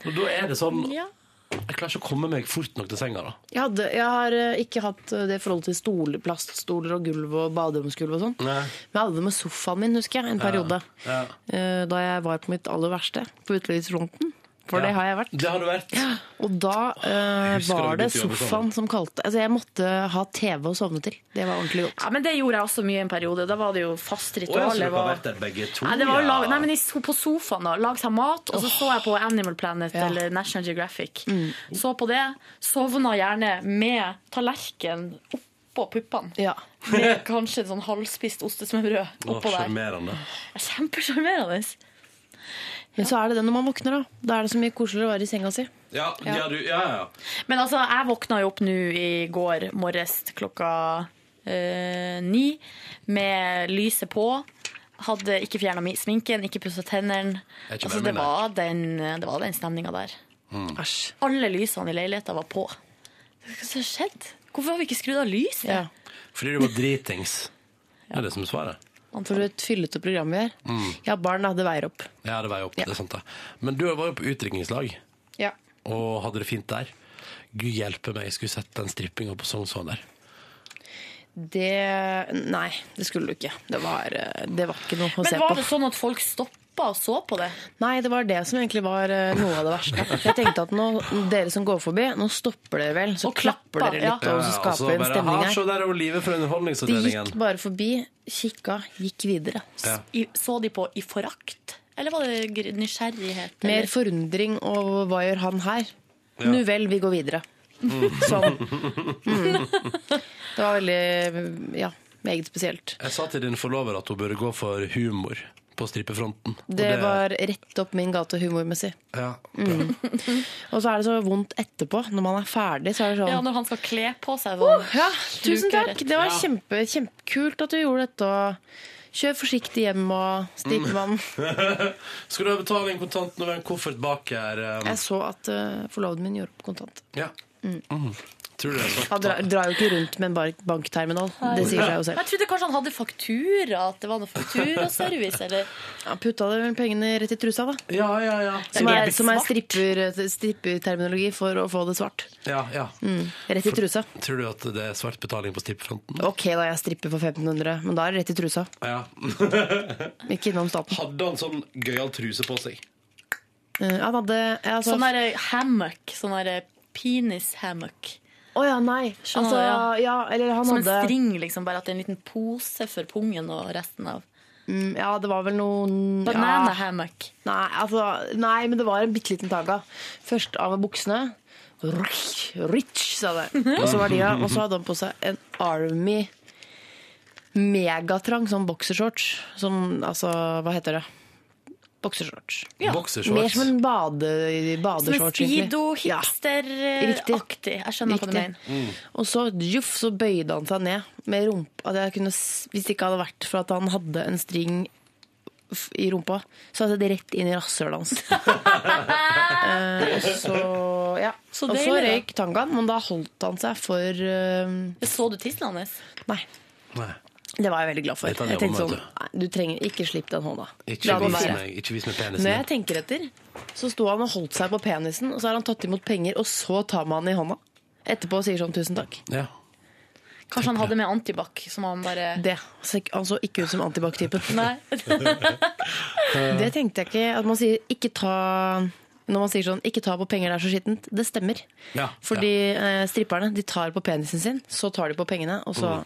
B: Og da er det sånn
C: Ja.
B: Jeg klarer ikke å komme meg fort nok til senga, da.
D: Jeg, hadde, jeg har eh, ikke hatt eh, det forholdet til stoler, plaststoler og gulv og baderomsgulv og sånn.
B: Nei.
D: Men jeg hadde det med sofaen min, husker jeg, en periode.
B: Ja.
D: Eh, Da jeg var på mitt aller verste, på utelivsfronten. For det
B: Ja.
D: har jeg vært.
B: Det har du vært.
D: Og da eh,
B: Jeg husker da vi
D: var det
B: begynte å jobbe
D: sofaen som kalte. Altså, jeg måtte ha TV å sovne til. Det var ordentlig godt.
C: Ja, men Det gjorde jeg også mye en periode. Da var det jo fast
B: Å, jeg
C: ritual.
B: tror
C: Det
B: dere har
C: var...
B: vært der begge to.
C: Nei, det var å
B: ja.
C: lage, nei, men i so- På sofaen, da. Lage seg mat. Og så så jeg på Animal Planet eller National Geographic. Så på det. Sovna gjerne med tallerken oppå puppene.
D: Ja.
C: Med kanskje et sånn halvspist ostesmørbrød
B: Å,
C: oppå der.
B: Sjarmerende.
C: Kjempesjarmerende.
D: Men så er det det når man våkner, da. Da er det så mye koseligere å være i senga si.
B: Ja, ja, du, ja, ja.
C: Men altså, jeg våkna jo opp nå i går morges klokka eh, ni med lyset på. Hadde ikke fjerna sminken, ikke pussa tennene.
B: Jeg er ikke Mm.
C: Altså,
B: med
C: det,
B: meg.
C: var den, det var den stemninga der.
D: Æsj.
C: Alle lysene i leiligheta var på. Hva som har skjedd? Hvorfor har vi ikke skrudd av lyset?
D: Ja.
B: Fordi du var dritings. Det er det som er svaret.
D: For et fyllete program vi er.
B: Mm.
D: Ja, barna hadde veier opp.
B: Ja, det var jo opp, det er sant det. Men du var jo på utdrikningslag,
D: Ja.
B: og hadde det fint der. Gud hjelpe meg, jeg skulle sett den strippinga på Sognsvann der.
D: Det Nei, det skulle du ikke. Det var, eh, det var ikke noe å se
C: Men
D: på.
C: var det sånn at folk stoppa og så på det?
D: Nei, det var det som egentlig var eh, noe av det verste. For jeg tenkte at nå, dere som går forbi, nå stopper dere vel. Så
C: Og
D: klapper
C: klapper,
D: dere
C: ja.
D: litt, og
B: og
D: så
B: så
D: skaper dere en
B: altså, bare,
D: stemning
B: «Ha, Se
D: her.
B: der er livet fra
D: De gikk
B: Underholdningsavdelingen.
D: bare forbi, kikka, gikk videre.
B: Ja.
C: I, så de på i forakt? Eller var det gr- nysgjerrighet?
D: Mer
C: Eller?
D: forundring og hva gjør han her? Nu vel, vi går videre. Sånn. Mm. Det var veldig ja, meget spesielt.
B: Jeg sa til din forlover at hun burde gå for humor på strippefronten. Og
D: Det var rett opp min gate humormessig.
B: ja, bra.
D: Og så er det så vondt etterpå. Når man er ferdig, så er det sånn
C: Ja, når han skal kle på seg sånn.
D: Ja, tusen
C: Sluker
D: takk.
C: rett.
D: Det var kjempe, kjempekult at du gjorde dette. og Kjør forsiktig hjem og
C: Mm.
D: stikk vann.
B: Skal du ha betaling kontant når vi har en koffert bak her? eh,
D: Jeg så at uh, forloveden min gjorde opp kontant.
B: Ja. Mm. Tror du det er svart?
D: Han drar, drar jo ikke rundt med en bar- bankterminal. Det sier seg jo selv.
C: Jeg trodde kanskje han hadde faktura, at det var noe fakturaservice, eller
D: Han putta det vel pengene rett i trusa, da.
B: Ja, ja, ja.
D: Som
C: Det
D: er,
C: blir
D: som er
C: svart.
D: stripper, eh, stripperterminologi for å få det svart.
B: ja, ja.
D: Mm. Rett i trusa.
B: Tror du at det er svart betaling på strippefronten?
D: Ok, da jeg stripper for 1500, men da er det rett i trusa.
B: Ja.
D: Ikke innom staten.
B: Hadde han sånn gøyal truse på seg?
D: Eh, Han hadde ja, altså,
C: sånn der hammock. Sånn der penis-hammock.
D: Å ja, nei.
C: Skjønner,
D: Altså,
C: Sånn ja.
D: ja, eller han
C: Som en
D: hadde
C: string, liksom, bare at det er en liten pose for pungen og resten av.
D: Mm, Ja, det var vel noen
C: Banana
D: ja,
C: hammock.
D: nei, altså, nei, men det var en bitte liten tagga. Først av med buksene. Rich, rich, sa det.
C: Mhm.
D: Og så var de av, og så hadde han på seg en Army megatrang sånn boksershorts. Som altså, hva heter det? Boksershorts.
C: Ja.
D: Mer
B: Boksershorts?
D: som en bade,
C: Som en
D: badeshorts, egentlig. Ja.
C: speedo-hipster-aktig. Jeg skjønner hva du
D: Riktig.
C: mener.
D: Og så, juff, så bøyde han seg ned med rumpa. At jeg kunne, s- hvis det ikke hadde vært for at han hadde en string f- i rumpa, så hadde det rett inn i rasshølet hans. Eh, og så, ja.
C: Så
D: og så
C: deilig, da.
D: røyk tangaen, men da holdt han seg for eh,
C: Jeg så du tissen hans.
D: Nei.
B: Nei.
D: Det var jeg veldig glad for.
B: Dette er
D: Jeg tenkte
B: jobben,
D: sånn, nei, du trenger ikke slipp den hånda.
B: Ikke
D: den
B: vis
D: være.
B: meg, ikke vis meg penisen.
D: Når
B: din.
D: jeg tenker etter, så sto han og holdt seg på penisen, og så har han tatt imot penger, og så tar man han i hånda. Etterpå og sier sånn tusen takk.
B: Ja.
C: Kanskje han hadde med antibac, som han bare
D: Det. Så ikke- Han så ikke ut som antibac-type.
C: Nei.
D: Det tenkte jeg ikke. At man sier ikke ta Når man sier sånn ikke ta på penger, det er så skittent. Det stemmer.
B: Ja,
D: Fordi eh, stripperne de tar på penisen sin, så tar de på pengene, og så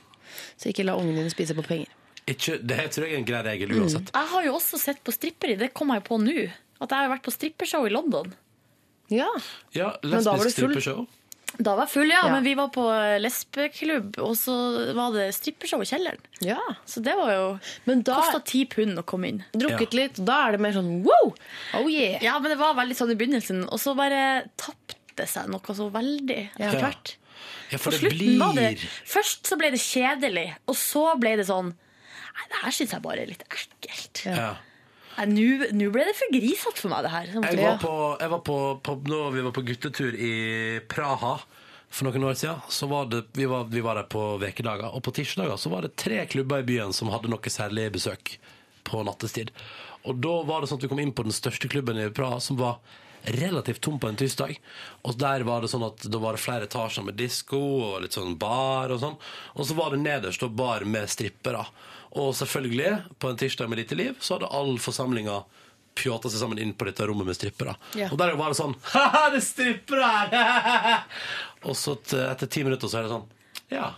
D: Så ikke la ungene dine spise på penger.
B: Ikke, det her tror jeg er en grei
D: Mm.
B: regel uansett.
C: Jeg har jo også sett på stripperi, det kom jeg på nå. At jeg har vært på strippershow i London.
D: Ja.
B: Ja,
D: Men da var
B: lesbisk
D: du full.
B: strippeshow.
C: Da var jeg full, ja,
D: Ja.
C: men vi var på lesbeklubb, og så var det strippershow i kjelleren.
D: ja.
C: Så det var jo
D: Men da
C: Kosta ti pund å komme inn.
D: drukket litt, da er det mer sånn wow! Oh yeah!
C: Ja, men det var veldig sånn i begynnelsen, og så bare tapte seg noe så veldig
B: Ja.
C: etter hvert.
B: Ja, for
C: På
B: det
C: slutten var det
B: blir
C: Først så ble det kjedelig, og så ble det sånn Nei, det her syns jeg bare er litt ekkelt.
B: ja.
C: Nei, nå- Nå ble det for grisete for meg, det her. Så jeg måtte
B: Jeg
C: gå.
B: var på, jeg var på, på når vi var på guttetur i Praha for noen år siden, så var det, vi, var, vi var der på vekedager, og på tirsdager så var det tre klubber i byen som hadde noe særlig besøk på nattestid. Og da var det sånn at vi kom inn på den største klubben i Praha, som var relativt tom på en tirsdag. Og der var det sånn at da var det flere etasjer med disko og litt sånn bar og sånn. Og så var det nederst og bar med strippere. Og selvfølgelig, på en tirsdag med lite liv, så hadde all forsamlinga pjåta seg sammen inn på dette rommet med strippere.
D: Ja.
B: Og der var det sånn Haha, det er strippere her! og så t- etter ti minutter så er det sånn Ja.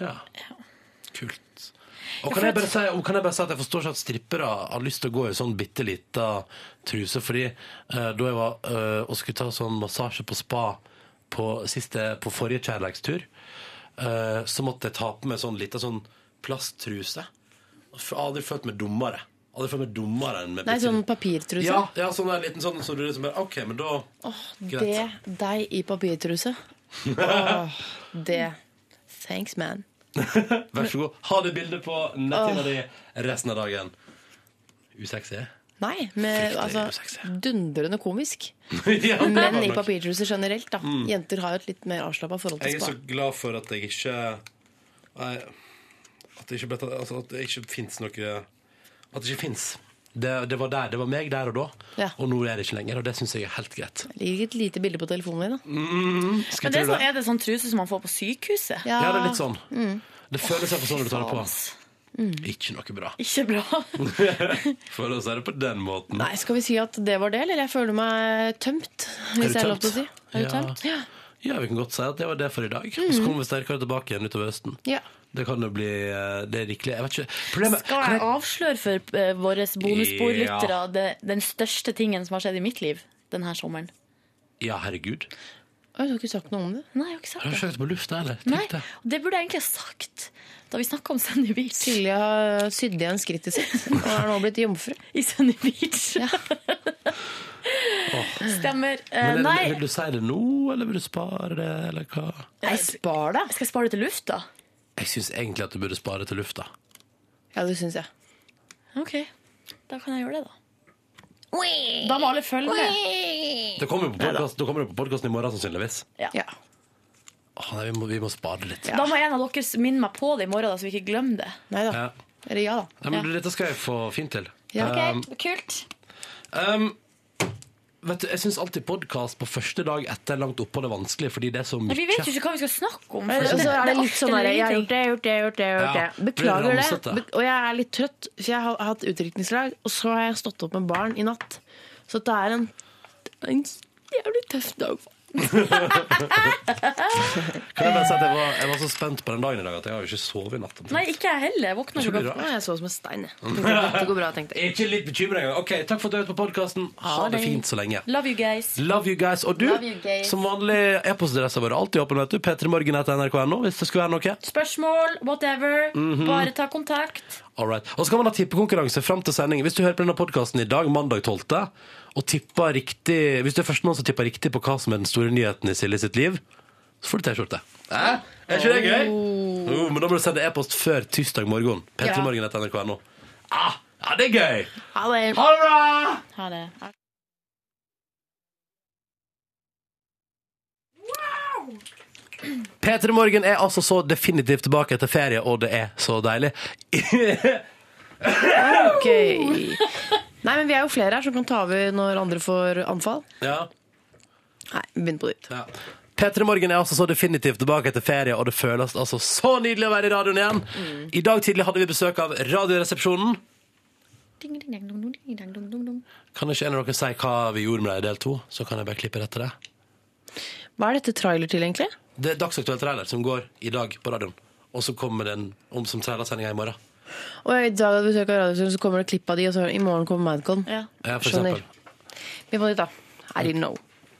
B: Ja. Kult. Og kan jeg, bare si, og kan jeg bare si at jeg forstår ikke at strippere har lyst til å gå i sånn bitte lita truse, fordi eh, da jeg var eh, og skulle ta sånn massasje på spa på, siste, på forrige kjærleikstur, eh, så måtte jeg ta på meg sånn lita sånn plasttruse. Og f- Jeg har aldri følt meg dummere. Aldri følt meg dummere enn med
D: Nei,
B: bitte
D: sånn
B: liten-
D: papirtruse.
B: ja, ja, sånn der liten sånn, så du liksom bare, ok, men da...
D: Det deg i papirtruse. Åh, det. Thanks, man.
B: Vær så god. Ha det bildet på netthinna di resten av dagen. Usexy?
D: Nei, men
B: Fryktelig
D: altså,
B: usexy.
D: dundrende komisk.
B: ja,
D: Menn i papirtruse generelt, da. Jenter har jo et litt mer avslappa forhold
B: Mm. Jeg
D: til
B: er så
D: spa.
B: glad for at jeg ikke Nei, At det ikke, ble tatt- altså, at det ikke fins noe At det ikke fins. Det, det var der, det var meg der og da,
D: Ja.
B: og nå er det ikke lenger. Og det syns jeg er helt greit.
D: Det ligger et lite bilde på telefonen min,
B: Mm.
D: da.
B: Skal
C: Men
B: vi
C: det er,
B: tro det?
C: sånn, er det sånn truse som man får på sykehuset?
B: Ja, det er litt sånn. Det føles iallfall sånn når du tar det på.
C: ass.
B: Ikke noe bra.
C: Ikke bra.
B: For å si det på den måten.
D: Nei, skal vi si at det var det, eller? Jeg føler meg tømt, hvis
B: du
D: det er lov
B: tømt?
D: til å si. Er
B: Ja.
D: du tømt? Ja.
B: Ja, vi kan godt si at det var det for i dag.
C: Mhm.
B: Og så kommer vi sterkere tilbake igjen utover høsten.
D: Ja.
B: Det kan jo bli eh, Det er rikelig. Jeg vet ikke. Problemet
C: Skal
B: kan
C: jeg avsløre for eh, våre bonusbordlyttere
B: Ja.
C: det- den største tingen som har skjedd i mitt liv denne sommeren?
B: Ja, herregud.
D: Oi, Du har ikke sagt noe om det?
C: Nei, jeg har ikke sagt
B: Har du
C: det.
B: ikke hørt på lufta, eller?
C: Nei,
B: Tenk det.
C: og det burde jeg egentlig ha sagt da vi snakka om Sunny Beach.
D: Silje har sydd igjen skrittet sitt og er nå blitt jomfru.
C: I Sunny Beach. Stemmer. Eh,
B: Men er det, vil
C: nei,
B: du si det nå, eller vil du spare det, eller hva?
D: Jeg spar deg.
C: skal jeg spare det til lufta?
B: Jeg syns egentlig at du burde spare til lufta.
D: Ja, det syns jeg.
C: Ok, da kan jeg gjøre det, da. Da må alle følge med.
B: Det kommer jo på podkasten i morgen, sannsynligvis.
D: Ja.
B: Å, nei, vi, må, vi må spare litt.
C: Da må en av dere minne meg på det i morgen, da, så vi ikke glemmer det.
D: Nei da.
B: Ja.
D: Eller ja, da.
B: Nei, men du, Dette skal jeg få fint til.
D: Ja.
B: Um,
C: Kult.
B: um, vet du, Jeg syns alltid podkast på første dag etter langt opphold er vanskelig, fordi det er så mye
C: Men vi vet jo ikke hva vi skal snakke om.
D: Og
C: for
D: så er det
C: er
D: litt sånn
C: alt
D: der,
C: eller
D: Jeg har
C: ingenting.
D: gjort det, jeg har gjort det, jeg har gjort det. Jeg har
B: Ja,
D: gjort det.
B: blir
D: Beklager det.
B: ramsete.
D: Be- Og jeg er litt trøtt, for jeg har hatt utdrikningslag. Og så har jeg stått opp med barn i natt. Så det er en, en jævlig tøff dag.
B: Kan jeg bare si at jeg var, jeg var så spent på den dagen i dag at jeg har jo ikke sovet i natt.
C: Nei, ikke jeg heller. Jeg våkner
B: Tror
C: klokka
B: du
D: Nå er jeg så som en stein. jeg. Tenkte jeg, Dette går bra, tenkte jeg.
B: Ikke litt bekymra engang. Ok, takk for at du hørte på podkasten. Ha
D: Ha
B: det
D: det.
B: fint så lenge.
C: Love you guys.
B: Love you guys. Og du,
C: Love you guys.
B: som vanlig, e-postadressa vår er alltid åpen, vet du. p3morgen.nrk.no hvis det skulle være noe.
C: Spørsmål, whatever.
B: Mhm.
C: Bare ta kontakt.
B: All right. Og så kan man ha tippekonkurranse fram til sending. Hvis du hører på denne podkasten i dag, mandag 12., og tipper riktig Hvis du er førstemann som tipper riktig på hva som er den store nyheten i Silje sitt liv, så får du T-skjorte. Hæ? Er ikke det gøy? Jo, men da må du sende e-post før tirsdag morgen. p3morgen.nrk.no. Ah, ja, det er gøy!
D: Ha det.
B: Ha det bra!
C: Ha det.
B: P3 Morgen er altså så definitivt tilbake etter ferie, og det er så deilig.
D: Ok. Nei, men vi er jo flere her som kan ta over når andre får anfall.
B: ja,
D: Nei, vi begynner på nytt.
B: ja. P3 Morgen er altså så definitivt tilbake etter ferie, og det føles altså så nydelig å være i radioen igjen. I dag tidlig hadde vi besøk av Radioresepsjonen. Kan ikke en av dere si hva vi gjorde med deg i del to? Så kan jeg bare klippe rett til det.
D: Hva er dette trailer til, egentlig?
B: Det er dagsaktuell trailer som går i dag på radioen. Og så kommer den om som trailersendinga i morgen.
D: Og I dag hadde vi besøk av Radiostudio, så kommer det klipp av de, og så i morgen kommer Madcon.
C: Ja.
B: Ja, for
D: Skjønner.
B: eksempel.
D: Vi må dit, da. I didn't know.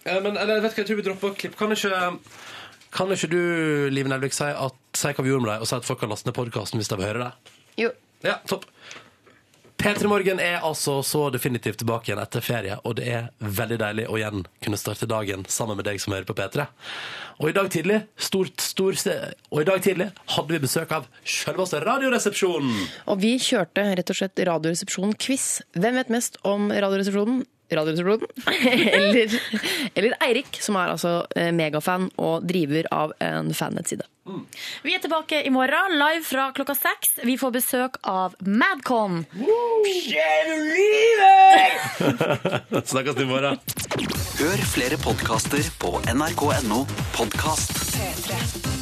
B: Eh, Men eller, vet du hva, jeg tror vi dropper klipp. Kan ikke, kan ikke du, Liv Nelvik, si, at, si hva vi gjorde med deg, og si at folk kan laste ned podkasten hvis de vil høre det?
D: Jo.
B: Ja, topp. P3 Morgen er altså så definitivt tilbake igjen etter ferie, og det er veldig deilig å igjen kunne starte dagen sammen med deg som hører på P3. Og i dag tidlig, stort, stor, se- og i dag tidlig hadde vi besøk av selveste Radioresepsjonen.
D: Og vi kjørte rett og slett Radioresepsjonen-quiz. Hvem vet mest om Radioresepsjonen? Radioresepsjonen? eller, eller Eirik, som er altså eh, megafan og driver av en fannettside.
C: Vi er tilbake i morgen, live fra klokka seks. Vi får besøk av Madcon.
B: Snakkes i morgen.
A: Hør flere podkaster på nrk.no podkast.
O: P3.